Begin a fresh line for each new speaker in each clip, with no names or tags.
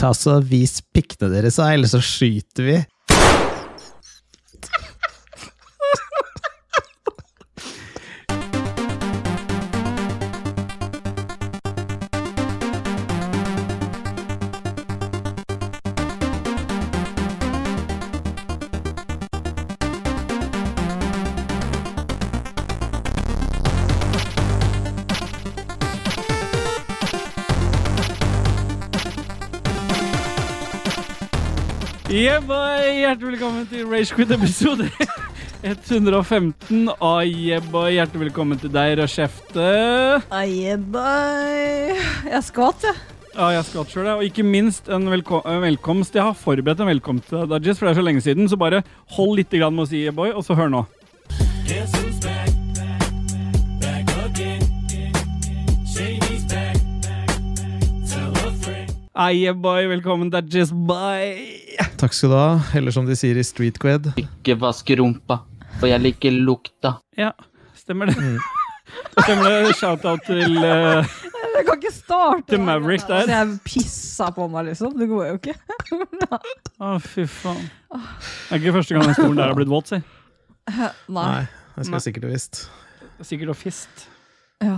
ta så vis pikkene deres, da, ellers så skyter vi.
Yeah, boy! Hjertelig velkommen til Ragequit episode 115 av yeah, boy. Ah, Hjertelig velkommen til deg, Rashefte.
Ajebaj. Jeg skvatt, jeg.
Ja, jeg skal selv, jeg. Og ikke minst en velko en velkomst. Jeg har forberedt en velkomst til deg, Dajis, for det er så lenge siden. Så bare hold litt grann med å si yeah, boy, og så hør nå.
Guess who's back? Back again. Shady's back. Tell a friend.
Ai, yeah, Ah, boy, velkommen, Dajis. Bye!
Takk skal du ha. Eller som de sier i Street Qued.
ikke vaske rumpa, for jeg liker lukta.
Ja, stemmer det. Stemmer det. Shout-out til eh,
Jeg kan ikke starte.
Til Maverick der.
Altså, jeg pissa på meg, liksom. Det går jo ikke.
Å, fy faen. Det er ikke første gang den stolen der har blitt våt, si.
Nei.
Nei, det skal
Nei.
jeg sikkert ha visst.
Sikkert og fist.
Ja.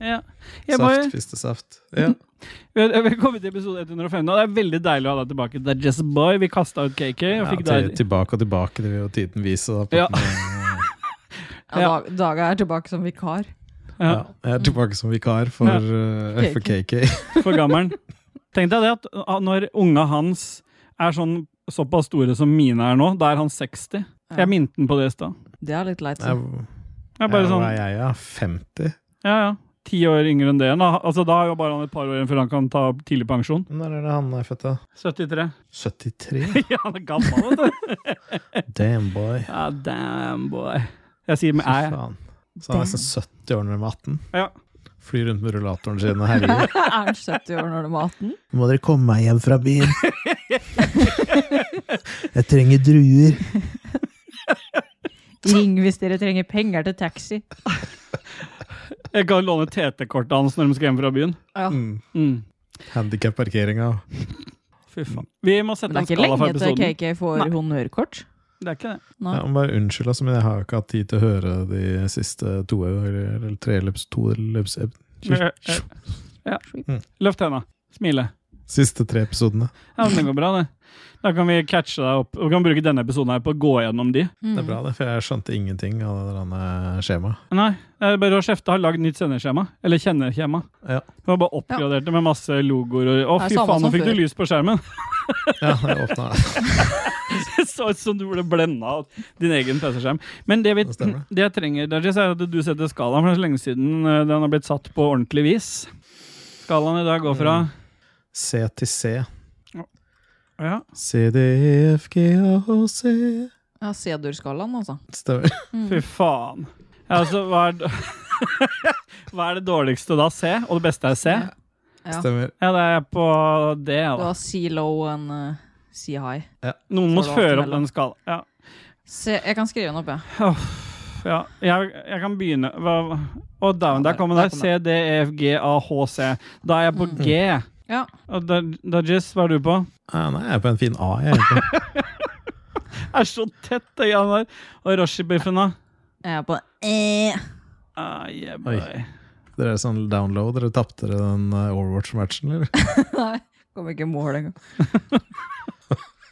Ja. Yeah, boy.
Mm. Saft, fistesaft. Ja.
Vel- Velkommen til episode 115. og Det er veldig deilig å ha deg tilbake. Det er Jess Boy. Vi kasta ut KK. Og
Ja,
fikk
til,
deg.
tilbake og tilbake, det vil jo tiden vise. Da,
Ja.
på den,
Ja,
Ja.
Dag- Daga er tilbake som vikar.
Ja,
ja. Jeg er tilbake som vikar for,
Ja.
eh, for KK.
for gammelen. Tenk deg det at ah, når unga hans er sånn såpass store som mine er nå, da er han 60.
Ja.
Jeg minte den på det i stad.
Det er litt leit.
Jeg,
sånn.
Jeg er
jeg,
bare sånn,
hva er jeg, ja? 50?
ja, ja. Ti år yngre enn det igjen. da. Altså, da er jo bare han et par år igjen før han kan ta tidlig pensjon.
Når er det han er født, da?
73.
73?
Ja, han er gammel, vet du.
Damn boy.
Ja, damn, boy. Jeg sier med
Fy
æ.
faen. Så han er nesten 70 år når han er 18.
Ja.
Flyr rundt med rullatoren sin og herjer.
Er han 70 år når de er 18?
Må dere komme meg hjem fra byen? Jeg trenger druer.
Ring hvis dere trenger penger til taxi.
Jeg kan låne TT-kortet hans når de skal hjem fra byen.
Ja.
Mm.
Mm.
Handikap-parkeringa.
Fy faen. Vi må sette
Men
en
det er ikke
skala for
lenge til
episoden.
KK får
Nei.
honnørkort.
Det er ikke det.
Nei.
Ja, men bare unnskyld, altså, men jeg har jo ikke hatt tid til å høre de siste to eller, eller tre løps, to løps,
Eh, eh, Ja.
Mm.
Løft henda. Smile.
siste tre episodene.
Ja, men det går bra, det. Da kan vi catche deg opp. Vi kan bruke denne episoden her på å gå gjennom de.
Mm.
Det er bra, det, for jeg skjønte ingenting av det der skjemaet.
Nei, det er bare å kjefte. Har lagd nytt sendeskjema. Eller kjenneskjema.
Ja.
Hun har bare oppgradert det med masse logoer og Å,
Det
fy
er samme
faen, nå
som
fikk du
før.
lys på skjermen!
Ja, jeg åpna
Det så ut som du ble blenda av din egen PC-skjerm. Men det, vi,
Det stemmer.
det jeg trenger, Dajis, er at du setter skalaen, for det er så lenge siden eh, den har blitt satt på ordentlig vis. Skalaen i dag går fra
C til C. Mm.
Ja.
C, D, E, F, G, A, H, C.
Ja, C-dur-skalaen, altså.
Stemmer.
Fy faen. Ja, altså, hva er, det- hva er det dårligste da? C? Og det beste er C?
Ja. Ja.
Stemmer.
Ja, det er på D, ja,
Det
da.
var sea low and uh, sea high.
Noen må
så det var
føre
alt
opp den skalaen. Ja.
Se, jeg kan skrive den opp, jeg.
Uff, ja. Jeg, jeg kan begynne. Hva, og down, der
Ja,
kommer
der
det.
kom
C, D, E, F, G, A, H, C. Da er jeg på G.
Ja.
Og da- Dajis, hva er du på?
Ja, nei, jeg er på en fin A, jeg. egentlig.
Det er så tett, det greiene der. Og Rashi-biffen, da?
Jeg er på E.
Ah, yeah,
Oi.
boy.
Dere er sånn download. Dere tapte dere den eh, Overwatch-matchen, eller?
Kommer ikke i mål engang.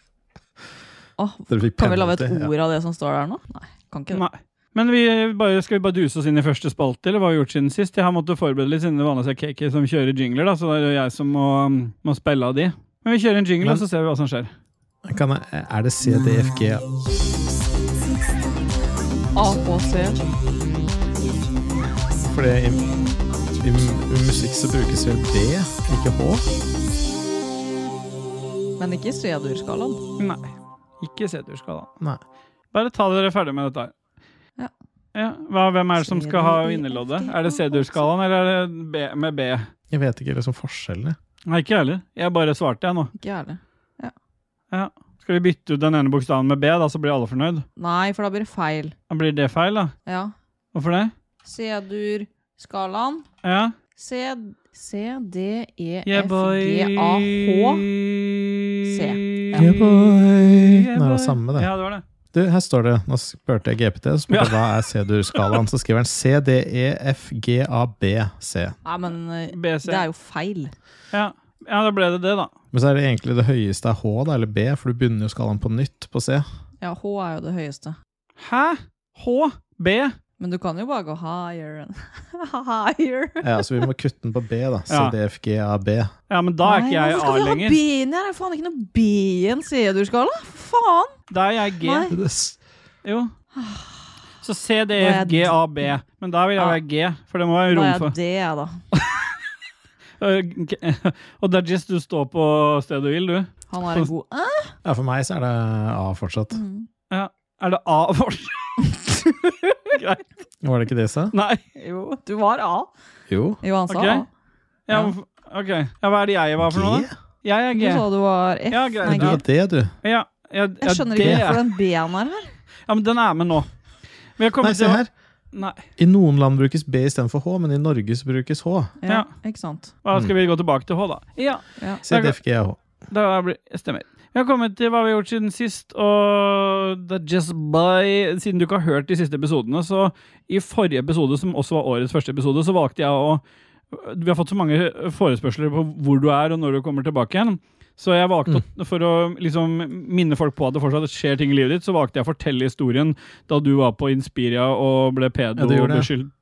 Åh,
Dere fikk
kan vi lage et E
penalty, ja.
ord av det som står der nå? Nei, kan ikke det.
Nei. Men vi bare, skal vi bare duse oss inn i første spalte, eller hva har vi gjort siden sist? Jeg har måttet forberede litt siden det vanligvis er KK som kjører jingler, da, så det er jo jeg som må, må spille av de. Men vi kjører en jingle,
Men-
og så ser vi hva som skjer.
Kan jeg, eh, er det C, D, F, G, A?
AKC.
Fordi i, i, i musikk så brukes jo D, ikke H.
Men ikke C-dur-skalaen.
Nei. Ikke C-durskala.
Nei.
Bare ta dere ferdig med dette her.
Ja.
Ja, hva, hvem er det som skal ha vinnerloddet? Er det C-durskalaen, eller er det B, med B?
Jeg vet ikke liksom forskjellene.
Nei, ikke jeg heller. Jeg bare svarte, jeg nå.
Ikke jeg heller.
Ja. Skal vi bytte ut den ene bokstaven med B, da, så blir alle fornøyd?
Nei, for da blir det feil.
Da blir det feil, da.
Ja.
Hvorfor det?
C-dur-skalaen.
Ja.
C C, D, E,
Yeah,
F,
boy.
G, A, H. C. Ja.
Yeah, boy. Det er det samme, det.
Ja, det var det.
Du, her står det, nå spurte jeg GPT, så spurte jeg hva er C-dur-skalaen, så skriver han C, D, E, F, G, A, B, C.
Nei, men eh,
BC.
det er jo feil.
Ja. ja, da ble det det, da.
Men så er det egentlig det høyeste er H, da, eller B, for du begynner jo skalaen på nytt på C.
Ja, H er jo det høyeste.
Hæ? H? B?
Men du kan jo bare gå higher and higher.
Ja, så vi må kutte den på B, da. C,
Ja.
D, F, G, A, B.
Ja, men da er
Nei,
ikke jeg
hvorfor
A
skal vi ha
lenger.
B inn her? Det er faen ikke noe B i en C-dur-skala. Faen!
Da er jeg G.
Nei.
Jo. Så C, D,
Da er
F, G,
jeg-
A, B. Men da vil jeg
Ja.
være G, for det må være
Da
rom
er
for
jeg det, jeg, da.
Øh, Og Dajis, du står på stedet du vil, du.
Han er en god eh?
Ja, for meg så er det A fortsatt.
Mm. Er det A vårt? Greit.
Var det ikke det jeg sa?
Nei.
Jo, du var A.
Jo.
Jo, han sa
Ok.
A.
Ja,
Ja.
hvorfor- ok. Ja, hva er det jeg var for noe, da? Jeg er
Du
G.
sa du var F.
Ja, greit.
Nei,
Du
G.
var det, du.
Ja, ja, ja,
Jeg skjønner
det
ikke
er-
hvorfor den B-en er her.
Ja, men den er med nå. Vi
Nei,
har kommet
se
til-
her.
Nei.
I noen land brukes B istedenfor H, men i Norge så brukes H.
Ja, ikke sant.
Da skal vi gå tilbake til H, da. Ja,
C, D, F, G, A, H.
da blir, stemmer. Vi har kommet til hva vi har gjort siden sist, og det er just by Siden du ikke har hørt de siste episodene, så i forrige episode, som også var årets første episode, så valgte jeg å Vi har fått så mange forespørsler på hvor du er, og når du kommer tilbake igjen. Så jeg
Mm.
valgte, å- for å liksom minne folk på at det fortsatt skjer ting i livet ditt, så valgte jeg å fortelle historien da du var på Inspiria og ble
Ja, det gjorde jeg.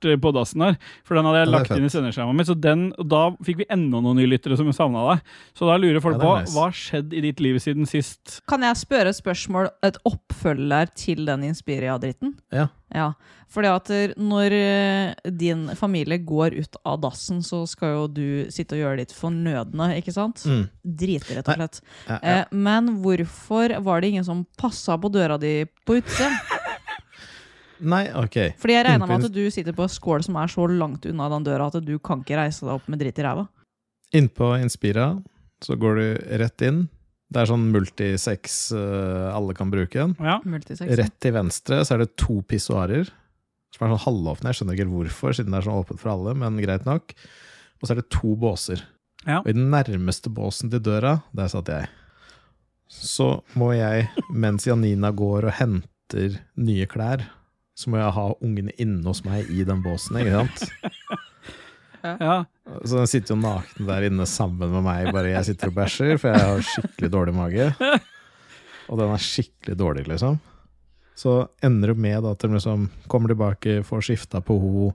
pedo-beskyldt på dassen der. For den hadde jeg
Ja, det er
lagt inn i sendeskjemaet mitt, så den, og da fikk vi enda noen nye lyttere som savna deg. Så da lurer folk
Ja, det er
på
nice.
hva har skjedd i ditt liv siden sist?
Kan jeg spørre et spørsmål, et oppfølger til den Inspiria-dritten?
Ja.
Ja, fordi at når eh, din familie går ut av dassen, så skal jo du sitte og gjøre ditt fornødne, ikke sant?
Mm.
Drite, rett og slett.
Ja, ja.
Eh, men hvorfor var det ingen som passa på døra di på utsida?
Nei, ok.
Fordi jeg regner med
Innpå-
at du sitter på en skål som er så langt unna den døra at du kan ikke reise deg opp med dritt i ræva.
Innpå Inspira så går du rett inn. Det er sånn multisex eh, alle kan bruke den.
Ja.
Multisex.
Rett til venstre så er det to pissoarer som er sånn halvåpne. Jeg skjønner ikke helt hvorfor, siden det er sånn åpent for alle, men greit nok. Og så er det to båser.
Ja.
Og i den nærmeste båsen til døra, der satt jeg. Så må jeg, mens Janina går og henter nye klær, så må jeg ha ungene inne hos meg i den båsen, ikke sant?
ja.
Så den sitter jo naken der inne sammen med meg, bare jeg sitter og bæsjer, for jeg har skikkelig dårlig mage. Og den er skikkelig dårlig, liksom. Så ender det med at de liksom kommer tilbake, får skifta på ho.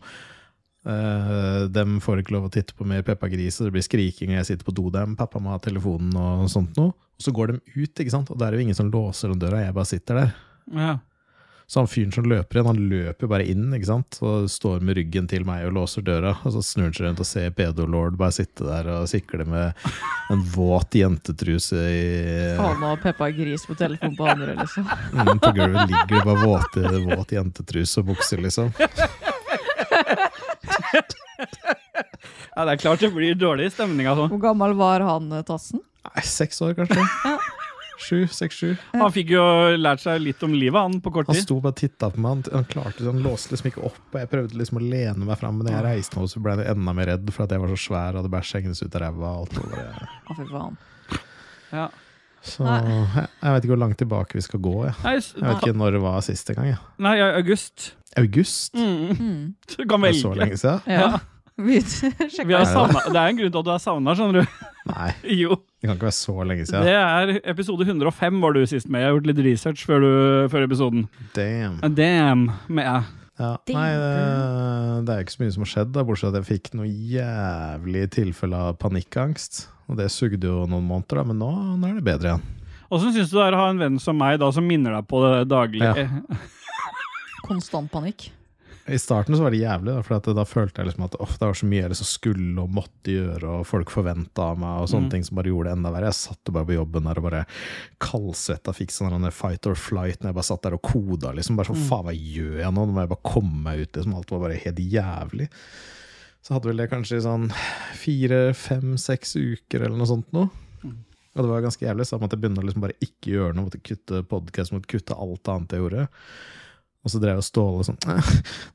Eh, dem får ikke lov å titte på mer Peppa Gris, og det blir skriking, og jeg sitter på do der med pappa må ha telefonen og sånt noe. Og så går de ut, ikke sant, og da er det jo ingen som låser den døra, jeg bare sitter der.
ja.
Så han fyren som løper igjen, han løper bare inn ikke sant? og står med ryggen til meg og låser døra. Og så snur han seg rundt og ser pedo-lord bare sitte der og sikle med en våt jentetruse i
Faen og Peppa Gris på telefon på andre, liksom.
mm, På gulvet ligger det bare våte, våt jentetruse og bukser, liksom.
ja, det er klart det blir dårlig stemning, altså.
Hvor gammel var han, eh, Tassen?
Nei, seks år, kanskje. Sju, seks-sju.
Han fikk jo lært seg litt om livet, han, på kort
Han
tid.
sto bare og titta på meg. Han, han klarte han låste liksom ikke opp. Og jeg prøvde liksom å lene meg fram, men når jeg reiste meg, opp, så ble jeg enda mer redd for at jeg var så svær og hadde bæsj hengende ut av ræva. og alt var bare...
Å, fy faen.
Ja.
Så
Nei.
jeg, jeg vet ikke hvor langt tilbake vi skal gå. Jeg,
Nei, s-
jeg vet ikke når det var siste gang. Jeg.
nei, ja, august.
August?
Mm.
Mm.
Du kan
Det er så
velge.
lenge siden?
Ja. Vi
Vi
sjekka
har
Er det det?
savnet, det er en grunn til at du er savna, skjønner du.
Nei,
Jo.
det kan ikke være så lenge siden.
Det er episode 105 var du sist med. Jeg har gjort litt research før, du, før episoden.
Damn.
Damn med æ.
Ja. Nei, det, det er ikke så mye som har skjedd, da, bortsett fra at jeg fikk noe jævlig tilfelle av panikkangst. Og det sugde jo noen måneder, da, men nå, nå er det bedre igjen.
Åssen syns du det er å ha en venn som meg da, som minner deg på det daglige?
konstant panikk.
I starten så var det jævlig, da, for at da følte jeg liksom at «Åh, det var så mye jeg liksom skulle og måtte gjøre, og folk forventa av meg, og sånne ting som bare gjorde det enda verre. Jeg satt bare på jobben der og bare kaldsvetta, fikk sånn der fight or flight når jeg bare satt der og koda, liksom. Bare sånn faen, hva gjør jeg nå? Nå må jeg bare komme meg ut, liksom. Alt var bare helt jævlig. Så hadde vel det kanskje i sånn fire, fem, seks uker eller noe sånt noe. Og det var ganske jævlig, så jeg måtte begynne å liksom bare ikke gjøre noe, måtte kutte podkast, måtte kutte alt annet jeg gjorde. Og så drev jo Ståle sånn «Eh,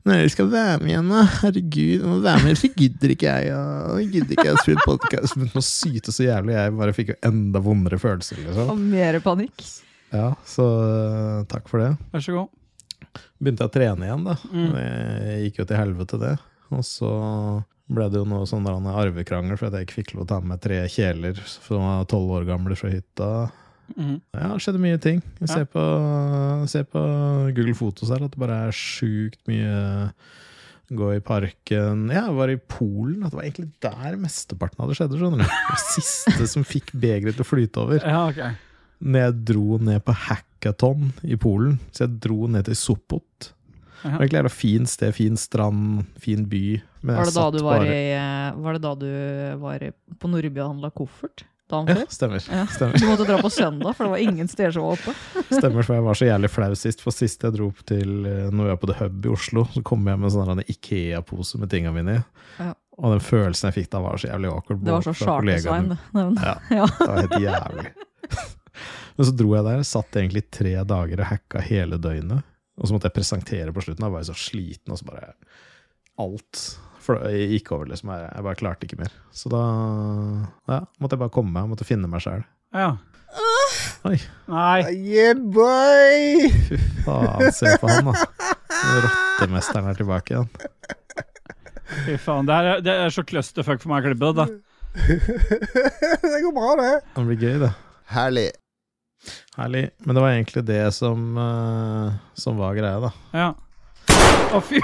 Når dere skal være med igjen, da? Herregud, jeg må være med, ellers så gidder ikke jeg. Og jeg gidder ikke jeg å spille podcast. Så begynte han å syte så jævlig, jeg bare fikk jo enda vondere følelser. liksom.
Og mer panikk.
Ja, Så eh, takk for det.
Vær så god.
Begynte jeg å trene igjen, da.
Mm.
Det gikk jo til helvete, det. Og så ble det jo noe sånn der en arvekrangel for at jeg ikke fikk lov å ta med meg tre kjeler som var tolv år gamle fra hytta.
Mhm.
Ja, det skjedde mye ting. Jeg ser, på, ser på Google Fotos her at det bare er sjukt mye Gå i parken Ja, jeg var i Polen. At det var egentlig der mesteparten av det skjedde. skjønner du? Det siste som fikk begeret til å flyte over
Ja, ok.
når jeg dro ned på hackathon i Polen. Så jeg dro ned til Sopot. Det
Aha.
var egentlig et fint sted, fin strand, fin by. Men jeg
Var det, da
satt
du var,
bare-
i, eh, var det da du var i, på Nordby og handla koffert? Dagen
Ja,
før?
stemmer.
Ja.
Stemmer,
Du måtte dra på søndag, for det var ingen steder som var oppe.
stemmer, for jeg var så jævlig flau sist. For sist jeg dro opp til eh, Når jeg var på The Hub i Oslo, så kom jeg med en sånn her Ikea-pose med tinga mine i.
Ja.
Og den følelsen jeg fikk da, var så jævlig awkward.
Det var så
fra
Charter-Svein.
kollegaene.
det. Men-
Ja.
Ja.
Det var helt jævlig. Men så dro jeg der, satt egentlig tre dager og hacka hele døgnet. Og så måtte jeg presentere på slutten. Jeg var jo så sliten, og så bare Alt for jeg gikk over, liksom. Jeg jeg bare klarte ikke mer. Så da ja, måtte jeg bare komme meg, måtte finne meg sjæl.
Ja.
Oi.
Nei.
Yeah, boy! Fy faen, se på han, da. Rottemesteren er tilbake igjen.
Fy faen. Det, her er, det er så clusterfuck for meg å klippe det. da.
det går bra, det.
Det blir gøy, det.
Herlig.
Herlig. Men det var egentlig det som, eh, som var greia, da.
Ja. Å, fy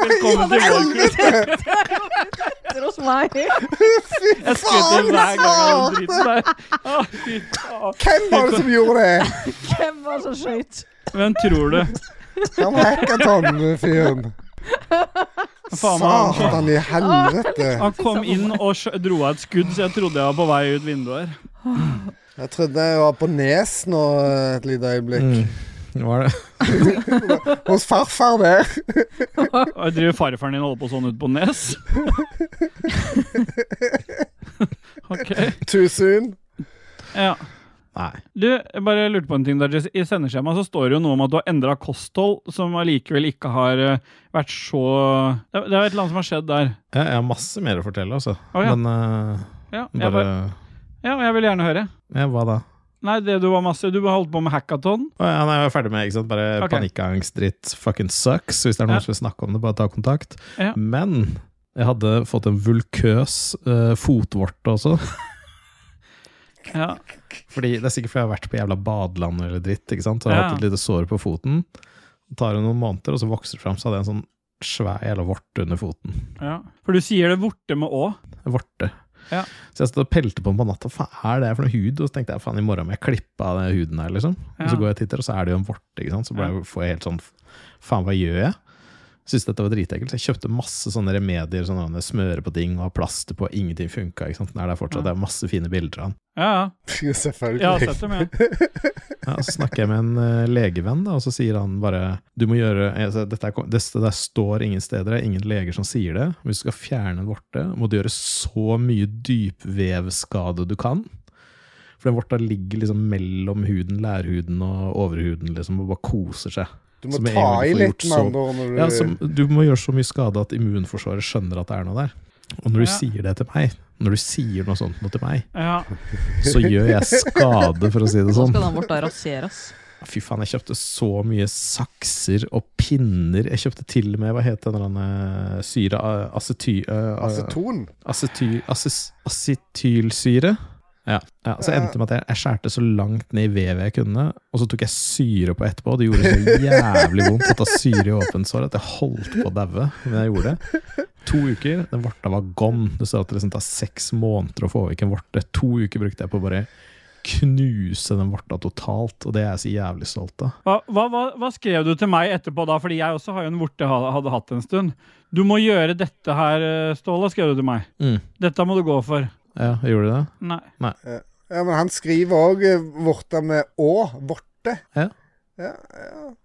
Velkommen til Volklut.
Etter oss meg.
Jeg skutter hver gang jeg driter der. Å, fy faen.
Hvem var det som gjorde det?
Hvem var så skøyt?
Hvem tror du?
Han hackathon-fyren.
Faen meg, han,
Satan i helvete.
han kom inn og skjø- dro av et skudd, så jeg trodde jeg var på vei ut vinduet her.
Jeg trodde jeg var på Nes nå et lite øyeblikk.
Mm. Det var det.
Hos farfar der.
Og jeg driver farfaren din og holder på sånn ut på Nes? OK.
Too soon.
Ja.
Nei.
Du, jeg bare lurte på en ting. Der, Jess. I sendeskjemaet så står det jo noe om at du har endra kosthold, som allikevel ikke har eh, vært så Det det er jo et eller annet som har skjedd der.
Jeg, jeg har masse mer å fortelle, altså.
Å, ja.
Men eh,
Ja, jeg,
bare,
bare, ja, jeg vil gjerne høre.
Ja, hva da?
Nei, det du var masse Du holdt på med hackathon.
Å, ja, nei, jeg var ferdig med ikke sant? bare
Ok.
panikkangst, dritt, fucking sucks. Hvis det er
Ja.
noen som vil snakke om det, bare ta kontakt.
Ja.
Men jeg hadde fått en vulkøs eh, fotvorte også.
Ja.
Fordi Det er sikkert fordi jeg har vært på jævla badeland eller dritt. ikke sant? Så jeg har
Ja.
hatt et lite sår på foten. Det tar jo noen måneder, og så vokser det fram. Så hadde jeg en sånn svær jævla vorte under foten.
ja. For du sier det borte med å.
vorte.
Ja.
Så jeg stod og pelte på den på natta. Hva er det for noe hud? Og så tenkte jeg faen, i morgen må jeg klippe av den huden her, liksom. Og
Ja.
så går jeg og titter, og så er det jo en vorte. ikke sant? Så ble
Ja.
jeg, får jeg helt sånn Faen, hva gjør jeg? Syns dette var dritekkelt. Så jeg kjøpte masse sånne remedier, sånne smøre på ting og ha plaster på. Ingenting funka. Ikke sant? Den er der fortsatt. Det er masse fine bilder av den.
Ja, ja.
Jo,
Jeg har
Selvfølgelig.
sett dem, jeg.
Ja, og så snakker jeg med en eh, legevenn, da, og så sier han bare Du må gjøre altså, dette, er, det, der står ingen steder, det er ingen leger som sier det. Hvis du skal fjerne en vorte, må du gjøre så mye dypvevskade du kan. For den vorta ligger liksom mellom huden, lærhuden og overhuden, liksom, og bare koser seg.
Du må
Som jeg
ta
egentlig
i
får
litt,
gjort
med
så-
andre ord, når du
Ja, som, du må gjøre så mye skade at immunforsvaret skjønner at det er noe der. Og når du
Ja.
sier det til meg, når du sier noe sånt noe til meg,
Ja.
så gjør jeg skade, for å si det
Så
sånn.
skal den vårt da raseres.
Fy faen, jeg kjøpte så mye sakser og pinner. Jeg kjøpte til og med, hva het den derne syre a- acety, eh,
Aceton.
acety, aces- Acetylsyre? Ja. ja. Så endte det med at jeg, jeg skjærte så langt ned i vevet jeg kunne, og så tok jeg syre på etterpå. Det gjorde så jævlig vondt å ta syre i åpent sår at jeg holdt på å daue. Men jeg gjorde det. To uker, den vorta var gone. Det står at det liksom tar seks måneder å få vekk en vorte. To uker brukte jeg på å bare knuse den vorta totalt, og det er jeg så jævlig stolt av.
Hva, hva, hva, hva skrev du til meg etterpå da? Fordi jeg også har jo en vorte ha- hadde hatt en stund. Du må gjøre dette her, eh, Ståle, skrev du til meg.
Mm.
Dette må du gå for.
Ja, jeg gjorde det.
Nei.
Ja, men han skriver òg vorter med å. Vorte.
Ja.
Ja,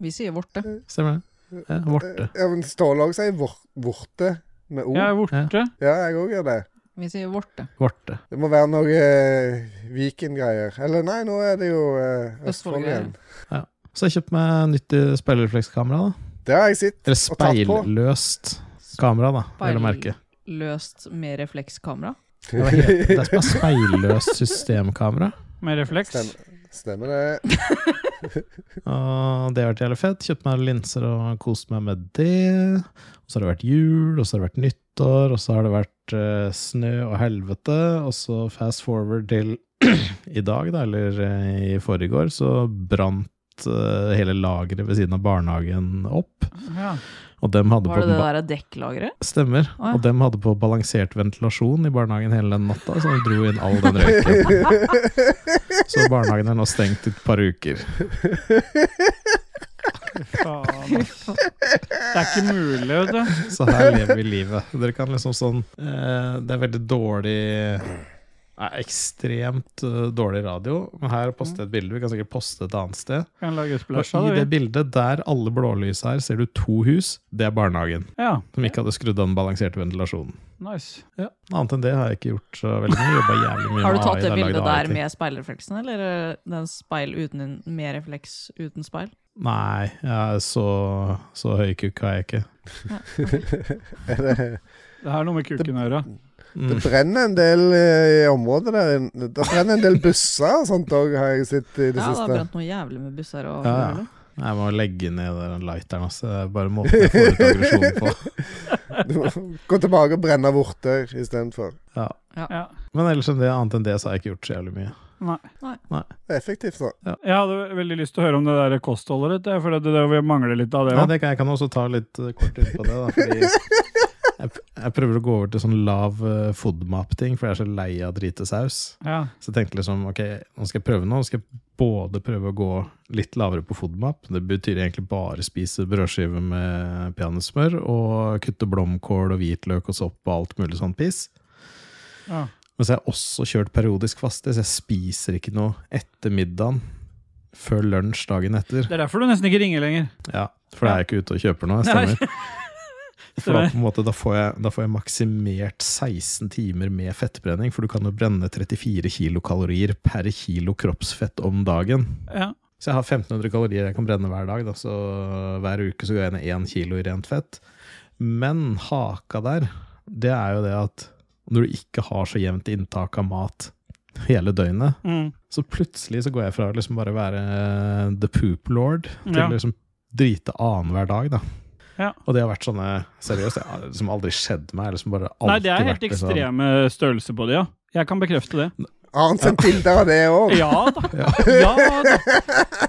Vi sier vorte.
Stemmer det. Ja, vorte.
ja men Ståle òg sier vor- vorte med o.
Jeg er vorte.
Ja, jeg òg gjør det.
Vi sier vorte.
Vorte.
Det må være noe eh, Viken-greier. Eller nei, nå er det jo eh, Østfold igjen.
Østfold-greier.
Så jeg kjøpte meg nytt eh, speilreflekskamera. da.
Det har jeg sett.
Eller
Og tatt på.
speilløst kamera, da, vil jeg merke.
Løst med reflekskamera.
Ja, Hva heter det? Det er som er speilløst systemkamera.
Med refleks.
Stemmer. Stemmer det.
Og det har vært jævlig fett. Kjøpt meg linser og kost meg med det. Og så har det vært jul, og så har det vært nyttår, og så har det vært eh, snø og helvete. Og så fast forward til i dag, da, eller eh, i forrige år, så brant eh, hele lageret ved siden av barnehagen opp.
Ja.
Og dem hadde
Var
på
det det
ba-
der dekklageret?
Stemmer.
Å, ja.
Og dem hadde på balansert ventilasjon i barnehagen hele den natta, så de dro inn all den røyken. Så barnehagen er nå stengt i et par uker.
Faen, ass. Det er ikke mulig, vet du.
Så her lever vi livet. Dere kan liksom sånn eh, Det er veldig dårlig Nei, ekstremt eh, dårlig radio. Men her poster jeg et bilde. Vi kan sikkert poste et annet sted.
Kan lage
Og
splash av
I det
det. vi.
bildet der alle blålysa er, ser du to hus. Det er barnehagen,
Ja,
som ikke hadde skrudd av den balanserte ventilasjonen.
nice.
Ja, Annet enn det har jeg ikke gjort så veldig mye. Jobba jævlig mye
Har du
med
tatt
AI,
det
da, lagde
bildet der
AI-ting.
med speilrefleksen, eller eh, den speil uten, med refleks uten speil?
Nei, jeg er så, så høykukk har jeg ikke.
Er det
Det her er noe med kuken å gjøre.
Det
Mm.
brenner en del eh, i området der. Det brenner en del busser og sånt òg, har jeg sett i det
Ja, det har
siste.
brent noe jævlig med busser og
Ja, ja. Jeg må legge ned den lighteren. Altså. Det er bare måten jeg får ut aggresjonen på.
Du må gå tilbake og brenne vorter istedenfor.
Ja.
Ja.
Men ellers enn det, annet enn det så har jeg ikke gjort så jævlig mye.
Nei.
Det er effektivt, da.
Jeg hadde veldig lyst til å høre om det der kostholdet ditt, jeg, for det, det, vi mangler litt av det
Ja,
òg.
det kan, jeg kan også ta litt eh, kort inn på det, da, fordi jeg, jeg prøver å gå over til sånn lav eh, FODMAP-ting, for jeg er så lei av dritesaus.
Ja.
Så jeg tenkte liksom, ok, nå skal jeg prøve noe. Nå skal jeg både prøve å gå litt lavere på FODMAP, det betyr egentlig bare spise brødskive med peanøttsmør, og kutte blomkål og hvitløk og sopp og alt mulig sånn piss.
Ja.
Men så har jeg også kjørt periodisk faste, så jeg spiser ikke noe etter middagen før lunsj dagen etter.
Det er derfor du nesten ikke ringer lenger.
Ja, for da er jeg ikke ute og kjøper noe, jeg stemmer. For da, på en måte, da, får jeg, da får jeg maksimert 16 timer med fettbrenning, for du kan jo brenne 34 kilokalorier per kilo kroppsfett om dagen.
Ja.
Så jeg har 1500 kalorier jeg kan brenne hver dag, da, så hver uke så går jeg ned 1 kilo i rent fett. Men haka der, det er jo det at når du ikke har så jevnt inntak av mat hele døgnet,
Mm.
så plutselig så går jeg fra å liksom bare være the poop lord til
Ja.
å liksom drite annenhver dag, da.
Ja.
Og det har vært sånne seriøst, det har liksom aldri skjedd meg. jeg har Liksom bare
Nei, det er
alltid
helt
vært liksom-
ekstreme størrelser på det, ja. Jeg kan bekrefte det.
Har han sendt bilder av det òg?
Ja da. Ja da.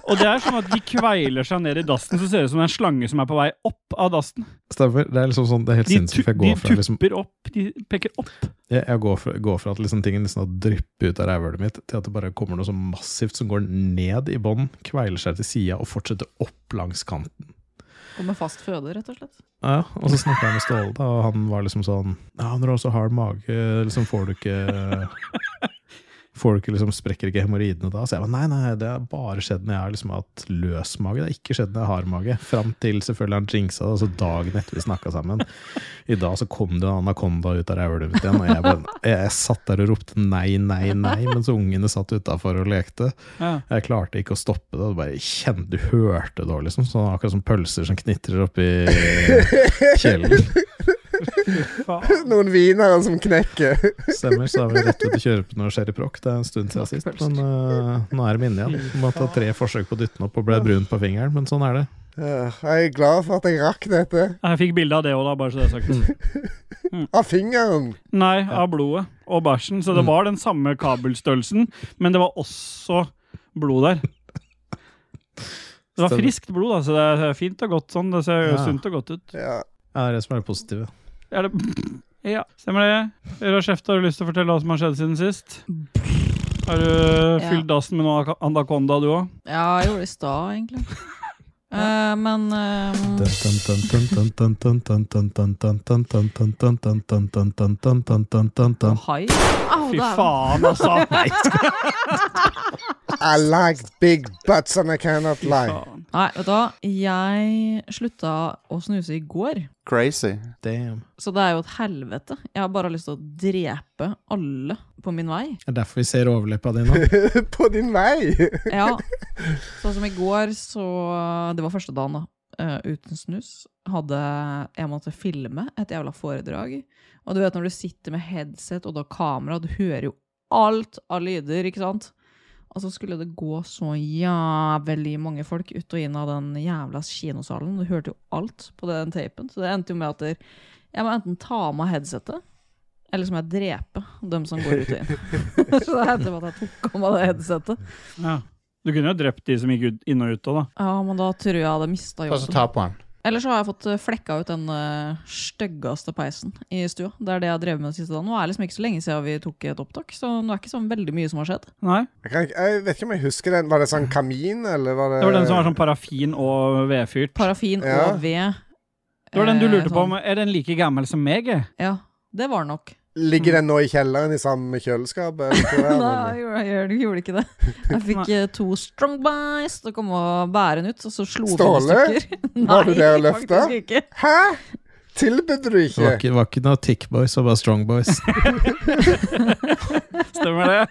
Og det er sånn at de kveiler seg ned i dassen, så ser det ut som det er en slange som er på vei opp av dassen.
Stemmer. Det er liksom sånn, det er helt
De, tu
sinnssykt. for Jeg
de
går fra, liksom,
tupper opp, de peker opp.
jeg, jeg går fra, går fra at liksom ting nesten har dryppet ut av rævhølet mitt, til at det bare kommer noe så massivt som går ned i bånn, kveiler seg til sida og fortsetter opp langs kanten.
Og med fast føde, rett og slett.
Ja, og så snakka jeg med Ståle, da, og han var liksom sånn Ja, når du har så hard mage, liksom får du ikke Får du ikke liksom, Sprekker ikke hemoroidene da? Så jeg bare nei, nei, det har bare skjedd når jeg har liksom hatt løs mage. Det har ikke skjedd når jeg har hard mage. Fram til selvfølgelig han jinxa det, altså dagen etter vi snakka sammen. I dag så kom det en anakonda ut av rævhølet mitt igjen, og jeg, bare, jeg, jeg satt der og ropte nei, nei, nei, mens ungene satt utafor og lekte.
Ja.
Jeg klarte ikke å stoppe det. og bare kjente, Du hørte det òg, liksom. Sånn akkurat som pølser som knitrer oppi kjelen.
Faen.
Noen wienere som knekker.
Stemmer. Så da var det rett ut å kjøre på noe sherry proc. Det er en stund siden sist, men øh, nå er de inne igjen. Må ta tre forsøk på å dytte den opp og ble brun på fingeren, men sånn er det.
Ja, Jeg er glad for at jeg rakk dette.
Jeg fikk bilde av det òg, da, bare så det er sagt.
Mm.
Av fingeren.
Nei, av blodet og bæsjen. Så det
Mm.
var den samme kabelstørrelsen, men det var også blod der. Det var
Stemmer.
friskt blod, da, så det er fint og godt sånn. Det ser
Ja.
sunt og godt ut.
Ja.
Ja, det er det som er det positive.
Er det Ja, stemmer det. Rashefta, har du lyst til å fortelle hva som har skjedd siden sist? Har du fylt dassen med noe ak- anakonda, du òg?
Ja, jeg gjorde det i stad, egentlig. Eh, men eh, Hai? Au,
Fy
dæven.
faen, altså!
I like big butts and I cannot lie.
Faen.
Nei, vet du hva. Jeg slutta å snuse i går,
Crazy.
Damn.
så det er jo et helvete. Jeg har bare lyst til å drepe alle på min vei.
Det er derfor vi ser overleppa di nå.
På din vei!
Ja. Sånn som i går, så Det var første dagen, da. eh, uten snus. Hadde Jeg måtte filme et jævla foredrag. Og du vet når du sitter med headset og da kamera, du hører jo alt av lyder, ikke sant? Og så skulle det gå så jævlig mange folk ut og inn av den jævla kinosalen. Du hørte jo alt på den tapen. Så det endte jo med at der- jeg må enten ta av meg headsetet, eller så må jeg drepe dem som går ut og inn. så det endte med at jeg tok av meg det headsetet.
Ja. Du kunne jo drept de som gikk ut, inn og ut òg, da.
Ja, men da tror jeg jeg hadde mista
Ta så
jobben.
ta på han.
Eller så har jeg fått eh, flekka ut den eh, styggeste peisen i stua. Det er det jeg har drevet med den siste dagen. Nå er det liksom ikke så lenge siden vi tok et opptak, så nå er det ikke så veldig mye som har skjedd.
Nei.
Jeg, kan, ikke- jeg vet ikke om jeg husker den. Var det sånn kamin, eller var det
Det
Eh.
var den som var sånn parafin og vedfyrt.
Parafin
Ja.
og ved.
det var den du
eh,
lurte på
sånn.
om er den like gammel som meg. eh? jeg?
Ja, det var nok.
Ligger den nå i kjelleren i samme kjøleskap? Eller, hva er det?
Nei, jeg gjorde, jeg gjorde ikke det. Jeg fikk eh, to strong buys til å komme og bære den ut, og så slo vi den i
Ståle?
stykker.
Var du der og løfta?
faktisk ikke.
Hæ?! Tilbød du
Det var
ikke?
ikke, var ikke noe Tick Boys, det var bare Strong Boys.
Stemmer det?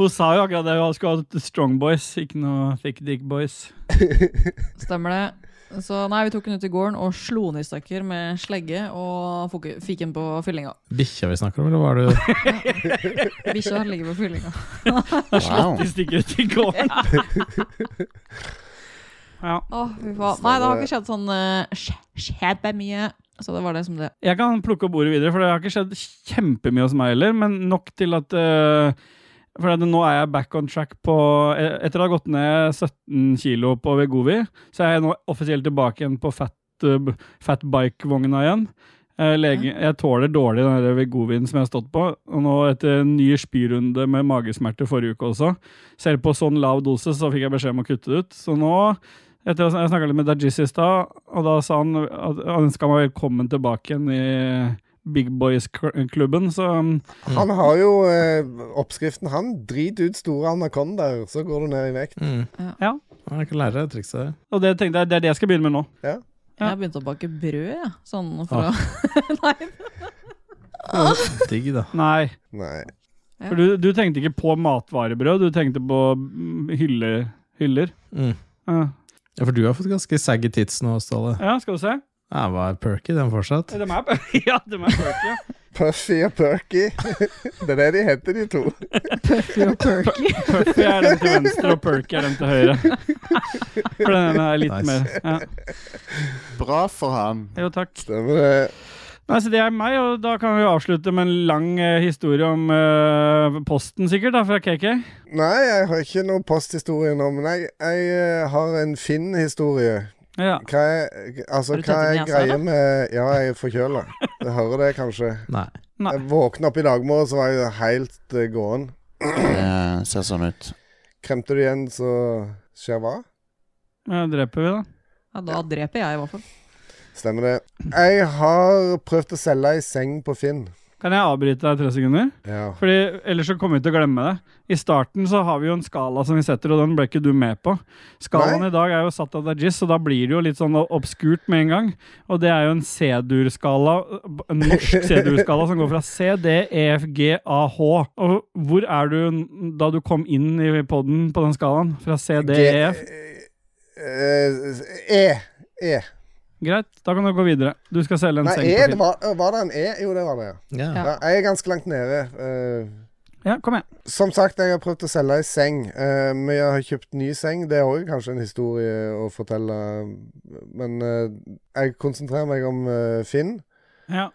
Hun sa jo akkurat det, hun skulle ha strong boys, ikke noe thick dick boys.
Stemmer det. Så nei, vi tok den ut i gården og slo den i stykker med slegge, og fok- fikk den på fyllinga.
Bikkja vi snakker om, eller var det
Bikkja ligger på fyllinga.
Wow.
De stikker ut i gården. Ja.
Åh, fy faen. Nei, det har ikke skjedd sånn eh, skje- skjedd mye. Så det var det som det
Jeg kan plukke opp ordet videre, for det har ikke skjedd kjempemye hos meg heller, men nok til at eh, For at nå er jeg back on track på eh, Etter å ha gått ned 17 kilo på Vegovi, så er jeg nå offisielt tilbake igjen på fat, eh, b- fatbike-vogna igjen. Eh, lege, jeg tåler dårlig den der Vegovien som jeg har stått på. Og nå etter en ny spyrunde med magesmerter forrige uke også, selv på sånn lav dose, så fikk jeg beskjed om å kutte det ut. Så nå etter å sn- Jeg snakka litt med Dajis i stad, og da sa han at han ønska meg velkommen tilbake igjen i Big Boys-klubben. Så um,
Han har jo eh, oppskriften. Han drit ut store anakondaer, så går du ned i vekt.
mm.
Ja.
Jeg kan lære deg det trikset der.
og det tenkte jeg, det er det jeg skal begynne med nå. Ja.
Jeg begynte å bake brød, jeg. Sånn for
Ah.
å
Digg, da.
Nei.
Nei.
For du, du tenkte ikke på matvarebrød, du tenkte på mm, hylle, hyller.
Mm.
Ja.
Ja, for du har fått ganske saggy tits nå, Ståle.
ja, skal du se.
Ja, var perky, den fortsatt.
De er, ja, de er perky. ja.
Puffy og Perky. det er det de heter, de to.
Puffy og perky.
Puffy er den til venstre, og perky er den til høyre. For den ene er litt
Nice.
mer ja.
Bra for han.
Jo, takk.
Stemmer det.
Nei, så Det er meg, og da kan vi avslutte med en lang eh, historie om eh, posten, sikkert, da, fra KK.
Nei, jeg har ikke noe posthistorie nå, men jeg, jeg eh, har en Finn-historie.
Ja.
Hva er, altså,
Har du
hva
tømt
er
nesa,
greia med Ja, jeg er forkjøla. Du hører det kanskje.
Nei.
Nei.
Jeg våkna opp i dag morges, så var jeg helt eh, gåen.
Det ser sånn ut.
Kremte du igjen, så skjer hva?
Ja, dreper vi, da.
Ja, da dreper jeg, i hvert fall.
Stemmer det. Jeg har prøvd å selge ei seng på Finn.
Kan jeg avbryte deg i tre sekunder?
Ja.
Fordi Ellers så kommer vi til å glemme det. I starten så har vi jo en skala som vi setter, og den ble ikke du med på. Skalaen
Nei.
i dag er jo satt av Dajis, så da blir det jo litt sånn obskurt med en gang. Og det er jo en C-dur-skala, en norsk C-dur-skala som går fra C, D, E, F, G, A, H. Og hvor er du n- da du kom inn i poden på den skalaen? Fra C, D, E, F?
Eh, E. E.
Greit, da kan du gå videre. Du skal selge en
Nei,
seng
e
på
det
film.
var, var det en E? Jo, det var det, ja.
Ja.
ja jeg er ganske langt nede. eh,
Ja, kom igjen.
Som sagt, jeg har prøvd å selge ei seng. Eh, men jeg har kjøpt ny seng. Det er òg kanskje en historie å fortelle. Men eh, jeg konsentrerer meg om eh, Finn.
Ja.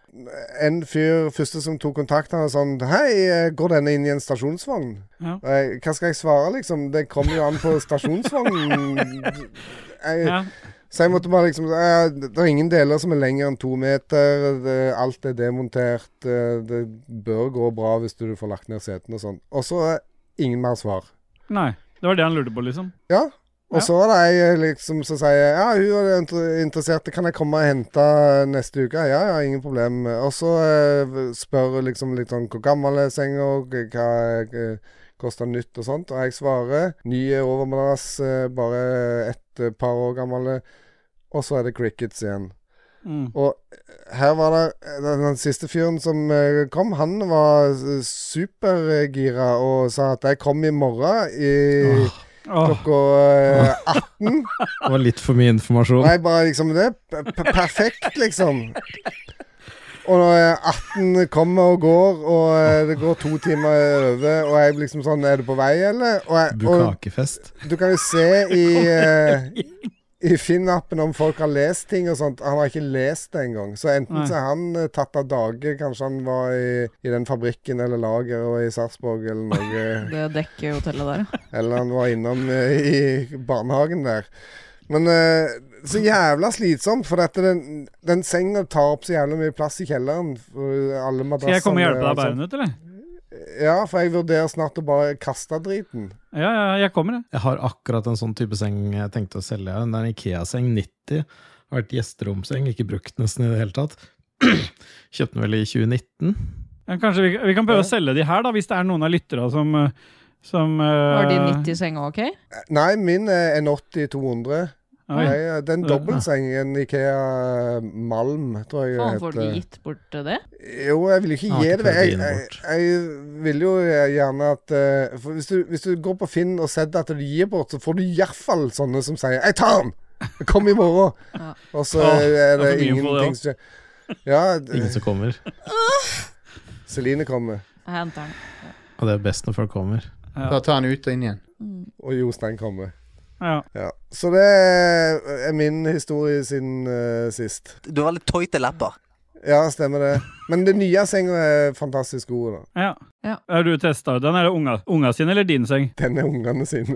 En fyr første som tok kontakt, han var sånn Hei, eh, går denne inn i en stasjonsvogn?
Ja.
Og jeg, Hva skal jeg svare, liksom? Det kommer jo an på stasjonsvognen. Jeg,
Ja.
så jeg måtte bare liksom eh, Det er ingen deler som er lenger enn to meter. Det, alt er demontert. eh, Det bør gå bra hvis du får lagt ned setene og sånn. Og så eh, ingen mer svar.
Nei. Det var det han lurte på, liksom.
Ja.
Ja.
Og så er det ei eh, liksom som sier Ja, hun er inter- interessert. Kan jeg komme og hente neste uke? Ja, ja, ingen problem. Og så eh, spør hun liksom litt sånn hvor gammel er senga, og hva eh, koster nytt og sånt. Og jeg svarer ny er overmadrass, eh, bare ett et par år gamle. Og så er det crickets igjen.
Mm.
Og eh, her var det den, den siste fyren som eh, kom, han var eh, supergira og sa at 'jeg kom i morgen' i
Åh,
klokka eh, 18.
Det var litt for mye informasjon.
Nei, bare liksom det. p- p- Perfekt, liksom. Og når eh, 18 kommer og går, og eh, det går to timer over, og jeg blir liksom sånn Er du på vei, eller? Og, jeg, og
Bukakefest.
du kan jo se i eh, i Finn-appen om folk har lest ting og sånt. Han har ikke lest det engang. Så enten
Nei.
så er han eh, tatt av dage, kanskje han var i, i den fabrikken eller lageret og i Sarpsborg eller noe. eh,
Det dekker hotellet der, ja.
Eller han var innom eh, i barnehagen der. Men eh, så jævla slitsomt, for at den, den senga tar opp så jævla mye plass i kjelleren. For alle
Skal jeg komme og hjelpe deg å bære
madrassene
den ut, eller?
og sånt. Ja, for jeg vurderer snart å bare kaste driten.
Ja, ja, jeg kommer, jeg.
Jeg har akkurat en sånn type seng jeg tenkte å selge. Den er en Ikea-seng 90. Har vært gjesteromseng, ikke brukt nesten i det hele tatt. Kjøpte den vel i 2019.
Men Kanskje vi, vi kan prøve å selge de her, da, hvis det er noen av lytterne som, eh, som
Var de 90 senga ok?
Eh, Nei, min er en 80-200.
Oi.
Nei, eh, Det er en dobbeltseng. En Ikea Malm, tror jeg
Faen, får
det
de
heter.
gitt bort eh, det?
Jo, jeg vil jo ikke
Jeg har
gi
ikke
det vekk. Jeg,
prøvd å gi den
jeg,
bort.
jeg vil jo gjerne at eh, for hvis, du, hvis du går på Finn og setter at du gir bort, så får du iallfall sånne som sier 'Jeg tar den! Kom i morgen!'
Ja.
Og så
Åh,
er det
det er for mye info, det
ingenting som skjer. Ja,
Ingen som kommer.
Celine kommer.
Jeg henter den.
Og det er best når folk kommer.
Da tar han ut og inn igjen.
Og Jostein kommer.
Ja.
Ja. Så det er min historie siden eh, sist.
Du var litt tøyt i leppa.
Ja, stemmer det. Men den nye senga er fantastisk god. da.
Ja.
Ja.
Har du testa ut den? Er det unga, unga sin eller din seng?
Den er ungene sine.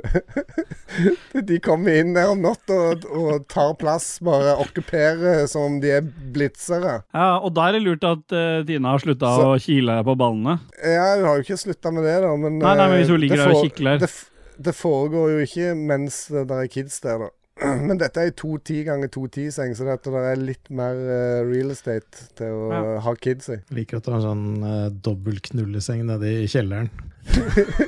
de kommer inn der om natta og, og tar plass, bare okkuperer som om de er blitzere.
Ja, og da er det lurt at eh, Tina har slutta å
Så-
kile på ballene.
Ja, hun har jo ikke slutta med det, da, men
Nei, nei, men hvis hun
eh,
ligger
det
der og
fore-
kikler.
Det, f- det foregår jo ikke mens det der er kids der, da. Men dette er ei 210 ganger 210-seng, så dette der er litt mer eh, real estate til å
Ja.
eh, ha kids i.
Liker at du har en sånn eh, dobbeltknulleseng nede i kjelleren.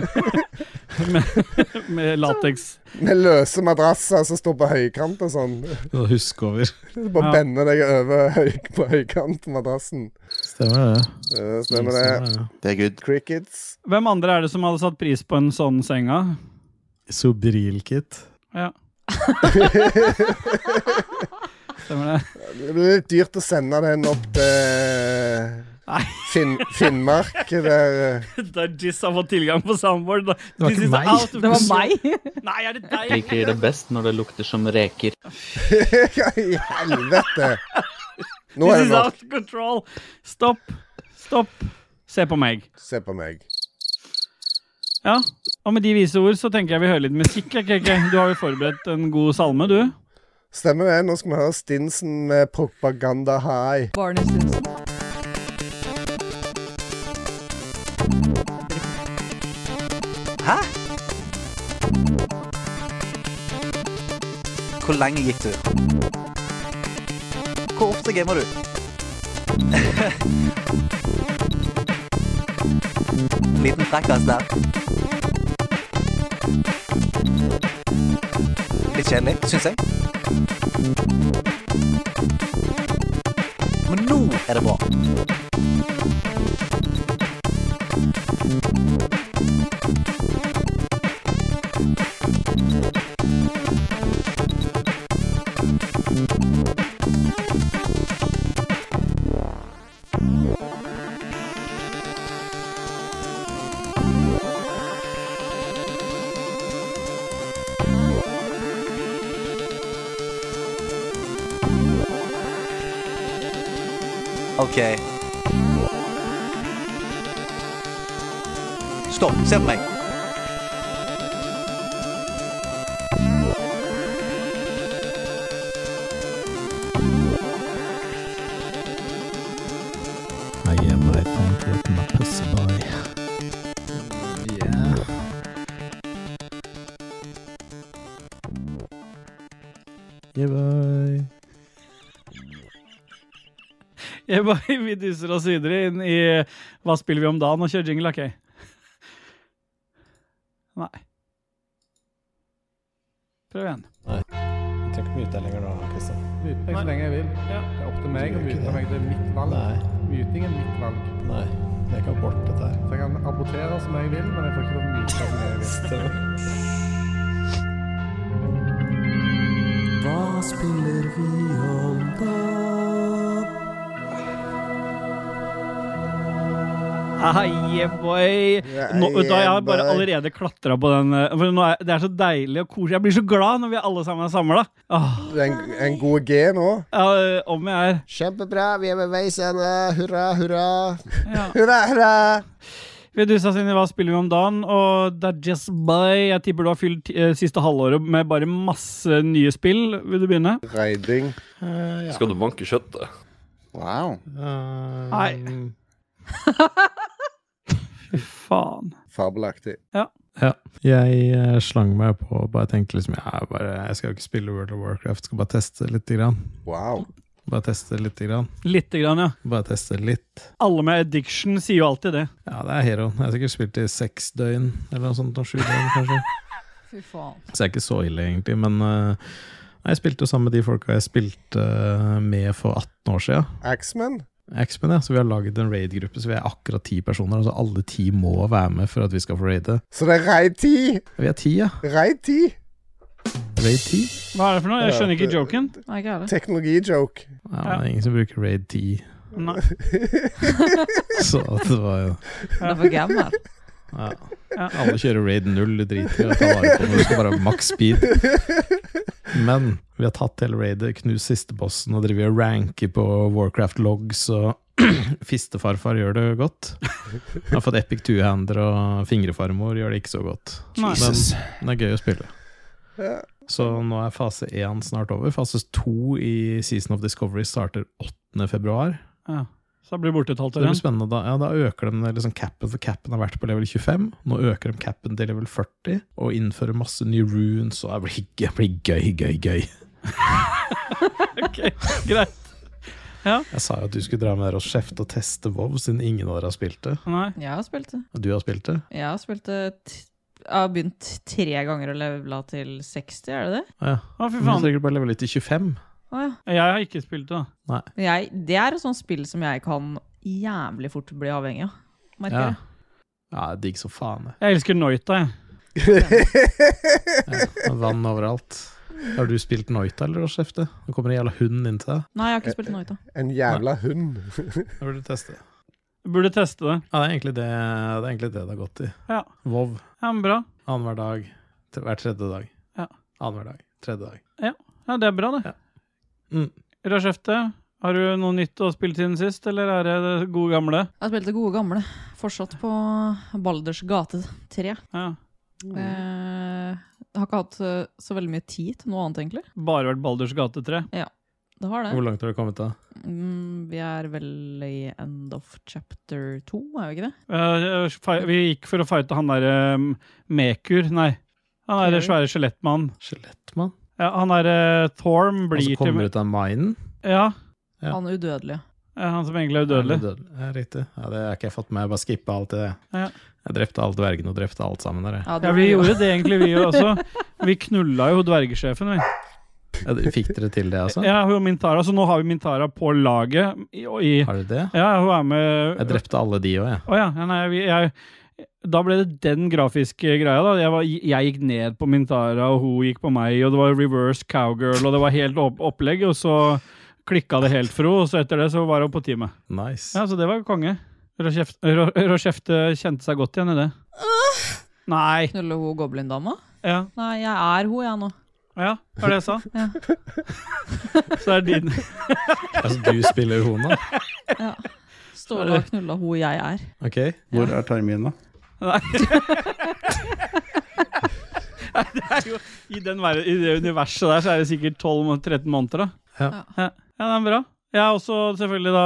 Med lateks.
Med løse madrasser som står på høykant og sånn.
Og huske over.
Du bare
Ja.
bender deg over høy, på høykantmadrassen.
Stemmer det.
Eh,
Mm,
Stemmer det.
Stemmer det.
Det er good.
Crickets.
Hvem andre er det som hadde satt pris på en sånn senga?
Sobril-kit.
Ja. Stemmer det.
Det blir litt dyrt å sende den opp
Nei.
til Finn, Finnmark. Der, eh,
Da Jizz har fått tilgang på soundboard. da.
Det var
This
ikke
is
meg.
out of
Det var
control.
meg!
Nei, er det deg?
Liker det best når det lukter som reker.
Ja, eh, i helvete! Nå
This
er det
is
nok.
out of control. Stopp. Stopp. Se på meg.
Se på meg.
Ja, og med de vise ord så tenker jeg vi hører litt musikk. jeg, Keke. Du har jo forberedt en god salme, du.
Stemmer det. Nå skal vi høre Stinsen med 'Propaganda High'.
Barney Stinson.
Hæ? Hvor lenge gikk du? Hvor ofte gamer du? Liten frekkas der. Litt kjedelig, syns jeg. Men nå er det bra. Ok. Stopp. Se på meg.
I am my punk with my pussy boy. Yeah, boy.
Jeg bare, vi duser oss videre inn i Hva spiller vi om dagen? og kjører jingle, OK? Nei. Prøv igjen.
trenger ikke myte deg lenger da, Kristian.
Myte meg
Nei.
så lenge jeg vil.
Ja.
Det er opp til meg
Du
å
gjør ikke
myte
det.
meg. Det er mitt valg.
Nei,
Myting er mitt valg.
nei. Det er ikke abort, dette her.
Så jeg kan abortere som jeg vil, men jeg får ikke lov til å myte som jeg vil.
Ah, yeah, boy. Nå,
Yeah,
da har jeg bare
boy.
allerede klatra på den. eh, For nå er, det er så deilig og koselig. Jeg blir så glad når vi alle sammen er samla.
Det er en, en god G nå.
eh, om jeg er
Kjempebra, vi er ved veis ende. Hurra, hurra.
Hurra, hurra!
Vedusa sine Hva spiller vi om dagen? Og det er Just By. Jeg tipper du har fylt eh, siste halvåret med bare masse nye spill. Vil du begynne?
Reiding.
Eh, ja.
Skal du banke kjøttet?
Wow.
Eh,
Um,
Nei. Fy faen.
Fabelaktig.
Jeg eh, slang meg på og bare tenkte liksom jeg, bare, jeg skal jo ikke spille World of Warcraft, skal bare teste lite grann.
Wow.
Bare teste lite grann.
Lite grann, ja.
Bare teste litt.
Alle med addiction sier jo alltid det.
Ja, det er heroen. Jeg har sikkert spilt i seks døgn, eller noe sånt. og Sju døgn, kanskje.
Fy faen.
Så det er ikke så ille, egentlig. Men eh, nei, jeg spilte jo sammen med de folka jeg spilte eh, med for 18 år siden.
Axman.
X-Men, ja. Så vi har laget en raid-gruppe, så vi er akkurat ti personer. Altså alle ti må være med for at vi skal få raide.
Så det er raid 10!
Vi er ti, ja.
Raid 10!
Raid ti.
Hva er det for noe? Jeg skjønner ikke joken.
Nei, ikke heller.
Teknologijoke.
Ja, men det er ingen som bruker raid ti.
Nei.
Så at det var jo
Derfor gam her.
ja.
Ja.
Alle kjører raid null, du driter i å ta vare på det. Du skal bare ha maks speed. Men vi har tatt hele raidet, knust siste bossen og driver og ranker på Warcraft logs og Fistefarfar gjør det godt. Jeg har fått Epic two-hander, og fingrefarmor gjør det ikke så godt.
Nei.
Jesus.
Men det er gøy å spille.
Ja.
Så nå er fase 1 snart over. Fase 2 i Season of Discovery starter 8. februar.
Ja. Så da blir det borte et halvt
Så
år
det blir
igjen.
spennende. Da, ja, da øker de liksom capen, for capen har vært på level 25. Nå øker de capen til level 40, og innfører masse nye runes, og det blir, det blir gøy, gøy, gøy.
Ok, Greit.
Jeg sa jo at du skulle dra med dere og kjefte og teste WoW, siden ingen av dere har spilt det.
Nei.
Jeg har spilt det.
Og du har spilt det?
Jeg har spilt det t Jeg har begynt tre ganger å levela til 60, er det det?
Å ja.
Å, fy
Men du
faen.
trenger bare levele til 25.
Å ja.
Jeg har ikke spilt det, da.
Men Jeg, det er et sånt spill som jeg kan jævlig fort bli avhengig av. Merker
Ja.
jeg.
Ja, digg så faen. jeg.
Jeg elsker Noita, jeg.
Ja, vann overalt. Har du spilt Noita, eller, Skjefte? Nå kommer en jævla hund inn til deg.
Nei, jeg har ikke spilt Noita.
En jævla hund.
Da burde du teste.
Jeg Burde teste det.
Ja, det er egentlig det det, er egentlig det, det har gått i.
Ja.
Vov.
Ja, men bra.
Annenhver dag. tre- Hver tredje dag.
Ja.
Annenhver dag. Tredje dag.
Ja, Det er bra, det.
Mm.
Rashefte, har du noe nytt å spille siden sist, eller er det det gode gamle?
Jeg har spilt det gode gamle. Fortsatt på Balders gate 3.
Ja.
Eh, jeg har ikke hatt eh, så veldig mye tid til noe annet, egentlig.
Bare vært Balders gate 3.
Det har det.
Hvor langt har du kommet da?
Mm, vi er vel i end of chapter 2, er vi ikke det?
Eh, fi- vi gikk for å fighte han derre Mekur, nei. Han derre svære skjelettmannen.
Skjelettmann?
Ja, han derre Thorm
Og
blir
så
til
Altså, kommer du ut av minen?
Ja,
Ja.
Han udødelige.
eh, han som egentlig er udødelig.
Ja, dødelig. Ja, riktig. Ja, det har ikke jeg fått med. Jeg bare skippa alt i det.
Ja.
Jeg drepte alle dvergene og drepte alt sammen der. jeg.
Ja, vi gjorde det egentlig, vi også. Vi knulla jo dvergesjefen, vi.
Ja, det- fikk dere til det, altså?
Ja, hun og Mintara, så nå har vi Mintara på laget. I, og i,
Har du det?
ja, hun er med
Jeg drepte alle de òg, jeg.
Å ja. ja, Nei, vi, jeg, da ble det den grafiske greia, da. Jeg, var, jeg gikk ned på Mintara, og hun gikk på meg, og det var reverse cowgirl, og det var helt opp, opplegg, og så klikka det helt for henne, og så etter det så var hun på teamet.
Nice.
Ja, så det var konge. Rochefte Ro- Rochefte kjente seg godt igjen i det. Nei.
Knuller hun goblindama?
Ja.
Nei, jeg er hun, jeg nå.
Ja, det var det jeg sa.
Ja.
Så er din
Altså, du spiller hona?
Ståle har knulla hun jeg er.
Ok.
Hvor er terminen, da?
Nei. Nei, det er jo, i, den, ver- I det universet der så er det sikkert 12-13 måneder, da.
Ja.
ja. Ja, det er bra. Jeg har også selvfølgelig da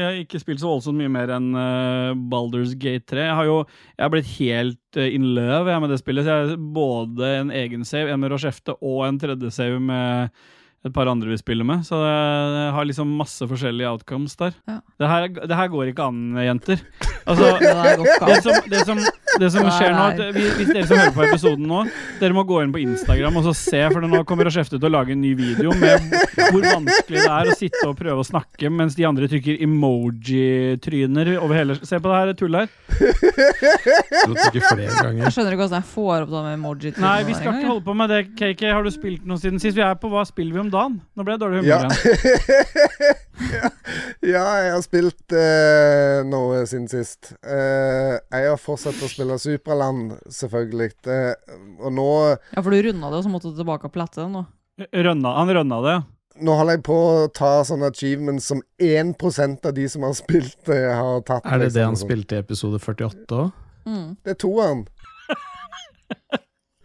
Jeg har ikke spilt så voldsomt mye mer enn uh, Balders Gate 3. Jeg har jo Jeg har blitt helt eh, in love jeg, med det spillet. Så jeg har både en egen save, en med Rochefte, og en tredje save med et par andre vi spiller med. Så jeg har liksom masse forskjellige outcomes der.
Ja.
Det, her, det her går ikke an, jenter. Altså
Det der går ikke
det
an.
som, det som, Det som
Nei,
skjer nå,
nei.
at vi, Hvis dere som hører på episoden nå, dere må gå inn på Instagram og så se, for nå kommer Rashefte til å lage en ny video med hvor vanskelig det er å sitte og prøve å snakke mens de andre trykker emoji-tryner over hele Se på det her tullet her.
Du trykker flere ganger.
Jeg skjønner ikke hvordan jeg får opp det med emoji.
Nei, vi skal ikke holde på med det, KK. Har du spilt noe siden sist? Vi er på Hva spiller vi om dagen? Nå ble jeg dårlig i
Ja.
humør igjen.
ja, jeg har spilt eh, noe siden sist. Eh, jeg har fortsatt å spille Supraland, selvfølgelig. Eh, og nå,
Ja, for du runda det, og så måtte du tilbake og platte den nå.
Rønna, han rønna det.
nå holder jeg på å ta sånne achievements som 1 av de som har spilt, eh, har tatt.
Er det det
liksom,
han
sånn.
spilte i episode 48 òg?
Mm.
Det er toeren.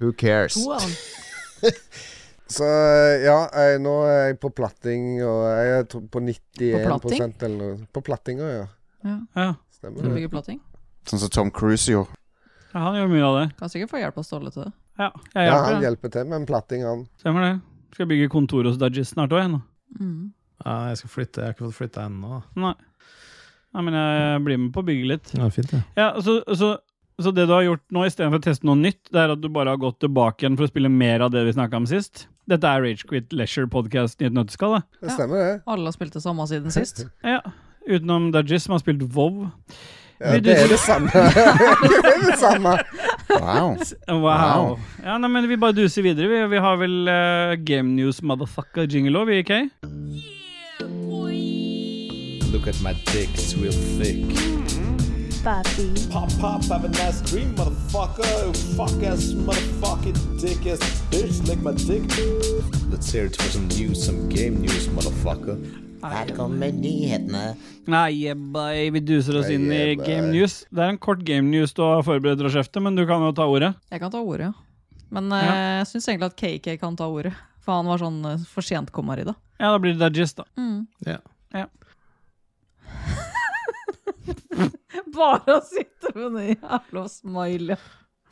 Who cares?
Toeren.
Så eh, ja, jeg, nå er jeg på platting, og jeg er tro- på 91
På platting?
eller noe. På plattinga, ja.
Ja.
Skal du
Stemmer det.
bygge platting?
Sånn som Tom Cruise gjorde.
ja, han gjør mye av det.
Kan sikkert få hjelp av Ståle til det.
Ja, jeg
Ja, han
hjelper. Ja,
hjelper til med en platting, han.
Stemmer det. Skal bygge kontor hos Dudgies snart òg, jeg nå.
Mm.
Ja, jeg skal flytte, jeg har ikke fått flytta ennå.
Nei. Nei, men jeg blir med på å bygge litt.
Ja, det er fint, det.
Ja, så, så, så det du har gjort nå, istedenfor å teste noe nytt, det er at du bare har gått tilbake igjen for å spille mer av det vi snakka om sist? Dette er Ragequit Leisure Podcast i et nøtteskall, da.
Det
Ja.
stemmer, det.
Alle har spilt det samme siden sist.
Ja. Utenom Dudgies, som har spilt WoW.
Ja,
Vil du
det er
si-
det samme. det er det samme.
Wow.
Wow.
Wow.
Ja, nei, men Vi bare duser videre. Vi, vi har vel eh, Game News Motherfucker Jingle òg, vi, ikke?
Look at my dick, it's real thick.
Pop, pop, have a nice dream, motherfucker. Fuck ass, motherfucking dick ass bitch. Lick my dick.
Let's hear it for some news, some game news, motherfucker.
Her kommer nyhetene.
Nei, jebbai, vi duser oss
Nei,
inn i
jebbai.
Game News. Det er en kort Game News du har forberedt, Rashefte, men du kan jo ta ordet.
Jeg kan ta ordet, ja. Men eh, jeg syns egentlig at KK kan ta ordet. For han var sånn eh, for sent kommer i det.
Ja, da blir det Dudgies, da.
Bare å sitte med den jævla smiley.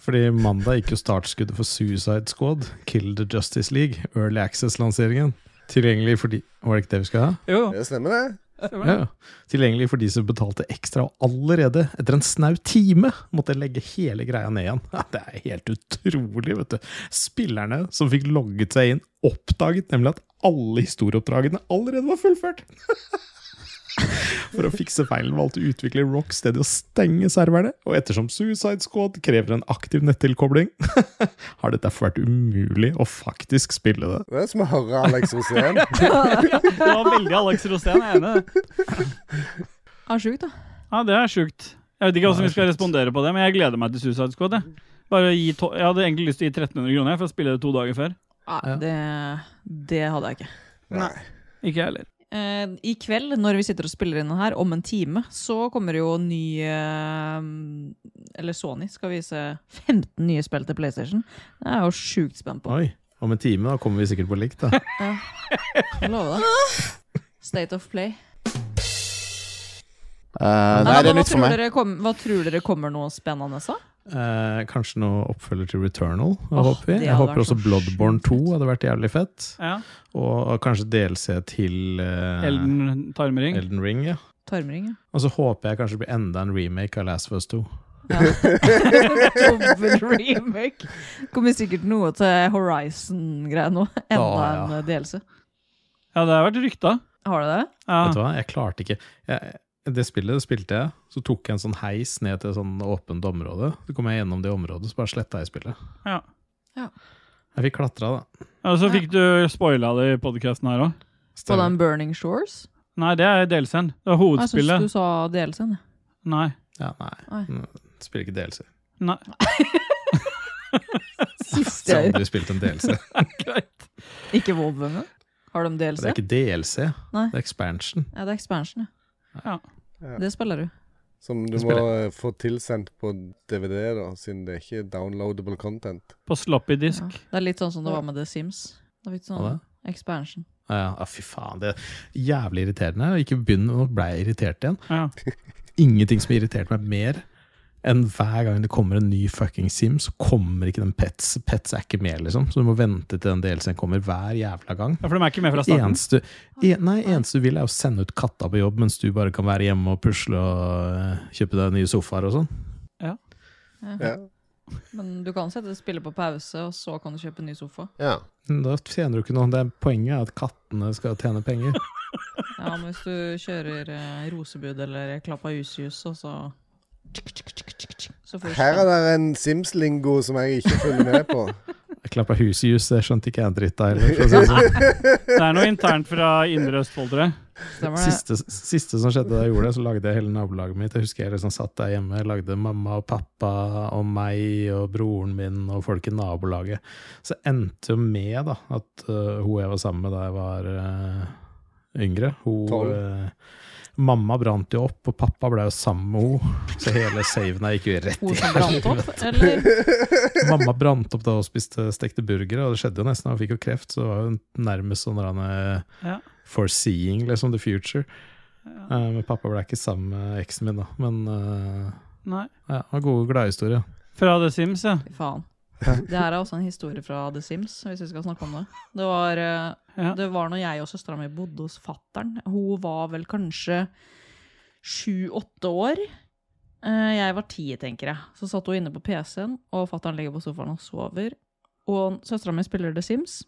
Fordi mandag gikk jo startskuddet for Suicide Squad, Kill the Justice League, Early Access-lanseringen. Tilgjengelig for de Var det ikke det vi skal ha?
Jo, jo.
Det stemmer, det.
stemmer det.
Ja. Tilgjengelig for de som betalte ekstra, og allerede etter en snau time måtte legge hele greia ned igjen. Ja, Det er helt utrolig, vet du. Spillerne som fikk logget seg inn, oppdaget nemlig at alle historieoppdragene allerede var fullført. For å fikse feilen valgte utvikler Rocksteady å stenge serverne, og ettersom Suicide Squad krever en aktiv nettilkobling, har det derfor vært umulig å faktisk spille det.
Det er som å høre Alex Rosén.
Det var veldig Alex Rosén, jeg er enig i det.
Han er sjuk, da.
Ja, det er sjukt. Jeg vet ikke hvordan vi skal respondere på det, men jeg gleder meg til Suicide Squad. Jeg. Bare gi to jeg hadde egentlig lyst til å gi 1300 kroner for å spille det to dager før.
Nei,
Ja.
det, det hadde jeg ikke.
Ikke jeg heller.
Eh, I kveld, når vi sitter og spiller inn den her, om en time, så kommer jo ny eh, Eller Sony skal vise 15 nye spill til PlayStation. Det er jeg jo sjukt spent på.
Oi, om en time da kommer vi sikkert på likt, da.
Jeg lover det. State of Play.
Eh, nei,
men
det er nytt
hva,
for
tror
meg.
dere kom, hva tror dere kommer noe spennende? Så?
Eh, kanskje noe oppfølger til Returnal.
Åh,
håper vi.
det
Jeg
hadde
håper
vært
også
så
Bloodborne
sjukt
2
fett.
hadde vært jævlig fett.
Ja.
Og kanskje DLC til eh,
Elden Tarmering.
Elden Ring. ja.
Tarmring, ja.
Og så håper jeg kanskje det blir enda en remake av Last of Us 2.
Dobbel remake. Kommer sikkert noe til Horizon-greia nå. Enda
Ja, ja.
en eh, DLC.
Ja, det har vært rykta.
Har dere det?
Ja.
Vet du hva, jeg klarte ikke jeg, Det spillet spilte jeg, så tok jeg en sånn heis ned til et sånn åpent område. Så kom jeg gjennom det området, så bare sletta jeg spillet.
Ja.
Ja.
Jeg fikk klatra, da.
Og så fikk du spoila det i podkasten her òg.
På
Stemmer.
den Burning Shores?
Nei, det er DLC-en. Det er
Jeg syns
hovedspillet.
du sa DLC-en. jeg.
Nei.
Ja, nei.
Oi.
Mm, Spiller ikke DLC.
Nei.
Sist
Så
jeg
aldri spilt en DLC.
Greit.
Ikke Volvo engang? Har de DLC?
Det er ikke DLC,
Nei.
det er expansion.
Ja, det er expansion,
Ja.
Ja.
Det spiller du.
Som du må
Spiller.
eh, få tilsendt på DVD, da, siden det er ikke er downloadable content.
På sloppy
Ja.
disk.
Det er litt sånn som det var med The Sims. Det var litt
Hva
sånn
da?
expansion.
Ja, ja, Ah, fy faen, det er jævlig irriterende. Og ikke begynn, nå ble jeg irritert igjen.
Ja.
Ingenting som har irritert meg mer enn hver gang det kommer en ny fucking Sim, så kommer ikke den Pets. Pets er ikke med, liksom. Så du må vente til den delsen kommer hver jævla gang.
ja, for de er ikke med fra starten.
Eneste, en, nei, eneste du vil, er å sende ut katta på jobb mens du bare kan være hjemme og pusle og eh, kjøpe deg nye sofaer og sånn.
Ja.
Ja.
Men du kan sette spillet på pause, og så kan du kjøpe en ny sofa.
Ja.
Da tjener du ikke noe. Det er poenget er at kattene skal tjene penger.
Ja, men hvis du kjører eh, rosebud eller klappa jusjus, og så Så får du
Her er det en Sims-lingo som jeg ikke følger med på.
Klappa husjus, det skjønte ikke jeg en dritt av heller. for å si det sånn.
Det er noe internt fra Indre Østfold, tror jeg.
Siste, siste som skjedde da jeg gjorde det, så lagde jeg hele nabolaget mitt. Jeg husker jeg liksom satt der hjemme, lagde mamma og pappa og meg og broren min og folk i nabolaget. Så endte jo med da, at øh, hun jeg var sammen med da jeg var øh, yngre hun,
Tolv.
øh, Mamma brant jo opp, og pappa ble jo sammen med henne. Så hele saven her gikk jo rett i
Hun som brant opp,
helvete.
eller?
Mamma brant opp da hun spiste stekte burgere, og det skjedde jo nesten. Hun fikk jo kreft, så det var jo nærmest sånn der han eh,
Ja.
foreseeing, liksom, the future. Eh, men pappa ble ikke sammen med eksen min, da. Men eh,
Nei.
ja, det var gode gladhistorier.
Fra The Sims, ja.
Fy faen. Det her er også en historie fra The Sims, hvis vi skal snakke om det. Det var, eh, det var når jeg og søstera mi bodde hos fattern. Hun var vel kanskje sju-åtte år. Eh, Jeg var ti, tenker jeg. Så satt hun inne på PC-en, og fattern ligger på sofaen og sover. Og søstera mi spiller The Sims.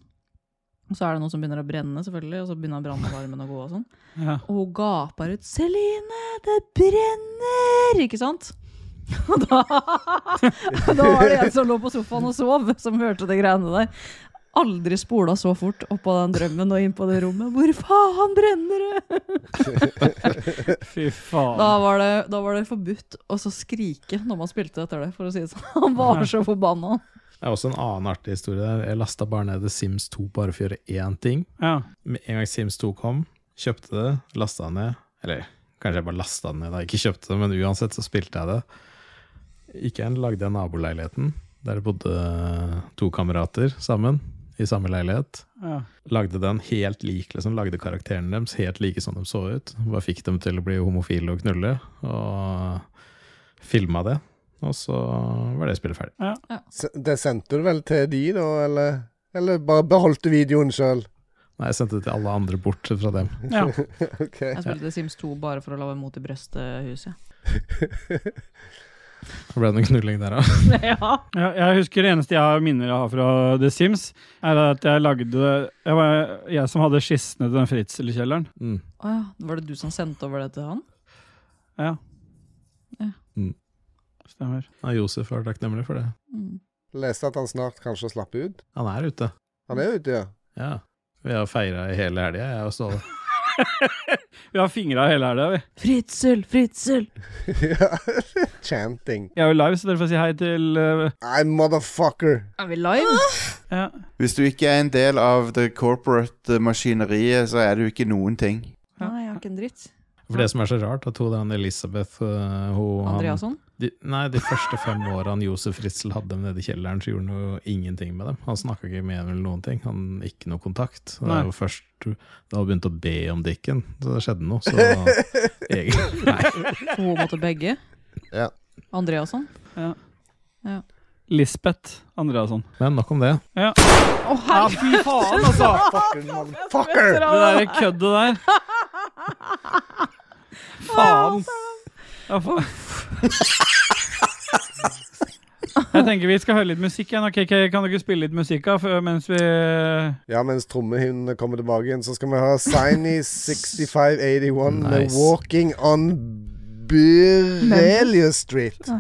Og så er det noe som begynner å brenne, selvfølgelig, og så begynner brannalarmen å gå. og sånn.
Ja.
Og hun gaper ut 'Celine, det brenner!' Ikke sant? Og da, da var det en som lå på sofaen og sov, som hørte de greiene der. Aldri spola så fort opp av den drømmen og inn på det rommet. 'Hvor faen brenner det?'
Fy faen.
Da var, det, da var det forbudt å så skrike når man spilte etter det, for å si det sånn. Han var så forbanna.
Det er også en annen artig historie. der. Jeg lasta bare ned The Sims 2 bare for å gjøre én ting.
Ja.
Med en gang Sims 2 kom, kjøpte det, lasta ned. Eller kanskje jeg bare lasta det ned da jeg ikke kjøpte det, men uansett så spilte jeg det. Ikke en lagde jeg naboleiligheten, der det bodde to kamerater sammen. I samme leilighet.
Ja.
Lagde den helt lik, liksom. Lagde karakterene deres helt like som de så ut. Bare fikk dem til å bli homofile og knulle, og filma det. Og så var det spillet ferdig.
S- Det sendte du vel til de, da, eller? Eller bare beholdt du videoen sjøl?
Nei, jeg sendte det til alle andre bort fra dem.
Jeg spilte Sims 2 bare for å lage mot i brøstet-huset.
Det ble det noe knulling der òg.
Ja.
Jeg, jeg husker det eneste jeg har minner jeg har fra The Sims, er at jeg lagde Jeg var jeg som hadde skissene til den fritzelkjelleren.
Mm.
Å ja. Var det du som sendte over det til han?
Ja.
Ja.
Mm.
Stemmer.
Ja, Josef var takknemlig for det.
Mm.
Leste at han snart kanskje slapp ut.
Han er ute.
Han er ute, ja.
Ja. Vi har feira i hele helga, jeg og Ståle.
Vi har fingra i hele helga, vi.
Fritzel, Fritzel!
Chanting.
Jeg er jo live, så dere får si hei til eh,
Nei, motherfucker!
Er vi live?
Ja.
Hvis du ikke er en del av det corporate maskineriet, så er du ikke noen ting.
Nei, jeg har ikke en dritt.
For det som er så rart, at hun der Elisabeth øh, hun, han-
Andreasson?
De, nei, de første fem åra Josef Ritzel hadde dem nede i kjelleren, så gjorde han jo ingenting med dem. Han snakka ikke med dem eller noen ting. Han Ikke noe kontakt. Og Det
Nei.
var først da hun begynte å be om dikken, så det skjedde noe. Så egentlig Nei.
Så hun måtte begge?
Ja.
Andreasson?
Ja.
Ja.
Lisbeth Andreasson.
Men nok om det.
Ja.
Å, herregud!
Fy faen, altså!
Fucker!
Det der køddet der. Faen. Ja, fa- Jeg tenker vi skal høre litt musikk igjen. Ok, ok, Kan dere spille litt musikk da, før- mens vi
Ja, mens trommehundene kommer tilbake igjen, så skal vi ha Siny 6581 med
Nice.
'Walking on Birelius Street'.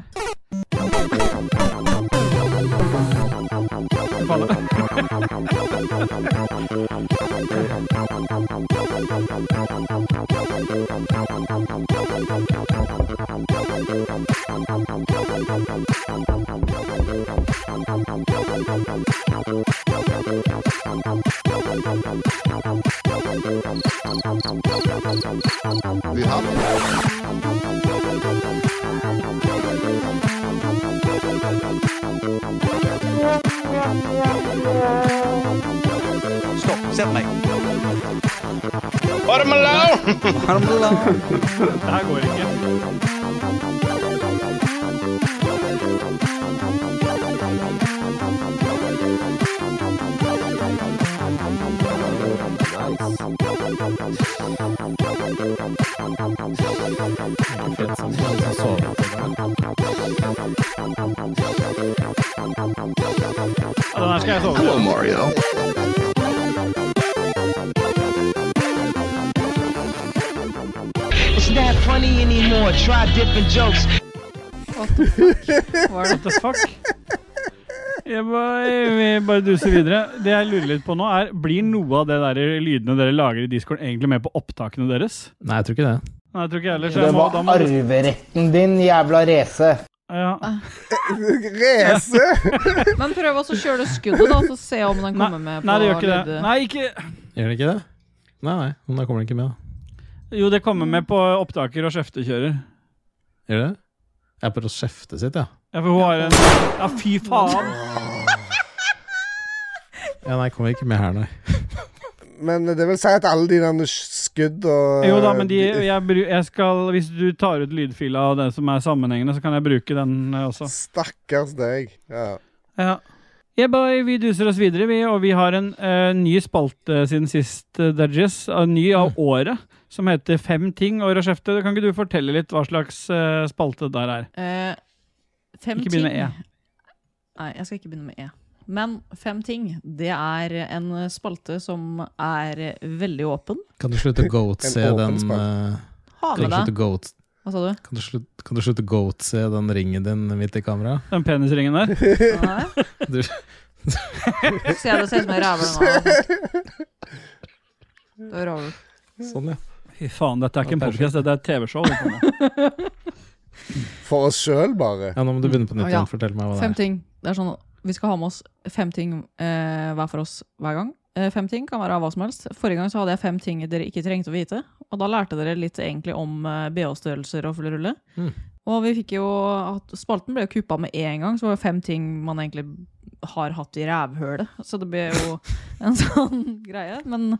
Stopp, sett meg.
Bottom alone! Bottom alone!
Det her går ikke.
Fett, sånn, sånn, sånn, sånn.
Den her skal jeg sove
Hello, Mario.
It's not funny anymore. Try different jokes.
What the fuck? Hva er
What the fuck? Jeg bare, vi bare duser videre. Det jeg lurer litt på nå, er Blir noe av det der lydene dere lager i Discord, egentlig med på opptakene deres?
Nei, jeg tror ikke det.
Nei, jeg tror ikke jeg heller. Så
Det
jeg må, da
var
må du
arveretten din, jævla rese.
Rese!
Men prøv også å kjøre det skuddet, da, så se om den kommer med på
Nei, det gjør ikke det.
lyd-
Nei, ikke
Gjør den ikke det? Nei, nei. Men da kommer den ikke med, da.
Jo, det kommer med på opptaker og skjeftekjører.
Gjør det? Jeg er på skjeftet sitt, ja.
Ja, for hun har en Ja, fy faen!
ja nei, kommer ikke med her, nei.
Men det vil si at alle de der skudd og
Jo da, men de, jeg, bru- jeg skal, hvis du tar ut lydfila av den som er sammenhengende, så kan jeg bruke den eh, også.
Stakkars deg. Ja.
Ja. Yeah, boy, vi duser oss videre, vi, og vi har en eh, ny spalte siden sist, uh, Dudges. eh, ny av året, som heter Fem ting og Rashefte. Kan ikke du fortelle litt hva slags eh, spalte der er?
Eh, fem
Ikke begynn med
ting.
E.
Nei, jeg skal ikke begynne med E. Men Fem ting, det er en spalte som er veldig åpen.
Kan du slutte å goat-se
En åpen
den
spalte.
eh,
Ha
Kan du
med
slutte
deg
å goat
Hva sa du?
Kan du slutte, kan du slutte å goat-se den ringen din midt i kameraet?
Den penisringen der?
Nei.
Du-
Ser det ser ut som en rævel nå. Det er rævel.
Sånn, ja.
Fy faen, dette er ikke en podkast, dette er et TV-show. liksom. vi kommer med.
For oss sjøl, bare.
Ja, nå må du begynne på nytt
Å, ja.
igjen. Fortell meg hva det
Fem
er.
ting. Det er sånn, vi skal ha med oss fem ting eh, hver for oss hver gang. Eh, fem ting kan være hva som helst. Forrige gang så hadde jeg fem ting dere ikke trengte å vite. Og da lærte dere litt egentlig om eh, BH-størrelser og full rulle.
Mm.
Og vi fikk jo at Spalten ble jo kuppa med én gang, så var det fem ting man egentlig har hatt i rævhølet. Så det ble jo en sånn greie. Men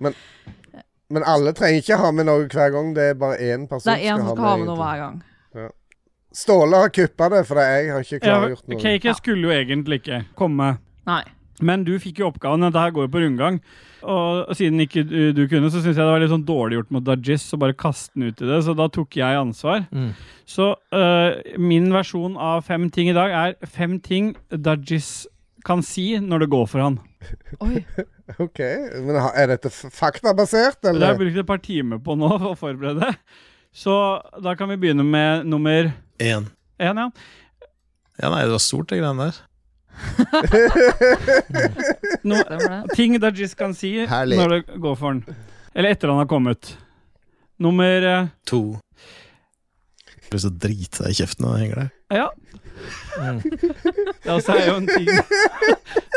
Men alle trenger ikke ha med noe hver gang. Det er bare én person
det er én som skal ha med noe hver gang.
egentlig. Ståle har kuppa det, for jeg har ikke
Ja,
klargjort noe.
Cake skulle jo egentlig ikke komme.
Nei.
Men du fikk jo oppgaven. Dette her går jo på rundgang. Og siden ikke du, du kunne, så syns jeg det var litt sånn dårlig gjort mot Dajis å bare kaste den ut i det, så da tok jeg ansvar.
Mm.
Så øh, min versjon av fem ting i dag er fem ting Dajis kan si når det går for han.
Oi.
OK. Men ha- er dette f- faktabasert,
Det har jeg
eller?
brukt et par timer på nå for å forberede. Så da kan vi begynne med nummer
Én.
én, ja.
Ja, nei, det var stort, de greiene der.
No,
Stemmer det.
ting Dajis kan si
Herlig.
når det går for han. Eller etter han har kommet. Nummer øh,
To.
Blir så drita i kjeften når den henger der.
Ja. Ja, så er jo en ting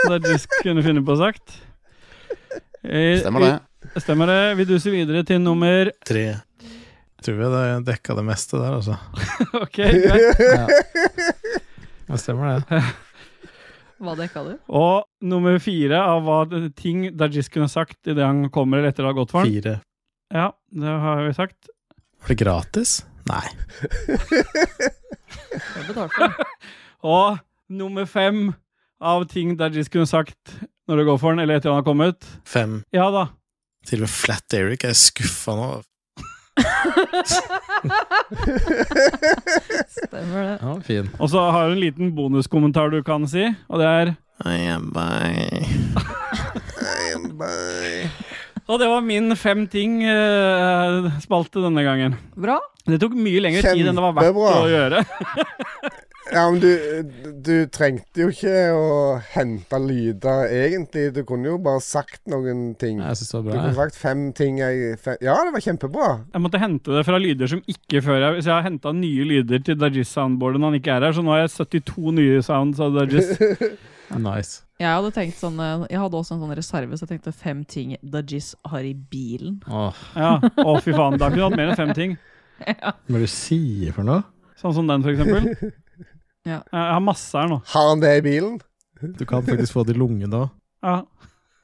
Dajis kunne finne på å sagt. Eh,
Stemmer det.
vi- Stemmer det. Vi duser videre til nummer
Tre.
Tror vi det dekka det meste der, altså.
Ok, greit.
Ja, stemmer det.
Hva dekka du?
Og nummer fire av hva det- ting Dajis kunne sagt idet han kommer eller etter det har gått for han.
Fire.
Ja, det har vi sagt.
Var det gratis? Nei.
Jeg betalte for det.
Og nummer fem av ting Dajis kunne sagt når det går for han eller etter han har kommet.
Fem.
Ja da.
Til og med Flat Eric er skuffa nå.
Stemmer det.
Ja, fin.
Og så har du en liten bonuskommentar du kan si, og det er
Ai, bye.
Og det var min fem ting-spalte denne gangen.
Bra.
Det tok mye lengre tid enn det var verdt
Kjempebra.
å gjøre.
Ja, men du, du trengte jo ikke å hente lyder, egentlig. Du kunne jo bare sagt noen ting.
Jeg syns det var
Du
bra.
kunne
jeg.
sagt fem ting jeg fe- Ja, det var kjempebra.
Jeg måtte hente det fra lyder som ikke før jeg Så jeg har henta nye lyder til Dajis soundboarden når han ikke er her, så nå har jeg 72 nye sounds av Dajis.
Nice.
Jeg hadde tenkt sånn eh, Jeg hadde også en sånn reserve, så jeg tenkte fem ting Dajis har i bilen.
Åh,
Ja. Å, fy faen. Da kunne du hatt mer enn fem ting.
hva er det du sier for noe?
Sånn som den, for eksempel.
Ja.
Jeg har masse her nå.
Har han det i bilen?
Du kan faktisk få det i lungene òg.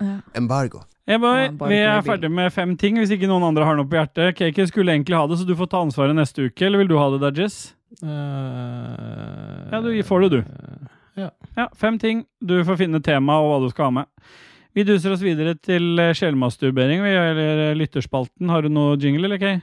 Ja.
Embargo.
Hey boy,
Ja, bare
vi er
på mobilen.
ferdig med fem ting, hvis ikke noen andre har noe på hjertet. Cake skulle egentlig ha det, så du får ta ansvaret neste uke. Eller vil du ha det, Dajis?
Ja,
Ja, du får det, du. Ja, fem ting. Du får finne tema og hva du skal ha med. Vi duser oss videre til eh, sjelmasturbering. Vi gjør eh, lytterspalten. Har du noe jingle, eller Kay?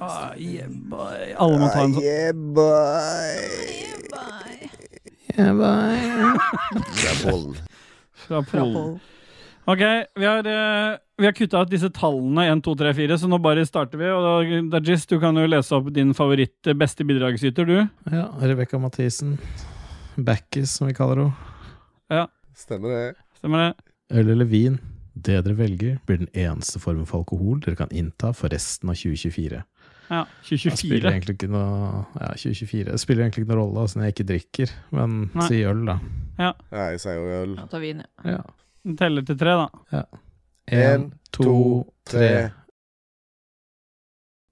Ah, yeah, boy. Alle må ta en sånn.
Yeah,
boy.
Yeah, boy.
sånn- Fra Polen. Ok, vi har, eh, vi har kutta ut disse tallene 1, 2, 3, 4, så nå bare starter vi. Og da, Dajis, du kan jo lese opp din favoritt eh, beste bidragsyter, du.
Ja, Rebekka Mathisen. Backis, som vi kaller henne.
Stemmer det.
Stemmer det?
Øl eller vin? Det dere velger, blir den eneste formen for alkohol dere kan innta for resten av 2024.
Ja.
Det spiller
2024.
egentlig ikke noe, ja, 2024. Det spiller egentlig ikke noe rolle altså, når jeg ikke drikker, men
Nei.
si øl, da.
Nei, jeg sier jo øl.
Da tar vi inn, ja.
Ja.
Den teller til tre, da.
En, to, tre.
Eh,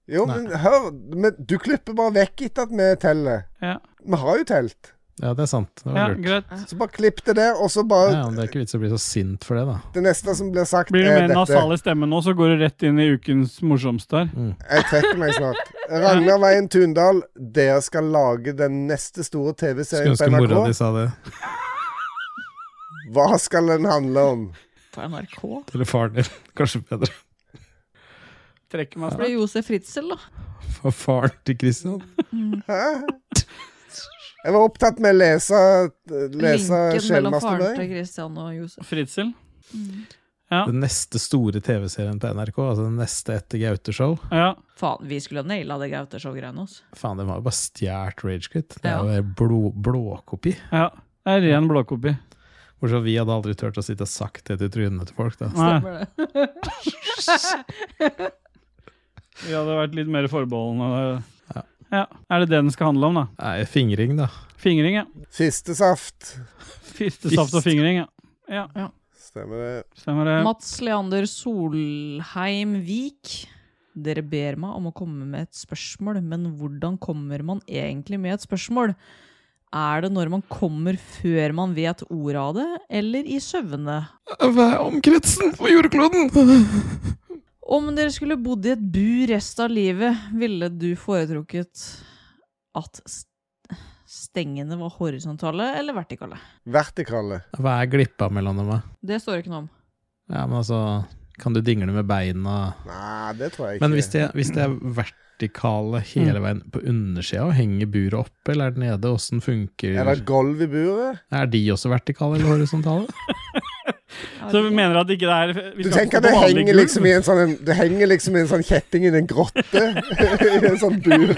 Jo,
Nei.
men hør, men du klipper bare vekk etter at vi teller.
Ja.
Vi har jo telt.
Ja, det er sant. Det var
Ja,
lurt.
greit.
Så bare klipp det der, og så bare
Ja, men det er ikke vits å bli så sint for det, da.
Det neste som blir sagt,
Blir du
Eh,
mer
er dette.
nasal i stemmen nå, så går du rett inn i ukens morsomste her.
Mm.
Jeg trekker meg snart. Ragnar Veien Tundal, dere skal lage den neste store
Skulle
TV-serien på
ønske mora di
NRK.
sa det.
Hva skal den handle om?
På NRK.
Eller faren din. Kanskje bedre.
Trekker meg
Det
snart.
blir Josef Fritzel, da.
For faren til Christian.
Hæ? Jeg var opptatt med å lese,
Linken
lese
mellom faren til
Skjellmasterbøy.
Christian og Josef.
Fritzel.
Mm. Den neste store TV-serien på NRK, altså den neste etter Gaute-show.
Ja.
Faen, vi skulle ha naila det Gaute-show-greiene oss.
Faen, den var jo bare stjålet Ragequit. Det er jo en blå, blåkopi.
ja. Det er ren blåkopi.
Bortsett fra at vi hadde aldri turt å sitte og sagt det til trynet til folk, da.
Nei,
Stemmer det.
vi hadde vært litt mer forbeholdne.
Ja.
Ja. Er det det den skal handle om, da?
Nei, fingring, da.
Fingring, ja.
Fistesaft.
Fistestaft og
Fist.
fingring, ja. ja.
Stemmer det.
Stemmer det.
Mats Leander Solheim Vik. Dere ber meg om å komme med et spørsmål, men hvordan kommer man egentlig med et spørsmål? Er det når man kommer før man vet ordet av det, eller i søvne?
Hva er omkretsen på jordkloden?
Om dere skulle bodd i et bur resten av livet, ville du foretrukket at st- stengene var horisontale eller vertikale?
Vertikale.
Hva er glippa mellom dem? da?
Det står ikke noe om.
Ja, men altså Kan du dingle med beina?
Nei, det tror jeg ikke.
Men hvis det, hvis det er vertikale hele veien på undersida, og henger buret oppe eller er det nede? Åssen funker
Er det gulv i buret?
Er de også vertikale eller horisontale?
Så vi mener at ikke det er vi
Du
skal
tenker at
på
det
vanlig
henger
gulv?
liksom i en sånn en- Det henger liksom i en sånn kjetting i en grotte. I en sånn bur.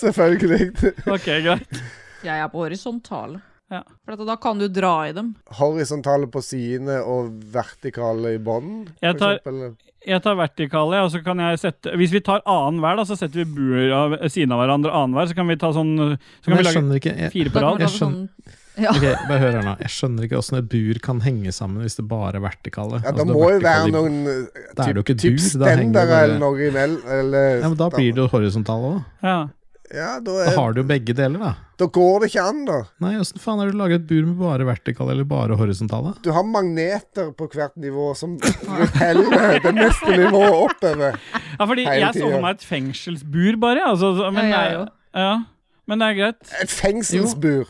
Selvfølgelig.
Ok, greit.
Jeg er på horisontale.
Ja.
For at da kan du dra i dem.
Horisontale på sidene og vertikale i bånden,
Jeg
for
tar-
eksempel.
Jeg tar vertikale, og så kan jeg sette Hvis vi tar annen hver, da, så setter vi buer av siden av hverandre annen hver. Så kan vi ta sånn Så
Men
kan vi
jeg
lage
skjønner ikke jeg,
fire på
Da kan
rad.
du
jeg
lage sånn- Ja.
Ok, bare hør her nå. Jeg skjønner ikke åssen et bur kan henge sammen hvis det bare er vertikale.
Ja,
Altså, er
det må jo være
vertikale-
noen eh,
Da er det jo ikke
typ,
bur,
typ
da henger det
stendere
bare-
eller noe imell- eller
ja, men Da blir det jo horisontale òg.
Ja.
Ja, da,
Da
er,
har du jo begge deler, da.
da går det ikke an, da.
Nei, åssen faen har du laga et bur med bare vertikale eller bare horisontale?
Du har magneter på hvert nivå som repeller det neste nivået oppover.
ja, fordi
Hele
jeg så
tida.
for meg et fengselsbur, bare. ja, Altså, så- men,
Ja, jeg
det er-
òg.
ja, men det er greit.
Et fengselsbur.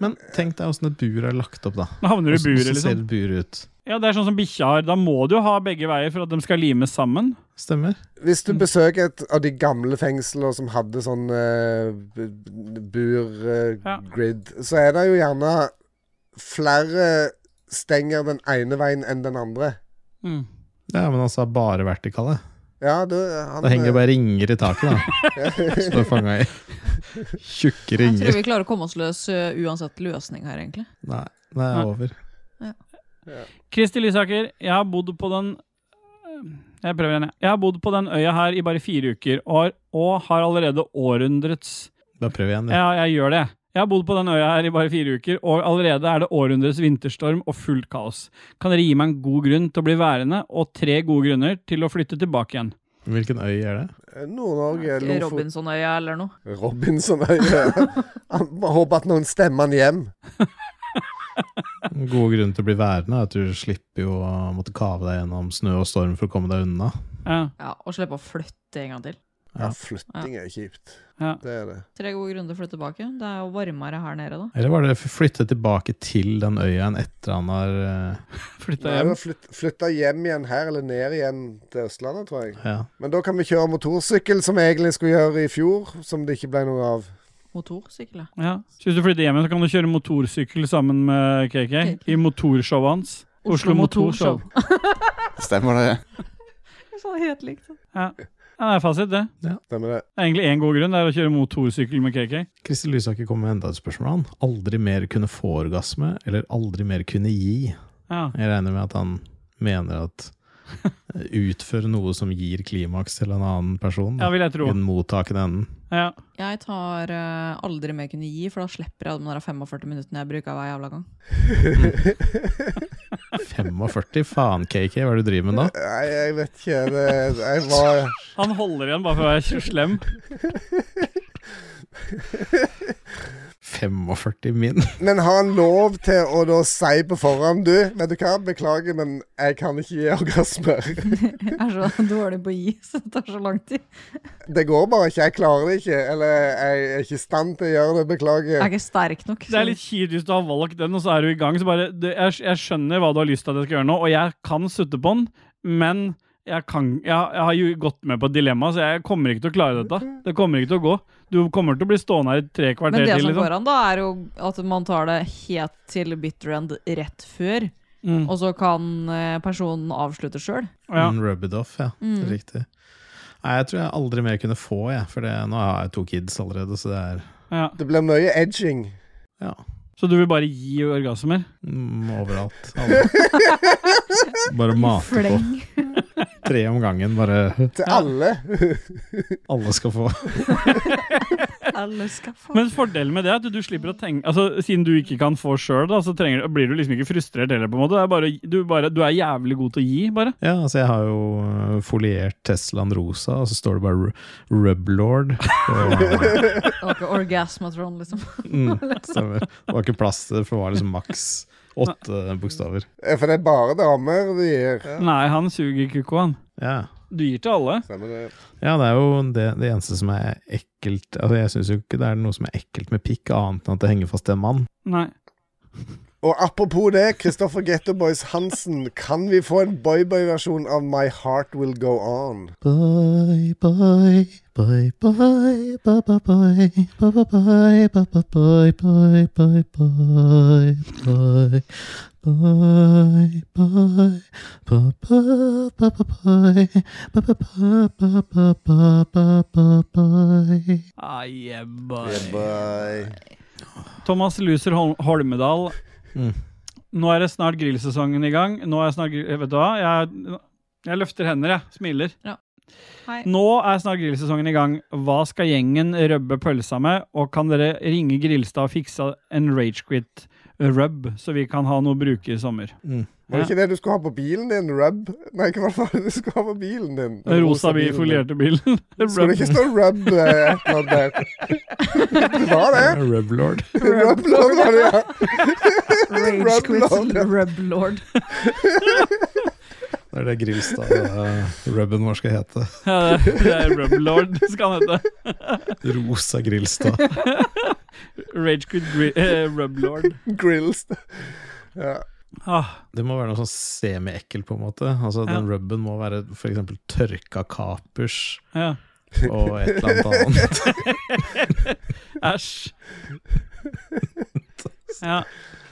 Men tenk deg åssen et bur er lagt opp, da.
Nå havner du i
Hvordan-
buret,
hvordan ser
liksom.
et bur ut?
Ja, Det er sånn som bikkja har. Da må du jo ha begge veier for at de skal limes sammen.
Stemmer.
Hvis du besøker et av de gamle fengslene som hadde sånn eh, b- b- bur
Ja.
burgrid, så er det jo gjerne flere stenger den ene veien enn den andre.
Mm.
Ja, men altså bare vertikale.
Ja, du, han,
Da henger det
eh,
bare ringer i taket, da. Står fanga i tjukke
Jeg tror
ringer.
vi klarer å komme oss løs ø, uansett løsning her, egentlig.
Nei, det er over.
Kristi Lysaker, jeg har bodd på den Jeg prøver igjen, jeg. Jeg har bodd på den øya her i bare fire uker, og har, og har allerede århundrets
Da prøver vi igjen, det.
Ja, jeg gjør det. Jeg har bodd på den øya her i bare fire uker, og allerede er det århundrets vinterstorm og fullt kaos. Kan dere gi meg en god grunn til å bli værende, og tre gode grunner til å flytte tilbake igjen?
Hvilken øy er det?
eh, Nord-Norge
Ikke
Lofoten.
Robinsonøya eller noe.
Robinsonøye. Han må håpe at noen stemmer han hjem.
Den gode grunnen til å bli værende er at du slipper jo å måtte kave deg gjennom snø og storm for å komme deg unna.
Ja.
Ja, Og slippe å flytte en gang til.
Ja, flytting er kjipt. Det er det.
Tre gode grunner til å flytte tilbake. Det er jo varmere her nede, da.
Eller var det flytte tilbake til den øya enn etter han har eh,
Flytta
Nei, vi har flytt- Flytta hjem igjen her, eller ned igjen til Østlandet, tror jeg.
Ja.
Men da kan vi kjøre motorsykkel, som vi egentlig skulle gjøre i fjor, som det ikke ble noe av.
Motorsykkel, ja.
Ja. Så hvis du flytter hjem, igjen, så kan du kjøre motorsykkel sammen med KK i motorshowet hans. Oslo,
Oslo
Motorshow.
Stemmer det?
Så sånn helt likt. da.
Ja. ja, det er fasit, det.
Stemmer det.
Det er egentlig én god grunn, det er å kjøre motorsykkel med KK.
Kristin Lysaker kom med enda et spørsmål. Han. Aldri mer kunne få orgasme, eller aldri mer kunne gi.
Ja.
Jeg regner med at han mener at eh, utføre noe som gir klimaks til en annen person.
ja, vil jeg
I
tro.
den mottakende enden.
Ja.
Jeg tar eh, aldri mer kunne gi, for da slipper jeg de der 45 minuttene jeg bruker hver jævla gang.
45, faen KK, hva er det du driver med nå?
Nei, jeg vet ikke. Det, jeg var
Han holder igjen bare for å være slem.
45 min?
Men har han lov til å da si på forhånd Du, vet du hva, beklager, men jeg kan ikke gi orgasme.
Jeg er så dårlig på å gi, så det tar så lang tid.
Det går bare ikke. Jeg klarer det ikke. Eller jeg er ikke i stand til å gjøre det.
Jeg er
Beklager.
ikke sterk nok.
Det er litt kjipt hvis du har valgt den, og så er du i gang. Så bare, du, jeg, jeg skjønner hva du har lyst til at jeg skal gjøre nå, og jeg kan sutte på den, men jeg, kan, jeg, jeg har jo gått med på et dilemma, så jeg kommer ikke til å klare dette. Det kommer ikke til å gå. Du kommer til å bli stående her i tre
Men
kvarter
det
til.
som
Liksom.
går an, da, er jo at man tar det helt til bitter end rett før,
Mm.
og så kan eh, personen avslutte sjøl.
Ja.
Mm, Rub it off, ja. Det er riktig. Nei, jeg tror jeg aldri mer kunne få, jeg. For det, nå har jeg to kids allerede, så det er
Ja.
Det blir mye edging.
ja,
Så du vil bare gi orgasmer?
mm, overalt. Alle. Bare mate på.
Fleng.
Tre om gangen, bare
Til alle.
alle skal få.
Alle skal få.
Men fordelen med det er at du slipper å tenke Altså, Siden du ikke kan få sjøl, så trenger, du- blir du liksom ikke frustrert heller. på en måte det er bare, du, bare, du er jævlig god til å gi, bare.
Ja, altså jeg har jo øh, foliert Teslaen rosa, og så står det bare Ru- Rublord. Og,
Okay, orgasmatron, liksom.
mm, stemmer. Det var ikke plass til det, for det var liksom maks åtte bokstaver.
Eh, For det er bare damer de gir.
Nei, han suger kukk han.
Ja.
Du gir til alle.
Stemmer det.
Ja, det er jo det, det eneste som er ekkelt Altså, jeg syns jo ikke det er noe som er ekkelt med pikk, annet enn at det henger fast til en mann.
Nei.
Og apropos det, Kristoffer Getto Boys Hansen, kan vi få en boyboy-versjon av My Heart Will Go On?
Bye, bye, bye, bye, bye, bye, bye, bye, bye, bye, bye, bye, bye, bye, bye, bye, bye. Bye, bye, bye, bye, bye, bye, bye, bye, bye, bye, bye, bye, bye, bye, bye.
Ah, yeah, boy.
Bye.
Thomas Luser Hol Holmedal.
Mm.
Nå er det snart grillsesongen i gang. Nå er snart, grill- vet du hva? Jeg, jeg løfter hender, jeg. Smiler.
Hei.
Nå er snart grillsesongen i gang. Hva skal gjengen røbbe pølsa med? Og kan dere ringe Grilstad og fikse en Ragequit-rub, så vi kan ha noe å bruke i sommer?
Var
Mm.
Ja.
det ikke det du skulle ha på bilen din? Rub? Nei, hva var det du skulle ha på bilen din? Den
Rosa bil,
bilen din.
folierte bil.
Skulle
rub.
det ikke stå rub eh, et eller annet der? Det var det.
Rublord.
Rub lord var det, ja.
Rage quit,
Rub lord.
rub lord.
Det er det Grilstad-rubben vår skal hete.
Ja, det det er Rub Lord, skal han hete.
Rosa Grilstad.
Ragequit gri- eh, Rub Lord.
Grills. Ja.
Ah,
Det må være noe sånn semi-ekkelt, på en måte. Altså,
Ja.
Den rubben må være f.eks. tørka kapers
ja.
og et eller annet annet.
Æsj. Ja.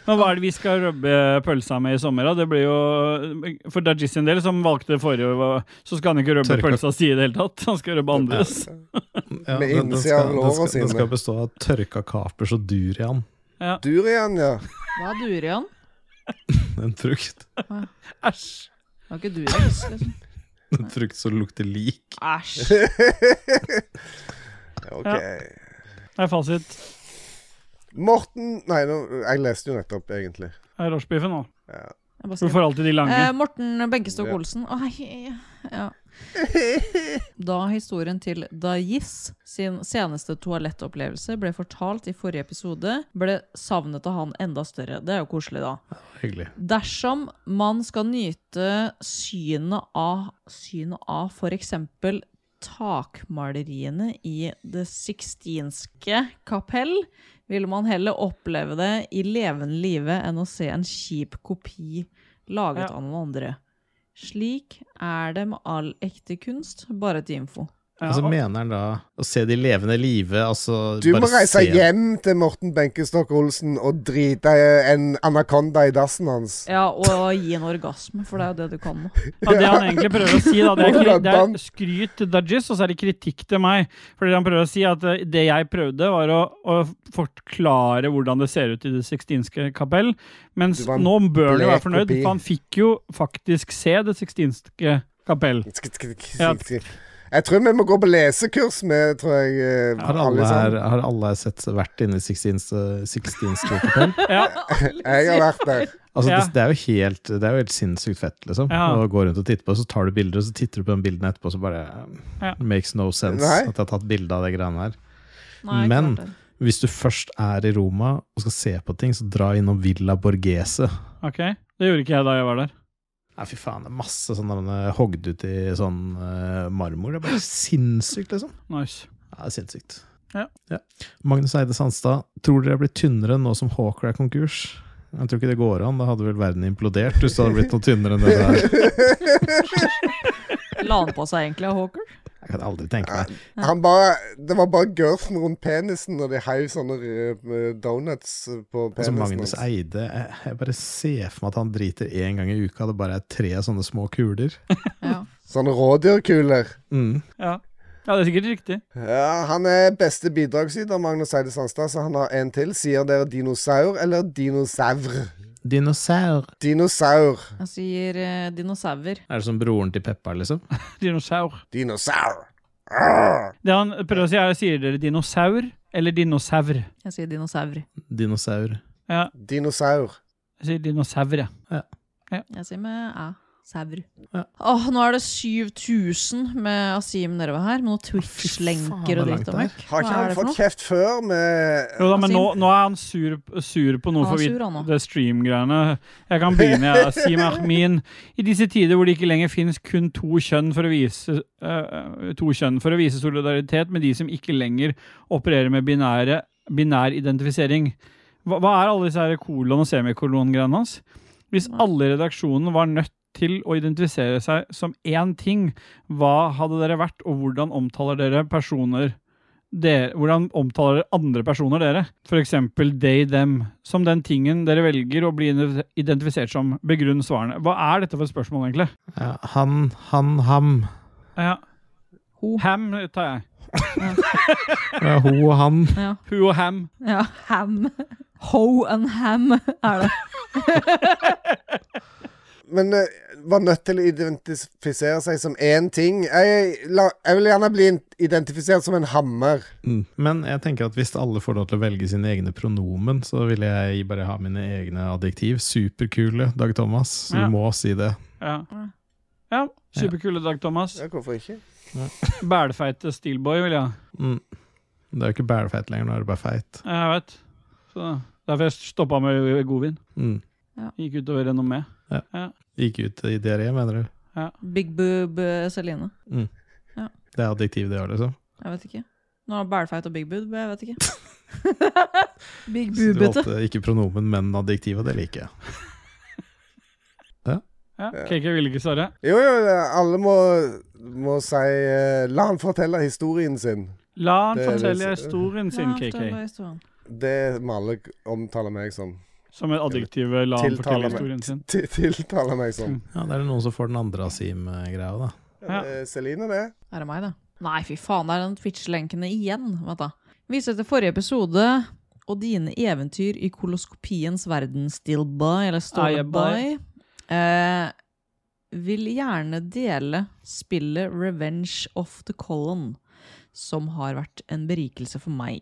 Men hva er det vi skal rubbe pølsa med i sommer? da? Det blir jo, For Dajis sin del, som valgte forrige, var- så skal han ikke rubbe
Tørka-
pølsa si i det hele tatt. Han skal rubbe andres.
Ja,
Med
den- den
innsida av
skal- den
låra
skal- Den
sine.
skal bestå av tørka kapers og durian.
Durian, ja.
Hva er durian?
En frukt.
Æsj.
Det var ikke durian. Liksom.
En frukt som lukter lik.
Æsj.
OK.
Ja. Det er fasit.
Morten Nei, nå, jeg leste jo nettopp, egentlig.
Det er rochebiffen nå.
Jeg
Du
bare skriver.
får alltid de
Eh,
lange.
Morten Benkestok
Ja.
Olsen. Ai, ja. Da historien til Dajis sin seneste toalettopplevelse ble fortalt i forrige episode, ble savnet av han enda større. Det er jo koselig, da.
Hyggelig.
Dersom man skal nyte synet av, synet av for eksempel takmaleriene i Det sixtinske kapell ville man heller oppleve det i levende live enn å se en kjip kopi laget
Ja.
av noen andre. Slik er det med all ekte kunst, bare til info.
altså, mener han da å se de levende live? Altså,
Du må
bare
reise
se-
hjem til Morten Benkestokk Olsen og drite en anakonda i dassen hans.
Ja, og gi en orgasme, for det er jo det du kan nå.
Ja, det han egentlig prøver å si, da, det er, kri- det er skryt til Dajis, og så er det kritikk til meg. Fordi han prøver å si at eh, det jeg prøvde, var å, å forklare hvordan det ser ut i Det sixtinske kapell. Mens
Det var en
nå bør han jo være
blek
fornøyd,
kopi.
for han fikk jo faktisk se Det sixtinske kapell. Ja,
Jeg tror vi må gå på lesekurs med, tror jeg. eh,
Har alle,
alle
her,
sammen.
har alle sett, vært inne i eh, Sixtinske Sixtinske kapell?
Jeg har vært der.
Altså,
Ja.
det, det, er jo helt, det er jo helt sinnssykt fett, liksom.
Ja.
Å gå rundt og titte på, så tar du bilder, og så titter du på den bilden etterpå, så bare
Ja.
Makes no sense
Nei.
at jeg har tatt bilde av det greiene her.
Nei,
Men
klart det.
hvis du først er i Roma og skal se på ting, så dra innom Villa Borghese.
Ok, Det gjorde ikke jeg da jeg var der.
Nei, fy faen, det er masse sånne eh, hogd ut i sånn eh, marmor. Det er bare sinnssykt, liksom.
Nice.
Ja, det er sinnssykt.
Ja.
Magnus Eide Sandstad, tror dere jeg blir tynnere nå som Hawker er konkurs? Jeg tror ikke det går an, da hadde vel verden implodert hvis det hadde blitt noe tynnere enn det der.
La han på seg egentlig av Hawker?
Jeg kan aldri tenke meg.
Han bare, det var bare girthen rundt penisen, og de heiv sånne eh, donuts på
Altså
penisen.
Magnus
hans.
Eide, jeg, jeg bare ser for meg at han driter én gang i uka, det bare er tre sånne små kuler.
Sånne rådyrkuler.
Mm.
Ja. ja, det er sikkert riktig.
Ja, han er beste bidragsyter, Magnus Eide Sandstad, så han har en til. Sier dere dinosaur eller dinosaur?
Dinosaur.
Dinosaur.
Han sier eh, dinosaurer.
Er det som broren til Peppa, liksom?
Dinosaur.
Dinosaur. Ah,
Det han prøver å si, er sier dere dinosaur eller dinosaur.
Jeg sier dinosaurer.
Dinosaur.
Ja,
Dinosaur.
jeg sier dinosaur, jeg.
Jeg sier med æ. Saur.
Ja.
Åh, nå er det 7000 med Asim nedover her, med noen Twitch-lenker og
hvor langt
dritt og
det er.
møkk.
Har ikke
Hva er
han
det for
fått
noe?
kjeft før med
Jo da, men
Asim?
nå, nå er han sur, sur på noe
Altså, Han
for
er sur, han nå.
vidt det stream-greiene. Jeg kan begynne, jeg. Sim Ahmin. I disse tider hvor det ikke lenger finnes kun to kjønn, for å vise, eh, to kjønn for å vise solidaritet med de som ikke lenger opererer med binære, binær identifisering. Hva, hva er alle disse her kolon- og semikolon-greiene hans? Hvis
Mm.
alle i redaksjonen var nødt til å identifisere seg som én ting, hva hadde dere vært, og hvordan omtaler dere personer dere, Hvordan omtaler dere andre personer dere? F.eks. they, them, som den tingen dere velger å bli identifisert som. Begrunn svarene. Hva er dette for et spørsmål, egentlig?
Ja, han, han, ham.
Ja. Ham tar jeg.
Ja, ho og han.
Ja.
Who og ham.
ja, ham. Ho and ham er det.
Men eh, var nødt til å identifisere seg som én ting. Jeg, la, jeg vil gjerne bli identifisert som en hammer.
Mm. Men jeg tenker at hvis alle får lov til å velge sine egne pronomen, så vil jeg bare ha mine egne adjektiv. Superkule, Dag Thomas. Så
Ja.
du må si det.
Ja. ja. Superkule dag, Thomas.
Ja, hvorfor ikke?
Bælfeite steelboy, vil jeg ha.
Mm. Det er jo ikke bælfeit lenger, nå er det bare feit.
Ja, Jeg vet. Så derfor jeg stoppa med godvin.
Mm.
Gikk utover renommé.
Gikk ut i diaré, mener du?
Big boob eh, Celine.
Det er adjektiv, det òg, liksom?
Jeg vet ikke. Nå er det bælfeit og big boob, jeg vet ikke. big
Så du
boobete.
valgte ikke pronomen, men adjektiv, og det liker jeg.
Ja. KK ville ikke svare.
Jo, jo, alle må, må si eh, La han fortelle historien sin.
La han
Det er det
fortelle
som-
historien sin,
Ja,
KK.
fortell meg historien.
Det vi alle omtaler meg som.
Som et adjektiv. La han fortelle
Tiltaler
historien
meg,
sin.
til- tiltaler meg som.
Ja, Det er det noen som får den andre Asim-greia, da.
Ja.
Eh, Celine, det.
Er det meg, da? Nei, fy faen, det er den Twitch-lenkene igjen. Vent da. Viser til forrige episode og dine eventyr i koloskopiens verden, Stillboy, eller
Ah, yeah, boy.
Storyboy. Eh, vil gjerne dele spillet Revenge of the Colon, som har vært en berikelse for meg.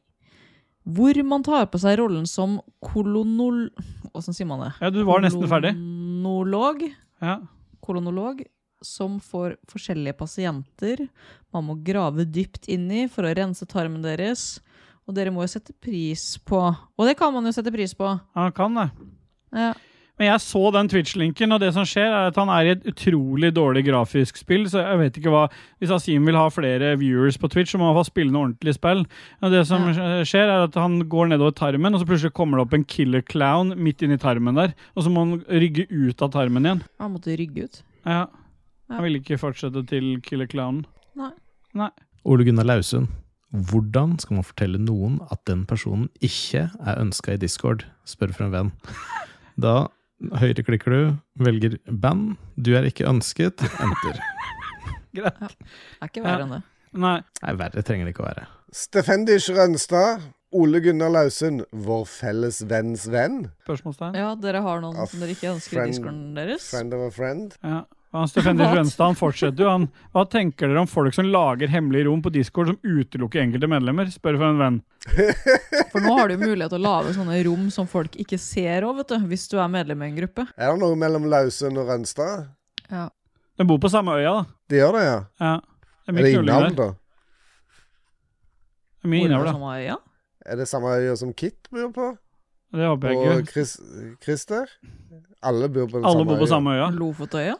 Hvor man tar på seg rollen som kolonol... Åssen sier man det?
Ja, du var nesten ferdig.
Kolonolog
Ja.
kolonolog som får forskjellige pasienter man må grave dypt inn i for å rense tarmen deres. Og dere må jo sette pris på Og det kan man jo sette pris på.
Han kan det.
Ja.
Men jeg så den Twitch-linken, og det som skjer, er at han er i et utrolig dårlig grafisk spill, så jeg vet ikke hva Hvis Asim vil ha flere viewers på Twitch, så må han få spille noe ordentlig spill. Og det som skjer, er at han går nedover tarmen, og så plutselig kommer det opp en killer clown midt inni tarmen der, og så må han rygge ut av tarmen igjen.
Han måtte rygge ut.
Ja. Han ville ikke fortsette til killer clownen.
Nei.
Nei.
Ole Gunnar Lausund, hvordan skal man fortelle noen at den personen ikke er ønska i Discord? Spør for en venn. Da høyreklikker du, velger band, du er ikke ønsket, enter.
Greit.
Det er ikke verre enn det.
Nei.
Nei, verre trenger det ikke å være.
Stefendish Rønstad, Ole Gunnar Lausund, vår felles venns venn.
Spørsmålstegn?
Ja, dere har noen
A
som dere ikke ønsker i
friend-
discorden deres?
Friend of a friend.
Ja. Og Han Stefendis
Hva?
Rønstad han fortsetter jo. Han, hva tenker dere om folk som lager hemmelige rom på Discord som utelukker enkelte medlemmer? Spør for en venn.
For nå har du jo mulighet til å lage sånne rom som folk ikke ser òg, vet du. Hvis du er medlem i en gruppe.
Er det noe mellom Lausund og Rønstad?
De bor på samme øya, da.
De gjør det, ja.
Ja. Det er
Er
mye
det
knulling
innavl,
der.
da?
Det er mye innavl, da.
Samme øya?
Er det samme øya som Kit bor på?
Det håper jeg
Og
ikke.
Chris, Christer? Alle bor på den
Alle
samme
bor på
øya.
samme øya.
Lofotøya?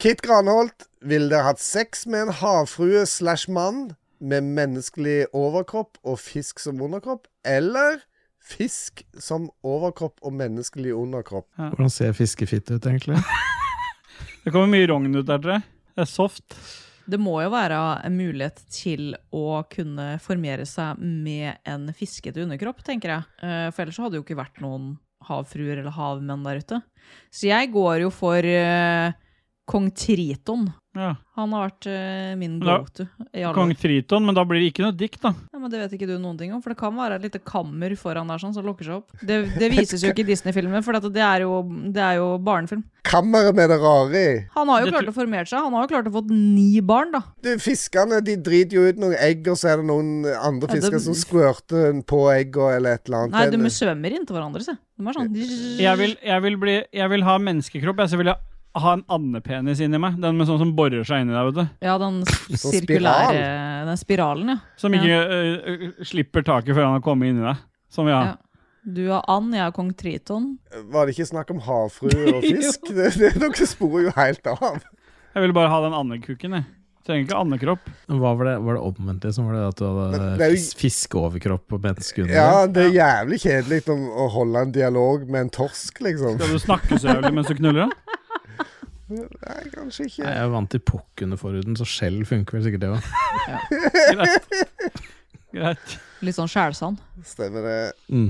Kit Granholt, ville dere hatt sex med en havfrue slash mann med menneskelig overkropp og fisk som underkropp, eller fisk som overkropp og menneskelig underkropp?
Hvordan ser fiskefitte ut, egentlig?
Det kommer mye rogn ut der, tror jeg. Det er soft.
Det må jo være en mulighet til å kunne formere seg med en fiskete underkropp, tenker jeg. Eh, For ellers så hadde det jo ikke vært noen havfruer eller havmenn der ute. Så jeg går jo for eh, kong Triton.
Ja.
Han har vært eh, min
Ja.
go-to. i alle
Kong
år.
Triton, men da blir det ikke noe dikt, da.
Ja, men Det vet ikke du noen ting om, for det kan være et lite kammer foran der sånn, som lukker seg opp. Det, det vises jo ikke i Disney-filmen, for dette- det er jo, det er jo barnefilm.
Kammeret med det rare i.
Han har jo
Det
klart å formere seg. Han har jo klart å få ni barn, da.
Du, Fiskene de driter jo ut noen egg, og så er det noen andre
Ja, det-
fisker som squirter på egga eller et eller annet.
Nei, de
En-
svømmer inntil hverandre, se. De er sånn
Jeg vil, jeg vil, bli, jeg vil ha menneskekropp. Jeg så vil jeg ha en andepenis inni meg. Den med sånn som borer seg inni deg, vet du.
Ja, den s-
Sånn
sirkulære
spiral.
Den spiralen, ja.
Som ikke ø, ø, slipper taket før han har kommet inni deg. Som vi har.
Ja. Du er and, jeg er kong Triton.
Var det ikke snakk om havfrue og fisk? det, det, dere sporer jo helt av.
Jeg vil bare ha den andekuken, jeg. Trenger ikke andekropp.
Hva var det, var det omvendt, liksom? Var det at du
Men
hadde
det er jo-
fis fiskeoverkropp og menneske under?
Ja, det er jævlig kjedelig om å holde en dialog med en torsk, liksom.
Skal du snakke så jævlig mens du knuller den?
Nei, kanskje
Nei,
ikke.
Jeg er vant til pukk under forhuden, så skjell funker vel sikkert det òg.
Greit. Greit.
Litt sånn skjælsand.
Stemmer det.
Mm.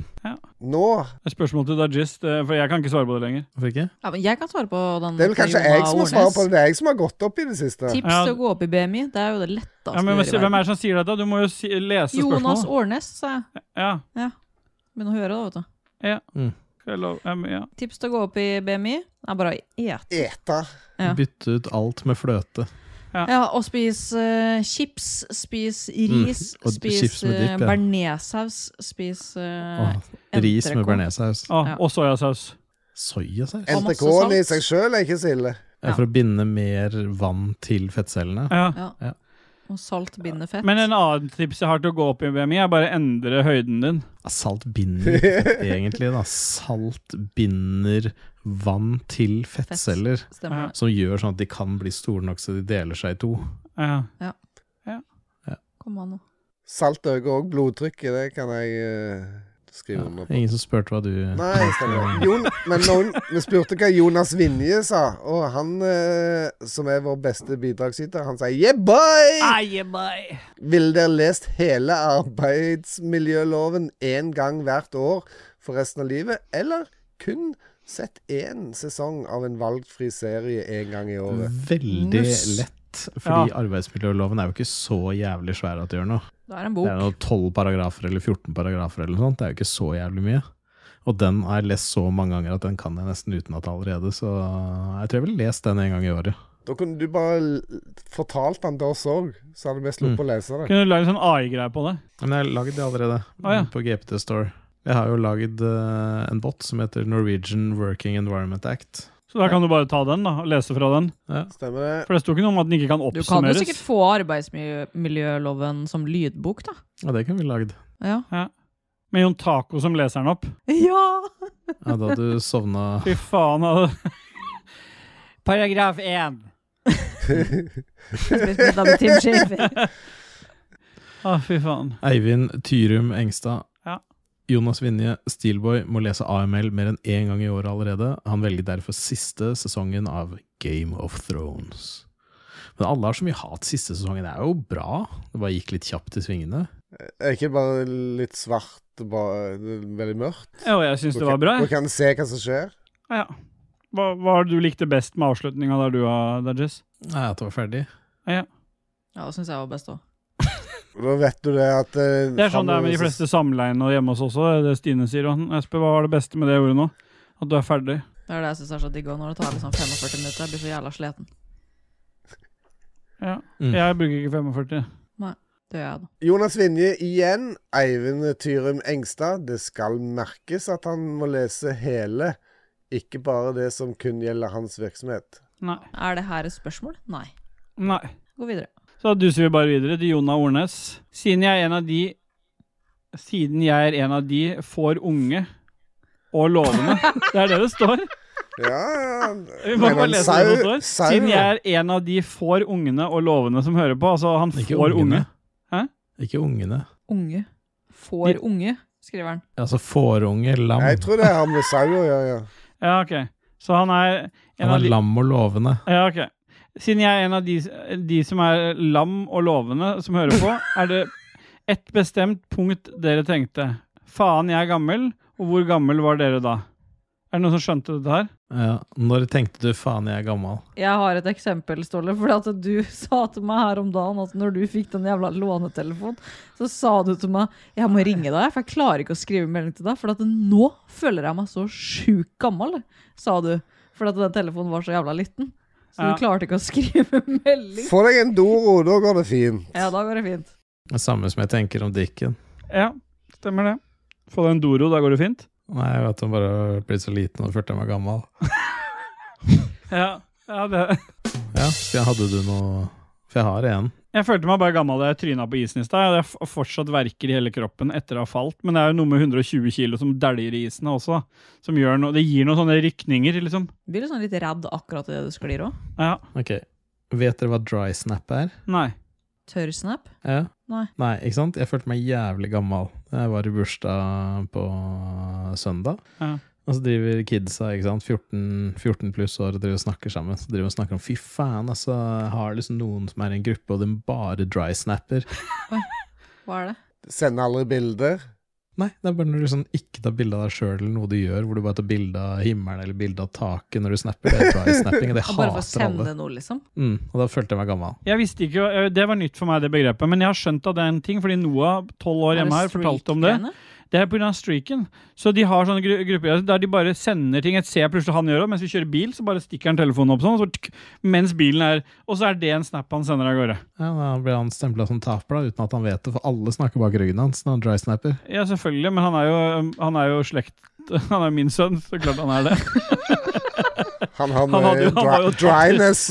Nå
Et spørsmål til Dajist, ø, for jeg kan ikke svare på det lenger.
Hvorfor ikke?
Ja, men jeg kan svare på den.
Det er vel
til
kanskje
Jonna
jeg som må
Ornes.
svare på det. Det er jeg som har gått opp i det siste.
Tips
Ja.
til å gå opp i BMI. Det er jo det letteste
Ja, men
å
hva-
gjøre. i
Hvem er
verden.
det som sier dette? Du må jo si, lese
Jonas
spørsmålet.
Årnes, sa jeg.
Ja.
Begynn å høre, da, vet du.
Skal jeg lov- ja, men ja.
Tips til å gå opp i BMI er bare å ete.
Eta.
Ja.
Bytte ut alt med fløte.
Ja, og spis eh, chips, spis ris,
Mm, og
spis
chips med
uh,
dipp, ja.
bearnéssaus, spis uh,
Åh, ris med
entrecôte.
bearnéssaus.
Å,
Ja.
Og soyasaus.
Soyasaus?
Og masse
NTK-en i
salt.
seg sjøl er ikke så ille.
Ja, for å binde mer vann til fettcellene.
Ja.
ja.
Ja.
Og salt binder fett.
Men eh, en annen tips jeg har til å gå opp i BMI, er bare endre høyden din.
Salt binder ikke fett, egentlig, da. Salt binder vann til fettceller.
Stemmer det.
Som gjør sånn at de kan bli store nok så de deler seg i to.
Ja.
Kom an nå.
Salt øker òg blodtrykket, det kan jeg eh, skrive
Ja.
under på.
Ingen som spurte hva du
Nei, stemmer. det. Jon, men noen, vi spurte hva Jonas Vinje sa, og han eh, som er vår beste bidragsyter, han sier yeah boy! Ville dere lest hele arbeidsmiljøloven én gang hvert år for resten av livet, eller kun sett én sesong av en valgfri serie én gang i året?
Veldig
Nuss.
lett, fordi arbeidsmiljøloven er jo ikke så jævlig svær at det gjør noe.
Det er en
Det er
bok.
noe 12 paragrafer eller 14 paragrafer eller noe sånt. Det er jo ikke så jævlig mye. Og den har jeg lest så mange ganger at den kan jeg nesten utenat allerede, så jeg tror jeg ville lest den en gang i året.
Da kunne du bare l- fortalt han det oss òg, så hadde vi
Mm.
sluppet å lese det.
Kunne du lagd en sånn AI-greie på det?
Men jeg har lagd det allerede,
Å, ja.
på GPT Store. Jeg har jo lagd eh, en bot som heter Norwegian Working Environment Act.
Så da kan du bare ta den da, og lese fra den.
Stemmer det?
For det sto ikke noe om at den ikke kan
Du kan jo
oppsummeres.
sikkert få arbeidsmiljøloven som lydbok, da.
Ja, det kunne vi lagd.
Ja.
Ja. med Jon Taco som leser den opp.
Ja!
Ja, da du sovna
Fy faen. altså. hadde- Paragraf én.
Spist middag med Tim Schafer.
Å, fy faen.
Eivind Tyrum Engstad.
Ja.
Jonas Vinje, Steelboy, må lese AML mer enn én gang i året allerede. Han velger derfor siste sesongen av Game of Thrones. Men alle har så mye hat siste sesongen. Det er jo bra. Det bare gikk litt kjapt i svingene.
Er ikke bare litt svart, bare veldig mørkt?
Jo, jeg syns det var bra.
Du
jeg.
kan se hva som skjer.
Ja. Hva, hva har du likte best med avslutninga der du var, der, Jess?
Nei, at det var ferdig.
Ja, det syns jeg var best òg.
Da vet du det at eh,
Det er sånn det er med de
fremover så-
fleste samleiene og hjemme hos oss også. Det er det Stine sier. Og han, Espen, hva var det beste med det ordet nå? At du er ferdig.
Det er det jeg syns er så digg òg, når det tar liksom 45 minutter. Jeg blir så jævla sliten.
Ja.
Mm.
Jeg bruker ikke 45.
Det gjør jeg, da.
Jonas Vinje igjen. Eivind Tyrum Engstad. Det skal merkes at han må lese hele, ikke bare det som kun gjelder hans virksomhet.
Nei.
Er det her et spørsmål? Nei.
Nei.
Gå videre.
Så da duser vi bare videre til Jonna Ornes. Siden jeg er en av de Siden jeg er en av de får unge og lovende. Det er det det står.
Ja
Vi må
Men
bare
en
lese
sau-
det som står.
sau,
Siden jeg
da.
er en av de får ungene og lovende som hører på. Altså, han
Ikke
får unge.
ungene.
Hæ?
Ikke ungene.
Unge. Får unge, skriver han.
Altså fårunge, lam.
Jeg tror det har med sau å gjøre. Ja.
Ja, OK. Så han er en
Han
av
er
de
lam og lovende.
Ja, ok. Siden jeg er en av de, de som er lam og lovende som hører på, er det ett bestemt punkt dere tenkte. Faen, jeg er gammel, og hvor gammel var dere da? Er det noen som skjønte dette her?
Ja. Når tenkte du 'faen, jeg er gammal'?
Jeg har et eksempel, Ståle. For at du sa til meg her om dagen at når du fikk den jævla lånetelefonen, så sa du til meg jeg må ringe deg, for jeg klarer ikke å skrive melding til deg. For at nå føler jeg meg så sjukt gammel, sa du. For at den telefonen var så jævla liten. Så
Ja.
du klarte ikke å skrive melding.
Få deg en Doro, da går det fint.
Ja, da går det fint.
Det samme som jeg tenker om Dicken.
Ja, stemmer det. Få deg en Doro, da går det fint.
Nei, jeg vet han bare har blitt så liten og følte jeg var gammal.
Ja, ja det.
Ja, så hadde du noe For jeg har en.
Jeg følte meg bare gammel da jeg tryna på isen i stad. Jeg hadde f- fortsatt verker i hele kroppen etter å ha falt, men det er jo noe med 120 kilo som dæljer i isen også, som gjør noe Det gir noen sånne rykninger, liksom.
Blir litt sånn litt redd akkurat idet du sklir òg.
Ja.
Ok, Vet dere hva dry snap er?
Nei.
Tørrsnap.
Ja.
Nei.
Nei, ikke sant? Jeg følte meg jævlig gammel. Jeg var i bursdag på søndag.
Ja.
Og så driver kidsa, ikke sant, 14, 14 pluss år, og driver og snakker sammen. Så driver de og snakker om fy faen, altså, jeg har liksom noen som er i en gruppe, og de bare dry snapper.
Hva er det?
Sender aldri bilder.
Nei, det er bare når du sånn ikke tar bilde av deg sjøl eller noe du gjør, hvor du bare tar bilde av himmelen eller bilde av taket når du snapper. Det er dry snapping, og det
Og bare for å
hater alle.
sende noe, liksom.
Mm, og da følte jeg meg gammel.
Jeg visste ikke, ø, Det var nytt for meg, det begrepet. Men jeg har skjønt at det er en ting, fordi Noah, tolv år hjemme her, fortalte om det.
streak-greiene?
Det er pga. streaken. Så de har sånne gru grupper der de bare sender ting. Jeg ser plutselig han gjør det, mens vi kjører bil, så bare stikker han telefonen opp sånn, så tk, mens bilen er Og så er det en snap han sender av gårde.
Ja, Da blir han stempla som taper, da, uten at han vet det, for alle snakker bak ryggen hans når han dry snapper.
Ja, selvfølgelig, men han er jo, han er jo slekt Han er min sønn, så klart han er det.
Han har
Han hadde
med
jo- han var jo
dry, dryness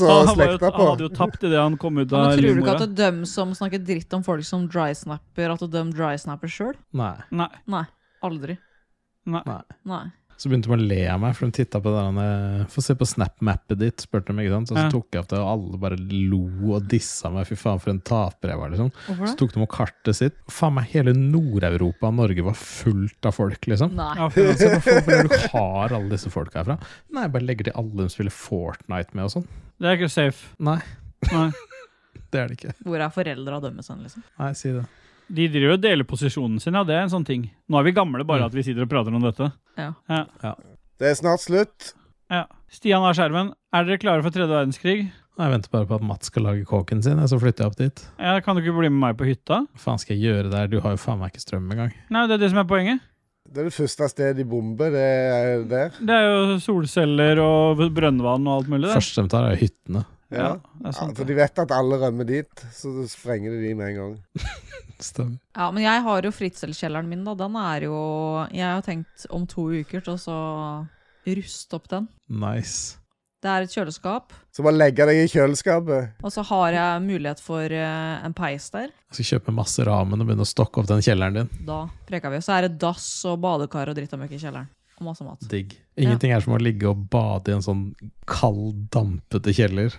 Han,
og
var jo,
slekta på.
han hadde jo tapt idet han kom ut
Ja,
av
Men tror du ikke
livmora.
at det er dem som snakker dritt om folk som drysnapper, at det er dem drysnapper sjøl?
Nei.
Nei,
Nei. Aldri.
nei.
Nei.
Nei.
Så begynte de å le av meg, for de titta på det der eh, Få se på snap-mappet ditt, spurte de, ikke sant. Og så
Ja.
tok jeg opp det, og alle bare lo og dissa meg. Fy faen, for en taper jeg var, liksom.
Hvorfor
Så
det?
tok de opp kartet sitt. Faen meg, hele Nord-Europa og Norge var fullt av folk, liksom.
Nei.
Ja,
Så
for-
jeg bare, faen, Hvor er det du har alle disse folka herfra? Nei, jeg bare legger til alle de spiller Fortnite med og sånn.
det er ikke safe.
Nei,
Nei.
det er det ikke.
Hvor er foreldra dømmes hen, liksom?
Nei, si det.
De driver og deler posisjonen sin, ja. Det er en sånn ting. Nå er vi gamle, bare at vi sitter og prater om dette.
Ja.
Det er snart slutt.
Ja. Stian har skjermen. Er dere klare for tredje verdenskrig?
Nei, Jeg venter bare på at Mats skal lage kåken sin, jeg, så flytter jeg opp dit.
Ja, kan du ikke bli med meg på hytta?
Hva faen skal jeg gjøre der? Du har jo faen meg ikke strøm engang.
Nei, det er det som er poenget.
Det er det første stedet i bombe, det er der.
Det er jo solceller og brønnvann og alt mulig. Det.
Første de tar, er hyttene.
Ja,
Ja.
det er
Ja,
sant.
for de vet at alle rømmer dit, så da sprenger de de med en gang.
Stemmer.
ja, men jeg har jo fritselkjelleren min, da. Den er jo Jeg har tenkt om to uker til å så ruste opp den.
Nice.
Det er et kjøleskap.
Så bare legge deg i kjøleskapet.
Og så har jeg mulighet for eh, en peis der.
Jeg skal kjøpe masse ramen og begynne å stokke opp den kjelleren din.
Da preker vi. Og så er det dass og badekar og dritt og møkk i kjelleren. Og masse mat.
Digg. Ingenting er som å ligge og bade i en sånn kald, dampete kjeller.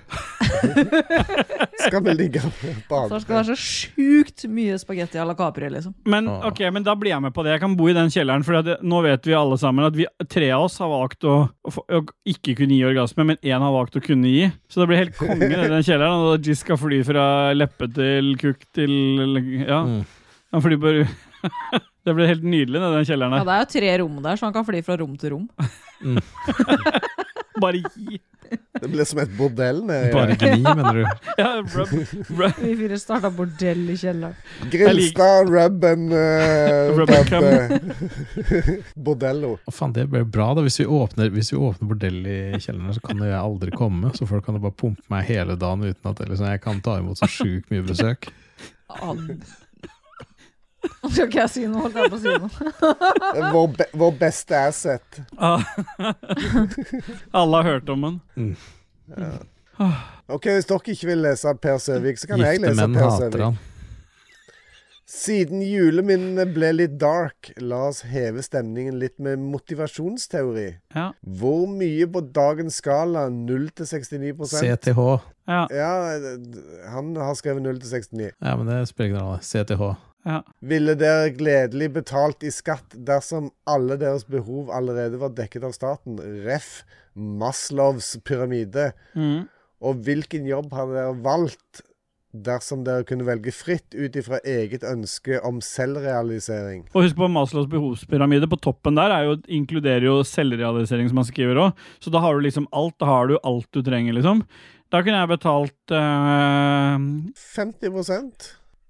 Skal vi ligge og
Så
bade?
det skal være så sjukt mye spagetti à la Capri, liksom.
Men ok, men da blir jeg med på det. Jeg kan bo i den kjelleren. For det, nå vet vi alle sammen at vi, tre av oss har valgt å, å, få- å ikke kunne gi orgasme, men én har valgt å kunne gi. Så det blir helt konge i den kjelleren. Og da Giz skal fly fra leppe til kukk til Ja. Han flyr bare Det blir helt nydelig, det, den kjelleren
Ja,
der.
det er jo tre rom der, så han kan fly fra rom til rom.
Bare gi.
Det blir som et bordell
Bare
nedi
gni, mener du.
Ja, rub, rub,
Vi fire starta bordell i kjelleren.
Grilstad rub and eh,
Rub
dub,
and cum.
eh, Bordello.
Å, faen, det ble bra, da. Hvis vi åpner, hvis vi åpner bordell i kjelleren, så kan jo jeg aldri komme. Så folk kan jo bare pumpe meg hele dagen uten at liksom, jeg kan ta imot så sjukt mye besøk.
Nå skal ikke jeg si noe, holdt jeg på å si noe.
Det er Vår, be vår beste asset.
ah. Alle har hørt om den.
Ok, Hvis dere ikke vil lese Per Søvik, så kan jeg
Gifte
lese
menn
Per
hater
Søvik.
han.
Siden juleminnene ble litt dark, la oss heve stemningen litt med motivasjonsteori.
Ja.
Hvor mye på dagens skala 0 til 69
CTH.
Ja,
Ja, d- han har skrevet 0 til 69.
Ja, men det spiller ingen rolle. CTH.
ja.
Ville dere gledelig betalt i skatt dersom alle deres behov allerede var dekket av staten? Ref. Maslows pyramide.
Mm.
Og hvilken jobb hadde dere valgt dersom dere kunne velge fritt ut ifra eget ønske om selvrealisering?
Og husk på Maslows behovspyramide. På toppen der er jo, inkluderer jo selvrealisering, som han skriver òg. Så da har du liksom alt. Da har du alt du trenger, liksom. Da kunne jeg betalt eh,
50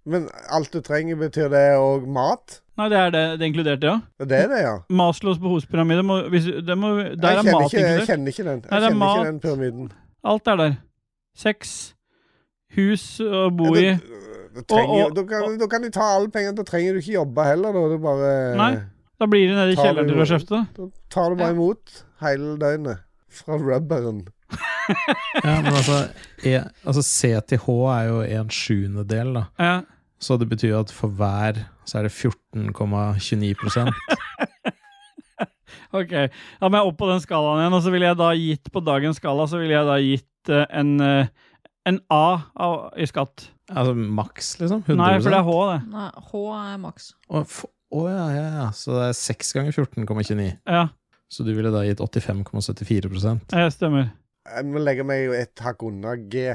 Men alt du trenger, betyr det òg mat?
Nei, det er det, det er inkludert, det òg.
Det er det, ja.
Maslows behovspyramide må, hvis, det må Der
Jeg
er
kjenner
mat
ikke, jeg
inkludert.
kjenner ikke den.
Nei,
Jeg
det er
kjenner
mat.
ikke den pyramiden.
Alt er der. Sex, hus å bo i
Ja, da- da trenger-
Og- og-
Da kan- da kan du ta alle pengene. Da trenger du ikke jobbe heller. Da, du bare
Nei. Da blir det nede i
Tar
kjelleren
du-
til å kjefte.
Da tar du bare imot hele døgnet. Fra rubberen.
Ja, men altså, e, altså CTH er jo en sjuendedel, da.
Ja.
Så det betyr jo at for hver så er det 14,29
Ok, da må jeg opp på den skalaen igjen, og så ville jeg da gitt på dagens skala, så ville jeg da gitt eh, en, eh, en A av, i skatt.
Altså maks, liksom? 100
Nei, for det er H, det.
Nei, H er maks.
Å f- å, ja, ja, ja. Så det er 6 ganger 14,29.
Ja,
Så du ville da gitt 85,74
jeg stemmer.
Jeg må legge meg jo et hakk unna G.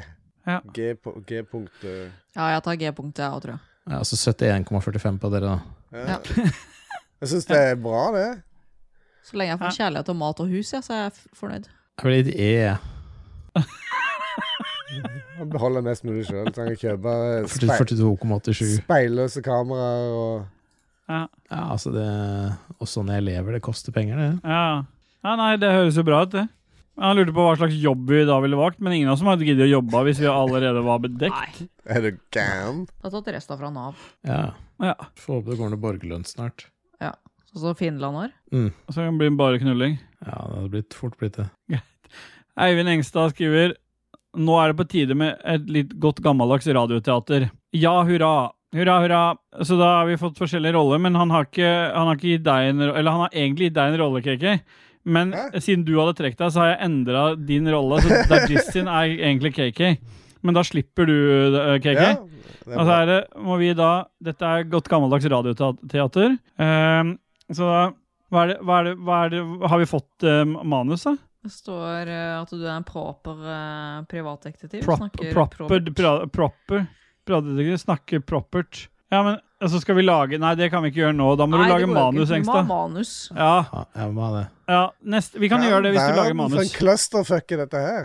Ja.
G-punktet. G punkt, eh.
Ja, jeg tar G-punktet, jeg òg, tror jeg.
Ja, altså 71,45 på dere, da.
ja.
Ja.
Jeg syns det er bra, det.
Så lenge jeg får kjærlighet og mat og hus, ja, så er jeg f- fornøyd.
Jeg ville gitt E.
Å beholde mest mulig sjøl. Trenger ikke kjøpe eh,
40-
speil,
42,87.
speilløse kameraer og
Ja, altså det Og sånn jeg lever, det koster penger, det.
Ja. ja, nei, det høres jo bra ut, det. Han lurte på hva slags jobb vi da ville valgt, men ingen av oss hadde giddet å jobbe hvis vi allerede var bedekt.
Nei.
Er du gæren?
Da tatt resten fra Nav.
Ja.
Ja,
Får håpe det går noe borgerlønn snart.
Sånn som Finland har.
så kan det bli bare knulling.
Ja, det hadde blitt fort blitt det.
Eivind Engstad skriver Nå er det på tide med et litt godt gammeldags radioteater. Ja, hurra! Hurra, hurra! Så da har vi fått forskjellige roller, men han har ikke, han har ikke gitt deg en ro- Eller han har egentlig gitt deg en rolle, KK. Men
Hæ?
siden du hadde trukket deg, så har jeg endra din rolle. Så Dajis sin er egentlig KK. Men da slipper du, eh, KK.
Ja, det er
Og så
bra.
er det, må Altså, vi da Dette er godt gammeldags radioteater. Ehm, så da hva er, det, hva, er det, hva er det Har vi fått eh, manus, da?
Det står eh, at du er en proper eh, privatdetektiv.
Prop,
Snakker
proper,
proper.
pra, proper Pratedetektiv snakker propert. Ja, men så altså skal vi lage Nei, det kan vi ikke gjøre nå. Da må
Nei,
du
det
lage
går jo ikke.
manus,
Du må ha
Engstad.
manus.
Ja,
Ja, jeg må ha det.
ja neste, Vi kan gjøre det hvis du
Verden
lager
For
manus.
en clusterfuck er dette her.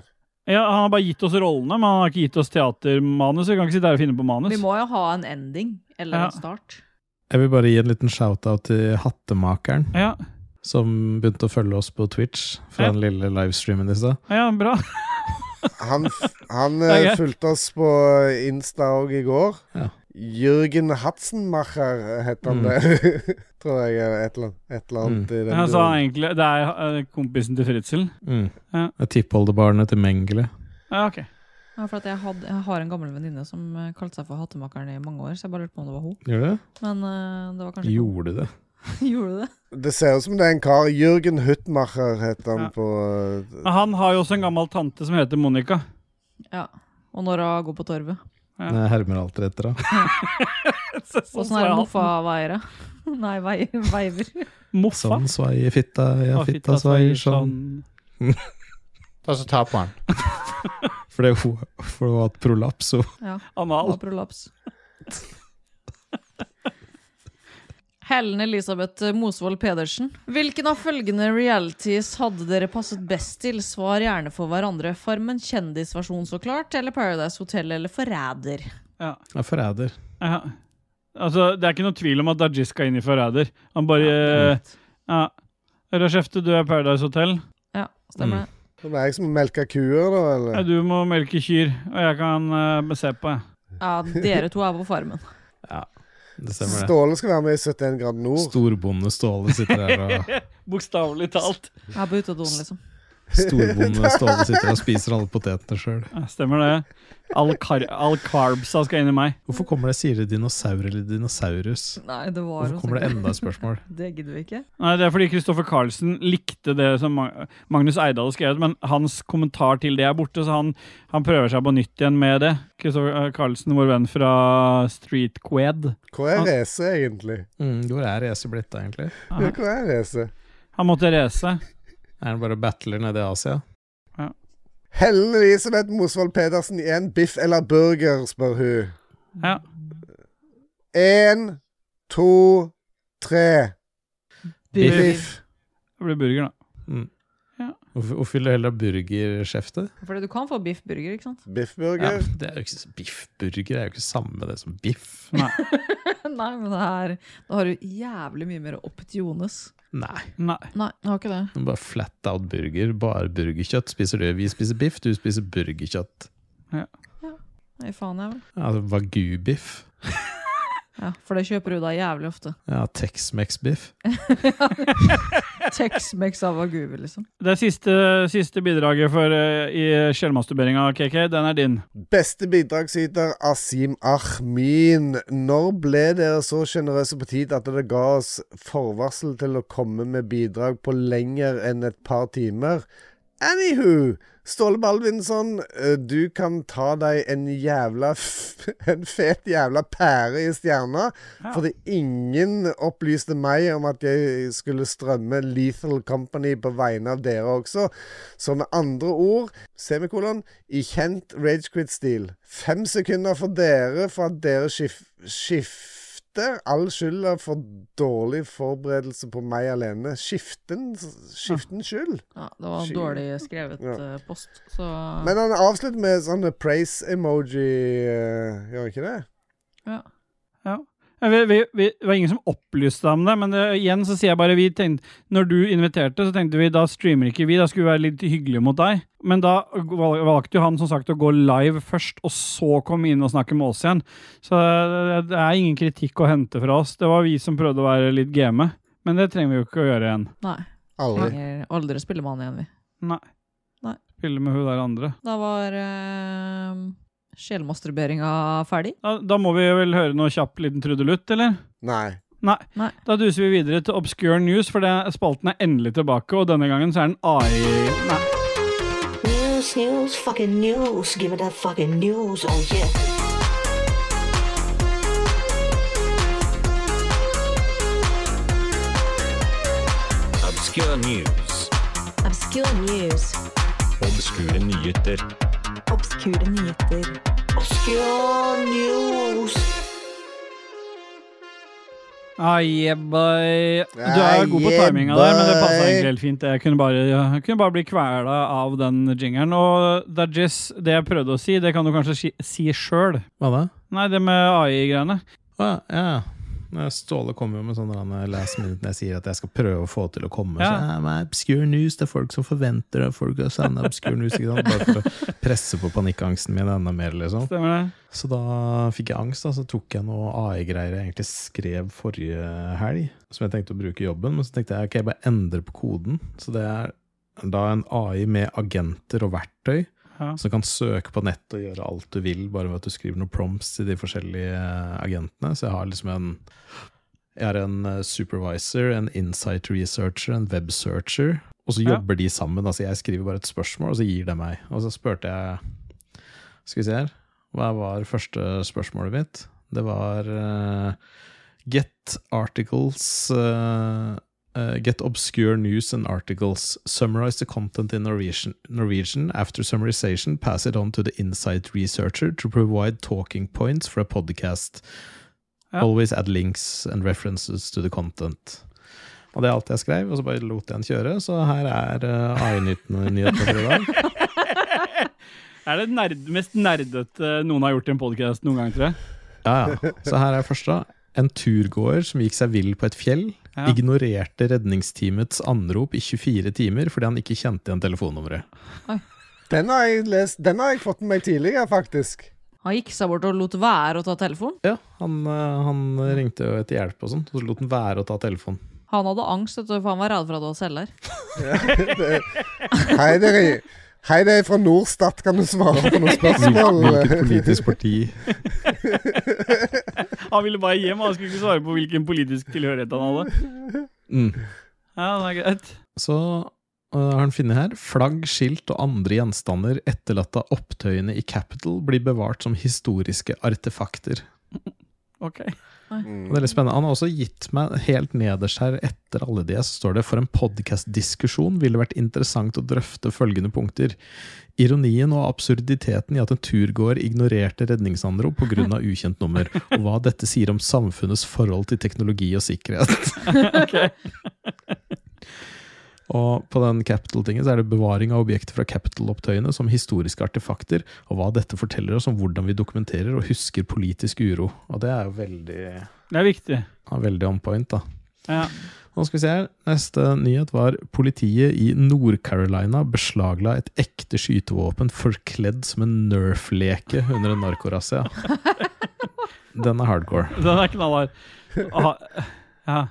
Ja, Han har bare gitt oss rollene, men han har ikke gitt oss teatermanus. Vi kan ikke sitte her og finne på manus.
Vi må jo ha en ending, eller
Ja.
en start.
Jeg vil bare gi en liten shout-out til Hattemakeren,
Ja,
som begynte å følge oss på Twitch fra
Ja.
den lille livestreamen i stad.
ja, bra.
Han, f- han
er
eh,
greit.
fulgte oss på Insta òg i går.
Ja.
Jürgen Hatzenmacher het han
Mm.
det. Tror jeg. eller Et eller annet, et eller annet i den
Han sa
duren.
egentlig Det er eh, kompisen til Fritzel.
Mm.
Ja.
Det er Tippoldebarnet til Mengele.
Ja, ok.
Ja, for at jeg, hadde, jeg har en gammel venninne som eh, kalte seg for Hattemakeren i mange år, så jeg bare lurte på om det var hun.
Gjør det?
Men eh, det var kanskje ikke hun.
Gjorde det?
Gjorde du det?
Det ser ut som det er en kar. Jürgen Huttmacher het han på eh,
Men Han har jo også en gammel tante som heter Monica.
Ja. Og når hun går på torvet.
Ja.
Jeg hermer alltid etter henne.
Så-
Og
så
sånn
jeg
er
hatten.
moffa-veiere. Nei, vei- veiver.
Moffa.
Sånn svaier fitta, ja,
Og
fitta svaier sånn.
Ta så ta på han.
For det hun for hun har hatt prolaps, hun.
Ja.
Anal.
Og prolaps. Helen Elisabeth eh, Mosvold Pedersen. Hvilken av følgende realities hadde dere passet best til? Svar gjerne for hverandre. Farmen kjendisversjon, så klart. Eller Paradise Hotel eller Forræder.
Ja.
Ja, forræder.
Ja. Altså, det er ikke noe tvil om at Dajis skal inn i Forræder. Han bare ja,
Ja,
ja. Rashefte, du er Paradise Hotel.
Ja,
Mm.
stemmer det.
Det var jeg som melka kuer, da, eller?
Ja, du må melke kyr, og jeg kan eh, se på, jeg.
Ja, dere to er på Farmen.
Det stemmer, det.
Ståle skal være med i 71 grad nord.
Storbonde Ståle sitter der og
Bokstavelig talt.
Jeg er på utedoen, liksom.
Storbonde Ståle sitter og spiser alle potetene sjøl.
Ja, stemmer det. All, kar all carbsa skal inn i meg.
Hvorfor kommer det sier det dinosaur eller dinosaurus?
Nei, det var
Hvorfor
jo
kommer det
sånn.
enda et spørsmål?
Det gidder vi ikke.
Nei, Det er fordi Kristoffer Carlsen likte det som Ma- Magnus Eidal har skrevet, men hans kommentar til det er borte, så han, han prøver seg på nytt igjen med det. Kristoffer eh, Carlsen, vår venn fra Street Qued.
Hvor er Rese, egentlig?
Mm, hvor er Ese blitt av, egentlig?
Ja, hvor er Rese?
Han måtte reise.
Er han bare og battler nede i Asia?
Hellen Elisabeth Mosvold Pedersen igjen. Biff eller burger, spør hun.
Ja.
Én, to, tre.
Biff.
Biff.
Det blir burger, da.
Hvorfor hvorfor vil du heller ha burgerskjeftet?
Fordi du kan få biff burger, ikke sant?
Ja,
Biffburger.
det er jo ikke s- biffburger er jo ikke samme det som biff.
Nei, men det er Da har du jævlig mye mer optiones.
Nei.
Nei.
Nei, jeg har ikke det.
det er Bare flat out burger. Bare burgerkjøtt spiser du. Vi spiser biff, du spiser burgerkjøtt.
Nei, faen jeg vel.
Ja, Altså Wagyu-biff.
Ja, For det kjøper du da jævlig ofte.
Ja, Tex-Mex-biff.
Tex-Mex av Aguve, liksom.
Det er siste, siste bidraget for, eh, i skjellmasturberinga, KK. Den er din.
Beste bidragsyter, Asim Ahmin. Når ble dere så sjenerøse på tid at dere ga oss forvarsel til å komme med bidrag på lenger enn et par timer? Anywho, Ståle Baldvinsson, eh, du kan ta deg en jævla f En fet jævla pære i stjerna, fordi ingen opplyste meg om at jeg skulle strømme Lethal Company på vegne av dere også. Så med andre ord, semikolon, i kjent ragequit-stil. Fem sekunder for dere for at dere skif skifter all skylda for dårlig forberedelse på meg alene. Skiften, skiften skyld.
Ja, Det var en
Sky.
dårlig skrevet
Ja.
eh, post, så
Men han avslutter med sånn praise-emoji, eh, gjør han ikke det?
ja.
Ja, Vi, vi, vi, det var ingen som opplyste deg om det, men det, igjen så sier jeg bare vi tenkte, Når du inviterte, så tenkte vi da streamer ikke vi, da skulle vi være litt hyggelige mot deg. Men da val- valgte jo han som sagt å gå live først, og så komme inn og snakke med oss igjen. Så eh, det, det er ingen kritikk å hente fra oss. Det var vi som prøvde å være litt game, men det trenger vi jo ikke å gjøre igjen.
Nei.
Aldri.
Trenger aldri spille med han igjen, vi.
Nei.
Nei.
Spille med hun der andre.
Da var uh, sjelmasturberinga ferdig.
Da, da må vi vel høre noe kjapp liten trudelutt, eller?
Nei.
Da duser vi videre til Obscure News, for det, spalten er endelig tilbake, og denne gangen så er den AI... Nei.
News, news, fucking news. Give me that fucking news. Oh yeah.
Obscure news.
Obscure news.
Obskure nyheter.
Obskure nyheter.
Obscure news.
Ah, yeah, boy. Du er god på
Ah, yeah,
timinga der, men det passer
boy.
egentlig helt fint. Jeg kunne bare, jeg kunne bare bli kvela av den jingeren. Og Dajis, det jeg prøvde å si, det kan du kanskje si, si sjøl.
Hva da?
Nei, det med AI-greiene.
Å ja, ja.
Eh, Ståle kommer jo med sånn sånne derne eh, last minute når jeg sier at jeg skal prøve å få til å komme.
Ja.
Så, ja, men obscure news, det er folk som forventer det, folk har savna obscure news. Ikke sant? Bare for å presse på panikkangsten min enda mer, liksom.
Stemmer det.
Så da fikk jeg angst, da, så tok jeg noe AI-greier jeg egentlig skrev forrige helg, som jeg tenkte å bruke i jobben, men så tenkte jeg ok, jeg bare endrer på koden. Så det er da en AI med agenter og verktøy,
Ja.
som kan søke på nett og gjøre alt du vil, bare ved at du skriver noen prompts til de forskjellige eh, agentene. Så jeg har liksom en jeg har en eh, supervisor, en insight researcher, en web searcher, og så
Ja.
jobber de sammen. Altså jeg skriver bare et spørsmål, og så gir det meg. Og så spurte jeg Skal vi se her Hva var første spørsmålet mitt? Det var eh, Get articles eh, eh, Get obscure news and articles. Summarize the content in Norwegian, Norwegian. After summarization, pass it on to the insight researcher to provide talking points for a podcast.
Ja.
Always add links and references to the content. Og det er alt jeg skrev, og så bare lot jeg den kjøre. Så her er uh, AI-nyhetene for i dag.
Er det nerd, mest nerdete noen har gjort i en podkast noen gang, tror jeg?
Ja, ja. Så her er første. En turgåer som gikk seg vill på et fjell,
Ja.
ignorerte redningsteamets anrop i 24 timer fordi han ikke kjente igjen telefonnummeret.
Den har jeg lest Den har jeg fått med meg tidligere, faktisk.
Han gikk seg bort og lot være å ta telefonen.
Ja, han, eh, han ringte jo etter hjelp og sånn, og så lot han være å ta telefonen.
Han hadde angst, vet du, for han var redd for at det var selger.
Hei, det er, hei, det er fra Norstat. Kan du svare på noen spørsmål?
Hvilket politisk parti?
Han ville bare hjem, han skulle ikke svare på hvilken politisk tilhørighet han hadde.
Mm.
Ja, det er greit.
Så øh, har han funnet her Flagg, skilt og andre gjenstander etterlatt av opptøyene i Capital blir bevart som historiske artefakter.
Ok.
Mm,
Og Det er litt spennende. Han har også gitt meg helt nederst her etter alle de, så står det for en podkastdiskusjon ville det vært interessant å drøfte følgende punkter. Ironien og absurditeten i at en turgåer ignorerte redningsanrop pga. ukjent nummer, og hva dette sier om samfunnets forhold til teknologi og sikkerhet. Og på den Capital-tingen så er det bevaring av objekter fra Capital-opptøyene som historiske artefakter, og hva dette forteller oss om hvordan vi dokumenterer og husker politisk uro. Og det er jo veldig,
Det er viktig.
ja, veldig on point, da.
Ja.
Nå skal vi se her. Neste nyhet var politiet i Nord-Carolina beslagla et ekte skytevåpen forkledd som en Nerf-leke under en narkorazzia. Den er hardcore.
Den er knallhard. Ah, Ja.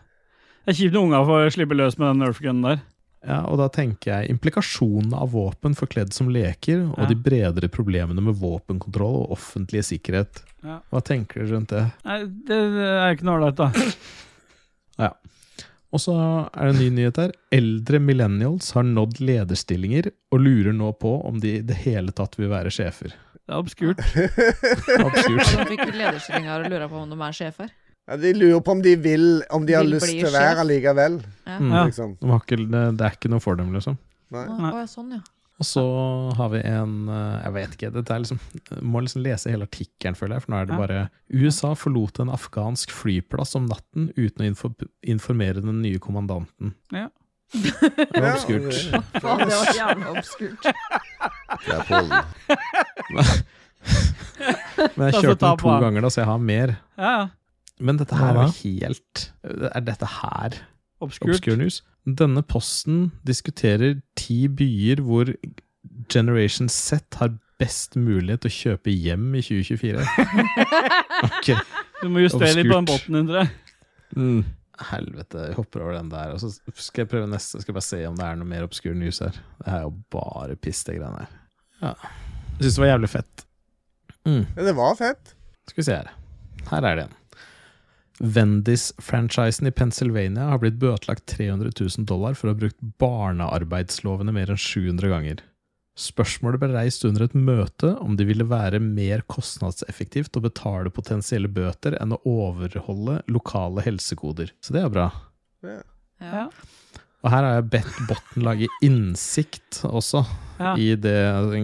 Det er kjipt når unga får slippe løs med den nerfgunnen der.
Ja, og da tenker jeg implikasjonene av våpen forkledd som leker, og
Ja.
de bredere problemene med våpenkontroll og offentlig sikkerhet.
Ja.
Hva tenker du rundt det?
Nei, det det er jo ikke noe ålreit, da.
Ja. Og så er det en ny nyhet her. Eldre millennials har nådd lederstillinger og lurer nå på om de i det hele tatt vil være sjefer.
Det er obskurt.
Absurd.
Han fikk lederstillinger og lura på om de er sjefer.
Ja, de lurer på om de vil Om de har
Vil
lyst
bli
til å være
sjef.
likevel.
Ja.
Mm.
Liksom.
De har ikke, det det er ikke noe for dem, liksom.
Nei.
Å, å, ja, sånn, ja.
Og så har vi en eh, Jeg vet ikke. Dette er liksom, må liksom lese hele artikkelen, føler jeg. For nå er det bare USA forlot en afghansk flyplass om natten uten å info informere den nye kommandanten.
Ja.
Det var
Ja,
obskurt.
det-
Faen, det var jævla obskurt.
Det er Polen.
Men jeg
Altså,
kjørte
ta
den to
på.
ganger, da, så jeg har mer.
Ja, ja.
Men dette her
Hva da?
er jo helt Er dette her
Obskurt.
obscure news? Denne posten diskuterer ti byer hvor Generation Z har best mulighet til å kjøpe hjem i 2024. Ok
Du må justere litt på den
Obskurt.
botten din, tror jeg.
Mm. Helvete, jeg hopper over den der. Og så skal jeg prøve neste. Skal jeg bare se om det er noe mer obskur news her. Det er jo bare piss, det greiene her. Ja. Jeg syns det var jævlig fett. Mm.
Men det var fett.
Skal vi se her. Her er det en. Vendis-franchisen i Pennsylvania har blitt bøtelagt 300 000 dollar for å ha brukt barnearbeidslovene mer enn 700 ganger. Spørsmålet ble reist under et møte om det ville være mer kostnadseffektivt å betale potensielle bøter enn å overholde lokale helsekoder. Så det er bra.
Ja.
Og her har jeg bedt botten lage innsikt også,
Ja.
I det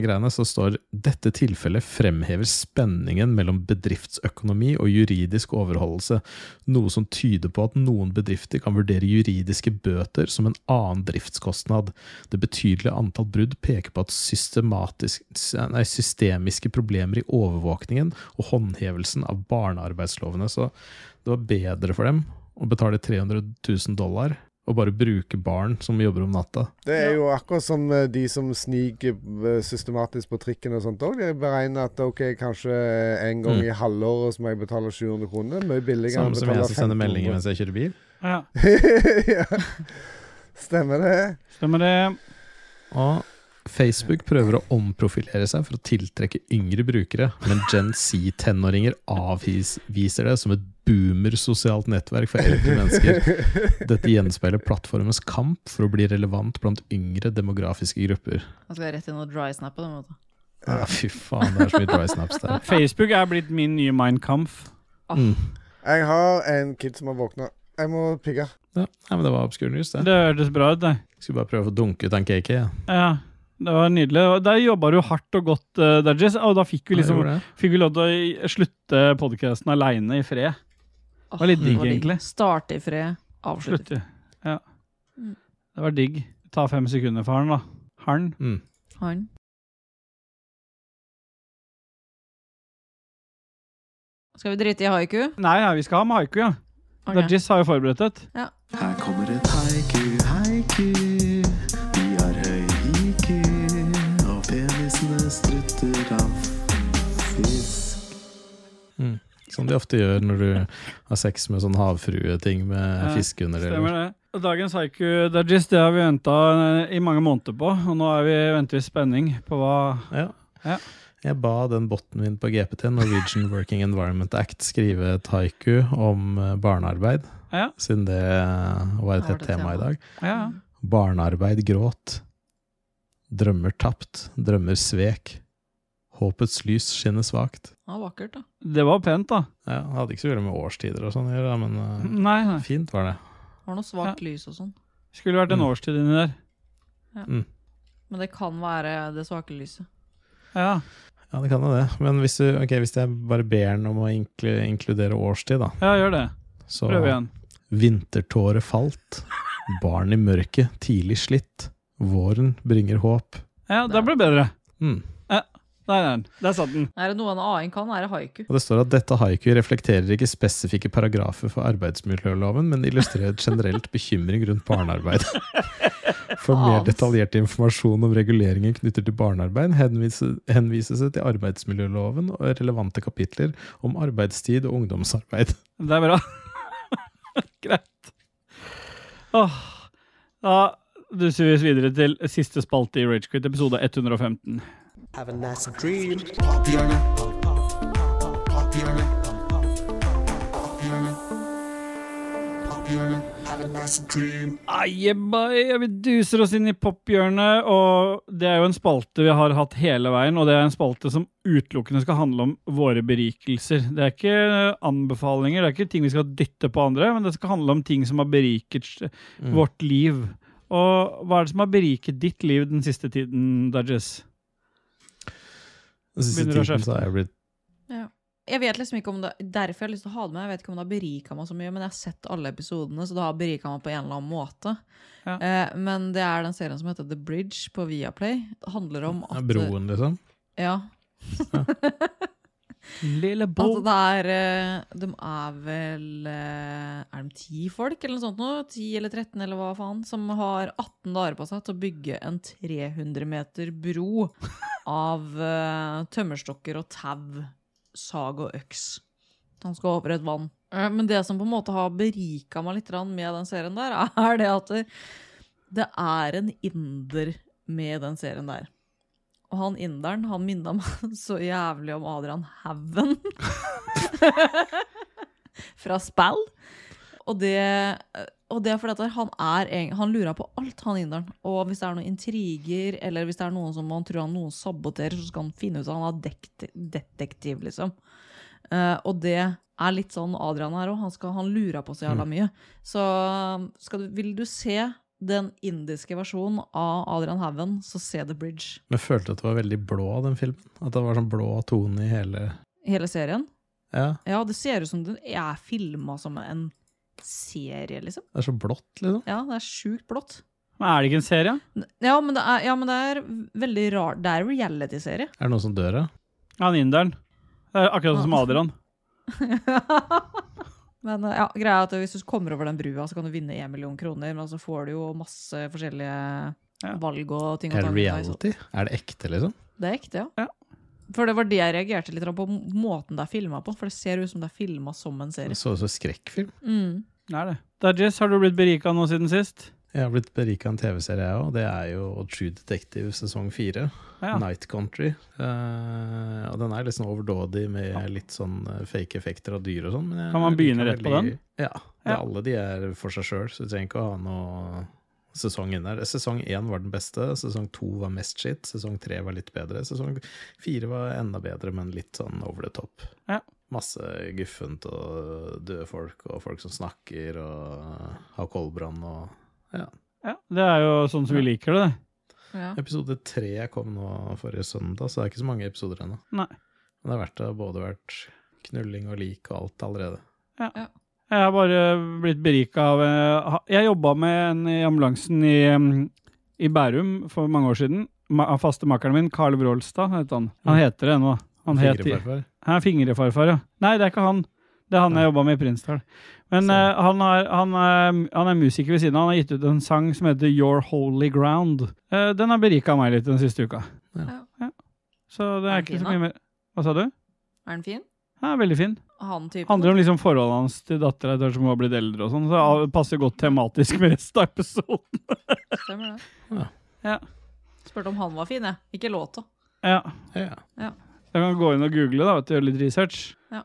greiene så står dette tilfellet fremhever spenningen mellom bedriftsøkonomi og juridisk overholdelse, noe som tyder på at noen bedrifter kan vurdere juridiske bøter som en annen driftskostnad. Det betydelige antall brudd peker på at systematisk, nei, systemiske problemer i overvåkningen og håndhevelsen av barnearbeidslovene. Så det var bedre for dem å betale 300 000 dollar og bare bruke barn som jobber om natta.
Det er jo akkurat som eh, de som sniker eh, systematisk på trikken og sånt òg. De beregner at ok, kanskje eh, en gang i halvåret så må jeg betale 700 kroner. Mye billigere
Mm. Samme som jeg som sender meldinger mens jeg kjører bil.
Ja.
ja. Stemmer det.
Stemmer det.
Og Facebook prøver å omprofilere seg for å tiltrekke yngre brukere, men Gen Z-tenåringer avviser det som et boomersosialt nettverk for eldre mennesker. Dette gjenspeiler plattformens kamp for å bli relevant blant yngre demografiske grupper.
Han skal rett inn og dry snappe dem. vet du.
Ja, fy faen, det er så mye dry snaps der.
Facebook er blitt min nye Mein Kampf.
Mm.
Jeg har en kid som har våkna. Jeg må pigge.
Ja, nei, men det var obskuren news, det.
Det hørtes bra ut, det.
Skulle bare prøve å dunke ut den KK. Ja.
Ja, det var nydelig. Og der jobba du hardt og godt, eh, Dajis. Og da fikk vi,
Ja, jeg
liksom,
gjorde det.
fikk vi lov til å slutte podkasten aleine i fred. Det var litt digg, egentlig.
Starte i fred, avslutte i fred.
Slutte. Ja.
Mm.
Det var digg. Ta fem sekunder for han, da. Han.
Mm.
Han. Skal vi drite i haiku?
Nei, nei, vi skal ha med haiku, ja.
Ok.
Dajis har jo forberedt et.
Ja.
Her kommer et haiku, haiku. Vi har høy IQ, og penisene strutter av fisk.
Mm. Som de ofte gjør når du har sex med sånn havfrueting med
Ja,
fiskehunder.
Stemmer
eller-
det. Og dagens haiku, Dajis, det har vi venta i mange måneder på. Og nå er vi, venter vi i spenning på hva
Ja.
Ja.
Jeg ba den botten min på GPT, Norwegian Working Environment Act, skrive et haiku om eh, barnearbeid,
Ah, Ja.
siden det eh, var et
Det var
hett
det
tema i
temaet.
dag.
ja.
Barnearbeid gråt. Drømmer tapt, drømmer svek. Håpets lys skinner svakt.
Det var vakkert, da.
Det var pent, da.
Ja, det hadde ikke så veldig med årstider og sånn å gjøre, da, men
Nei,
eh,
Mm, nei.
fint var det.
Det var noe svakt lys og sånn.
Skulle vært en
Mm.
årstid inni der.
Men det kan være det svake lyset.
Ja.
Ja, det kan jo det. Men hvis, du, ok, hvis jeg bare ber den om å inklu, inkludere årstid, da,
ja, gjør det.
så
Prøv igjen.
Vintertåret falt, barn i mørket tidlig slitt, våren bringer håp.
Ja, det ble bedre.
Mm.
Der er den. Der satt den.
Er det noe en annen kan, er det haiku.
Og det står at dette haiku reflekterer ikke spesifikke paragrafer for arbeidsmiljøloven, men illustrerer et generelt bekymring rundt barnearbeid. For mer detaljert informasjon om reguleringer knyttet til barnearbeid henvises, henvises det til arbeidsmiljøloven og relevante kapitler om arbeidstid og ungdomsarbeid.
Det er bra. Greit. Åh. Da duser vi oss videre til siste spalte i Ragequit, episode 115.
Have a nice dream. Have a nice dream.
Ajebai, vi duser oss inn i pophjørnet, og det er jo en spalte vi har hatt hele veien, og det er en spalte som utelukkende skal handle om våre berikelser. Det er ikke eh, anbefalinger, det er ikke ting vi skal dytte på andre, men det skal handle om ting som har beriket s- vårt liv. Og hva er det som har beriket ditt liv den siste tiden, Dudges?
Den siste
Begynner å
tiden så har jeg blitt
Jeg vet liksom ikke om det, Derfor jeg har lyst til å ha det med. Jeg vet ikke om det har berika meg så mye, men jeg har sett alle episodene, så det har berika meg på en eller annen måte.
Ja.
Eh, men det er den serien som heter The Bridge på Viaplay. Det handler om at
broen, liksom.
Ja,
Lille
Altså, det er eh, De er vel eh, Er de ti folk eller noe sånt nå? 10 eller 13 eller hva faen? Som har 18 dager på seg til å bygge en 300 meter bro av eh, tømmerstokker og tau, sag og øks. Han skal over et vann. Eh, Men det som på en måte har berika meg litt grann med den serien der, er det at det- det er en inder med den serien der. Og han inderen, han minna meg så jævlig om Adrian Haugen. Fra Spell. Og det, og det er fordi at han, er, egen- han lurer på alt, han inderen. Og hvis det er noen intriger, eller hvis det er noen som han tror han noen saboterer, så skal han finne ut at han er dekt, detektiv, liksom. Eh, og det er litt sånn Adrian her òg. Han, skal- han lurer på så jævla mye. Så skal du, um, vil du se den indiske versjonen av Adrian Haugen, så se The Bridge.
Men jeg følte at det var veldig blå, den filmen. At det var sånn blå tone i hele
Hele serien.
Ja.
Ja, det ser ut som den er filma som en serie, liksom.
Det er så blått, liksom.
Ja, det er sjukt blått.
Men er det ikke en serie?
Ja, men det er, ja, men det er veldig rart. Det er reality-serie.
Er det noen som dør, ja?
Han inderen. Det er akkurat som Adrian.
Men eh, ja, greia er at hvis du kommer over den brua, så kan du vinne én million kroner, men så får du jo masse forskjellige valg og ting. å
Er det
ta med deg, så-
reality? Er det ekte, liksom?
Det er ekte, ja. For det var det jeg reagerte litt på, måten det er filma på. For det ser ut som det er filma som en serie.
Det så ut som en skrekkfilm.
Mm.
Det er det. Dajess, har du blitt berika nå siden sist?
Jeg har blitt berika av en TV-serie, jeg òg. Det er jo True Detective sesong fire.
Ja.
Night Country. Eh, og den er litt sånn overdådig med litt sånn eh, fake effekter av dyr og sånn. men jeg
Kan man begynne
liker
rett på
veldig-
den?
Ja. Det
Ja.
er alle de er for seg sjøl, så du trenger ikke å ha noe sesong inn der. Sesong én var den beste, sesong to var mest shit, sesong tre var litt bedre, sesong fire var enda bedre, men litt sånn over the top.
Ja.
Masse guffent og døde folk, og folk som snakker, og har koldbrann og ja.
Ja, Det er jo sånn som vi liker det.
Episode tre kom nå forrige søndag, så det er ikke så mange episoder ennå.
Nei.
Men det har vært, det har både vært knulling og lik og alt allerede.
Ja. Jeg har bare blitt berika av eh, ha- Jeg jobba med en i ambulansen i, mm, i Bærum for mange år siden. Ma- av Fastemakeren min, Carl Wroldstad, het han. Han heter det nå. Mm. Han het-
Fingrefarfar?
Han er fingrefarfar, ja. Nei, det er ikke han. Det er han jeg jobba med i Prinsdal. Men eh, han, har, han, er, han er musiker ved siden av. Han har gitt ut en sang som heter Your Holy Ground. Eh, den har berika meg litt den siste uka.
Ja.
Så det er
Er den
ikke så
fin,
mye
da?
mer Hva sa du?
Er den fin?
Han er veldig fin.
Han typen?
Handler om liksom forholdet hans til dattera etter hvert som hun har blitt eldre. og sånn, Så det passer godt tematisk med resten av episoden.
Stemmer det.
Ja.
Ja.
Spurte om han var fin, jeg. Ikke låta.
Ja.
Ja.
Ja.
Da kan du gå inn og google da, vet du, gjøre litt research.
Ja.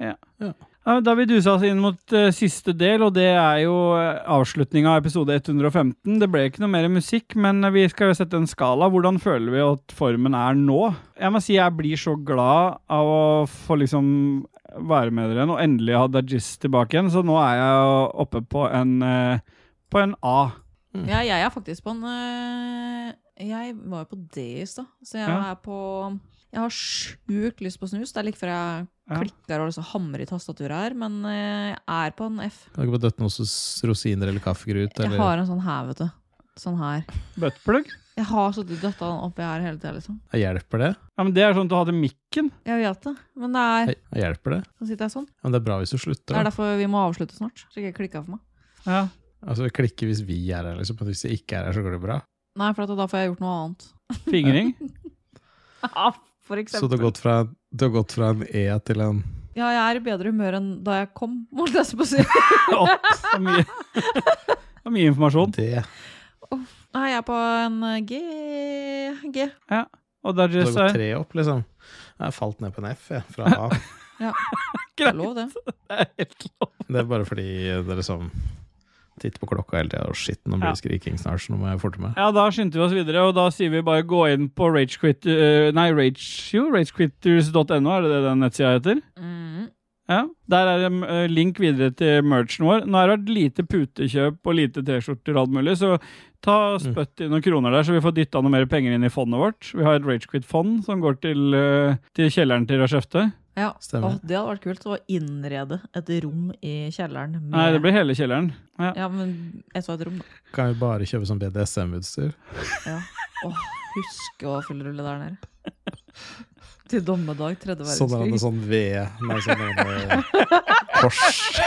Ja.
Ja.
men Da har vi dusa oss inn mot eh, siste del, og det er jo uh, avslutninga av episode 115. Det ble ikke noe mer musikk, men eh, vi skal jo sette en skala. Hvordan føler vi at formen er nå? Jeg må si jeg blir så glad av å få liksom være med dere igjen, og endelig ha Dajis tilbake igjen, så nå er jeg oppe på en, eh, på en A.
Mm.
Ja, jeg er faktisk på en øh, Jeg var jo på det i stad, så jeg
Ja.
er på Jeg har sjukt lyst på snus. Det er like før jeg
Ja.
klikker og liksom hamrer i tastaturet her, men øh, jeg er på en F.
Kan du ikke bare døtte noen s- rosiner eller kaffegrut?
Jeg
Eller?
har en sånn her, vet du. Sånn her.
Buttplug?
Jeg har sittet og døtta den oppi her hele tida, liksom.
Jeg hjelper det?
Ja, men Det er sånn at du hadde mikken.
Jeg vet det, men det er
Jeg jeg hjelper det?
Nå sitter jeg sånn.
Ja, Men det er bra hvis du
Det
slutter.
er
Da.
derfor vi må avslutte snart. Så ikke jeg klikker for meg.
Altså, vi klikker hvis vi er her, liksom. Men hvis jeg ikke er her, så går det bra.
Nei, for at da får jeg gjort noe annet.
Fingring?
Ja, Ah, for
Så du har
eksempel.
gått fra, du har gått fra en E til en
Ja, jeg er i bedre humør enn da jeg kom, holdt jeg på å si.
Det er mye, det er mye informasjon.
Det.
Nei, jeg er på en eh, G. G.
Ja. Og der
Du har
just
gått
er
tre opp, liksom. Jeg har falt ned på en F, jeg. Fra A.
Ja. Det er lov, det.
Det er bare fordi det er liksom Titt på klokka hele tida og shit, nå blir det skriking snart, så nå må jeg forte meg.
Ja, da skyndte vi oss videre, og da sier vi bare gå inn på ragequit... eh, nei, rage, jo, ragequitters.no, er det det den nettsida heter? Ja. Der er det eh, link videre til merchen vår. Nå har det vært lite putekjøp og lite T-skjorter og alt mulig, så ta
Mm.
spytt i noen kroner der, så vi får dytta noe mer penger inn i fondet vårt. Vi har et ragequit-fond som går til, eh, til kjelleren til Rashefte.
Ja.
Stemmer.
Å, det hadde vært kult å innrede et rom i kjelleren. Med...
Nei, det blir hele kjelleren. Ja.
Ja, men jeg så et rom, da.
Kan vi bare kjøpe sånn BDSM-utstyr?
Ja. Åh, husk å fylle rulle der nede. Til dommedag, tredje
Sånn er det
verdenskrig.
sånn ved Nei, sånn er det kors.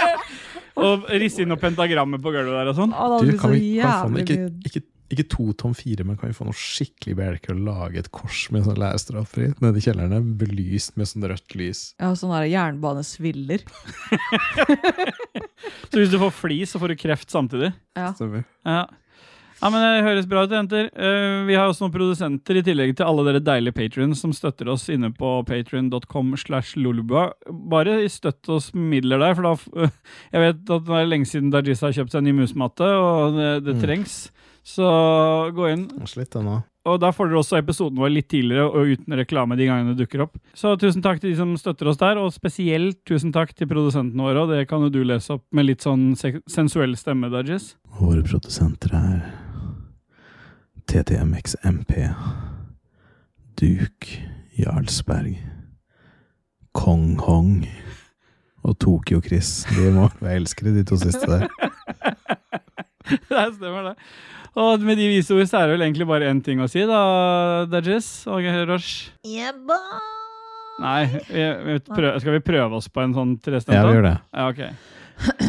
Og risse inn noen pentagrammer på gulvet der og sånn.
Å, da blir
Du,
det
kan
så
vi, kan vi få noe,
jævlig
ikke,
gøy.
ikke, ikke to tom fire, men kan vi få noe skikkelig bjelke og lage et kors med sånn lærerstraferi nede i kjellerne, belyst med sånn rødt lys?
Ja, sånn der jernbanesviller.
Så hvis du får flis, så får du kreft samtidig.
Ja.
Stemmer.
Ja. ja, men Det høres bra ut, jenter. Eh, Vi har også noen produsenter, i tillegg til alle dere deilige patrions som støtter oss inne på patrion.com. slash lolbua. Bare støtt oss med midler der, for da f- Jeg vet at det er lenge siden Dajis har kjøpt seg en ny musematte, og det, det
Mm.
trengs. Så gå inn.
Kanskje litt, den òg.
Og da får dere også episoden vår litt tidligere og uten reklame de gangene det dukker opp. Så tusen takk til de som støtter oss der, og spesielt tusen takk til produsentene våre. Og det kan jo du lese opp med litt sånn se- sensuell stemme, Dodges.
Våre produsenter er TTMXMP, Duke Jarlsberg, Kong Hong og Tokyo-Chris. De må
Jeg elsker de to siste der.
det stemmer, det. Og med de vise ord så er det vel egentlig bare én ting å si, da, Dodges og Rosh.
Yeah, boy.
Nei, vi, vi prø- skal vi prøve oss på en sånn trestemt?
Ja, vi gjør det.
Ja, ok.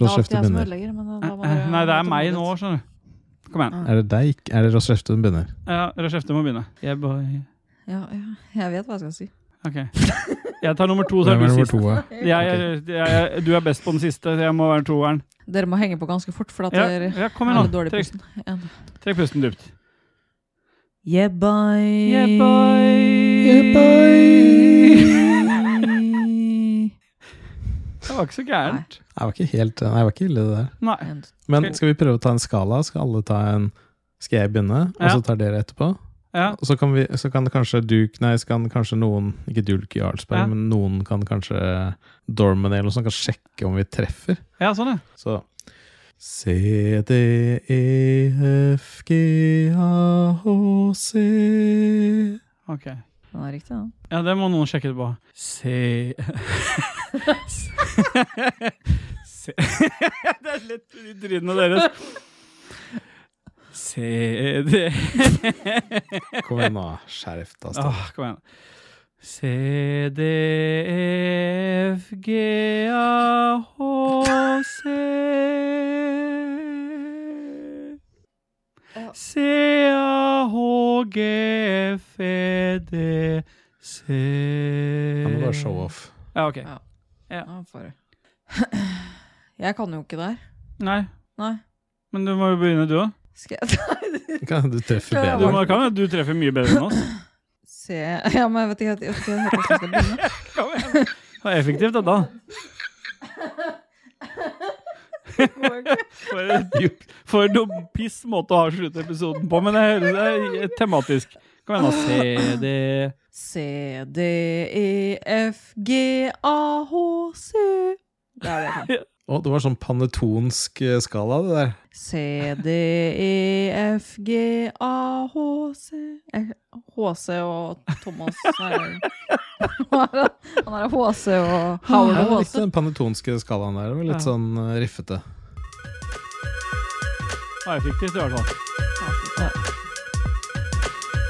Ross Lefte
jeg som
begynner.
ødelegger, men det, da var det
Eh, Nei, det er meg nå, skjønner du. Kom igjen.
Er det deg? ikke- Er det Ross Lefte som begynner?
Ja, Rashefte må begynne. Yeah, boy.
Ja, ja, jeg vet hva jeg skal si.
Ok. Jeg tar nummer to, så er
Hvem
du
er nummer
sist.
to, da?
Jeg, jeg, jeg, du er best på den siste, så jeg må være toeren.
Dere må henge på ganske fort, for at
Ja,
dere
ja, kom igjen
er
nå.
litt dårlig
Trekk.
pusten. En.
Trekk pusten dypt.
Yeah, bye.
Yeah, bye. Det var ikke så gærent.
Det var ikke helt Nei, det var ikke ille, det der.
Nei.
Men skal vi prøve å ta en skala? Skal alle ta en Skal jeg begynne, og
Ja.
så tar dere etterpå?
Ja.
Og så kan, vi, så kan det kanskje Duke Nei, så kan kanskje noen Ikke Duke Jarlsberg,
Ja.
men noen kan kanskje Dorman eller noe sånt kan sjekke om vi treffer.
Ja, sånn, ja.
Så C, D, E, F, G, A, H, C
Ok.
Den er riktig, den.
Ja, det må noen sjekke det på. Se Se Det er lett i trynene deres. Se det
Kom igjen nå, skjerf deg, Stian.
Åh, kom igjen. C, D, E, F, G, A, H, C C, A, H, G, F, E, D, C
Han må bare show off.
Ja, ok.
Ja.
Ja.
Ja, får du. Jeg kan jo ikke der.
Nei,
Nei.
men du må jo begynne, du òg.
Skal jeg
Kan du treffe
Ja,
Du
bedre?
må- kan jo du treffer mye bedre enn oss.
Se Ja, men jeg vet ikke, jeg vet ikke helt hvordan jeg skal begynne.
Kom igjen. Det var effektivt, dette. For, for noe piss måte å ha sluttepisoden på, men jeg hører det er tematisk. Kom igjen, da. Se det
C, D, E, F, G, A, H, C Det er det jeg kan.
Å, det var sånn panetonsk eh, skala, det der.
C, D, E, F, G, A, H, C Eh, HC og Thomas er Han er HC og Howard
Jeg
og
likte
HC.
den panetonske skalaen der. Det var litt
Ja.
sånn eh, riffete.
var effektivt, i hvert fall.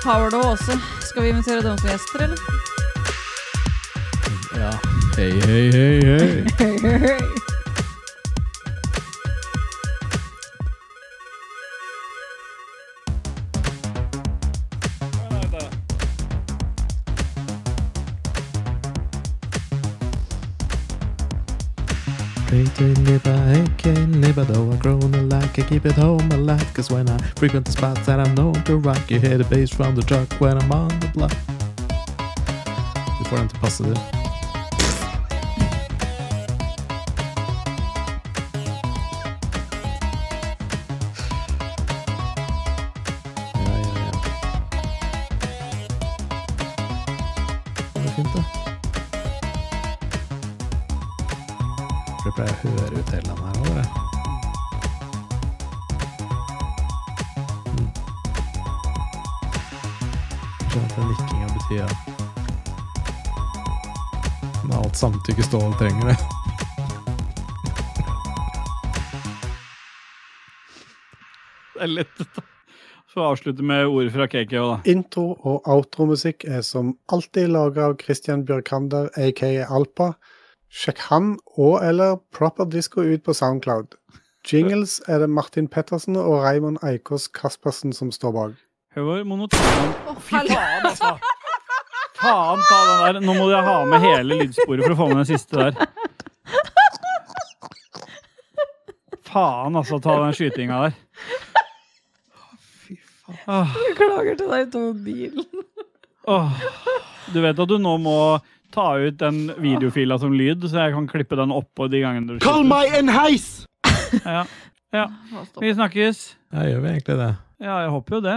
Howard og HC. Skal vi invitere dem som gjester, eller?
Ja. Hei, hei, hei, hei.
Pretty neighbor, AK neighbor, though I grown a like I keep it home alive. Cause when I frequent the spots that I'm known to rock, you hear the bass from the truck when I'm on the block.
Du får den til å passe, du. Ja, ja, ja. Det var fint, det. For det pleier å høre ut hele den her òg, det. Mm. Jeg skjønner at den nikkinga betyr at med alt samtykke Ståle trenger det.
Det er lett. dette. Så avslutte med ord fra KK òg, da.
Intro- og outromusikk er som alltid laga av Christian Bjørkander, aka Alpa. Sjekk han og eller Proper Disco ut på Soundcloud. Jingles er det Martin Pettersen og Raymond Eikås Kaspersen som står bak.
Hør hvor monoton Fy faen, altså! Faen ta den der. Nå må jeg ha med hele lydsporet for å få med den siste der. Faen, altså, ta den skytinga der. Fy faen.
Beklager til deg utover bilen.
Åh. Du vet at du nå må ta ut den videofila som lyd, så jeg kan klippe den oppå de gangene du
Kall meg en heis!
Ja. ja. Vi snakkes.
Ja, gjør vi egentlig det?
Ja, jeg håper jo det.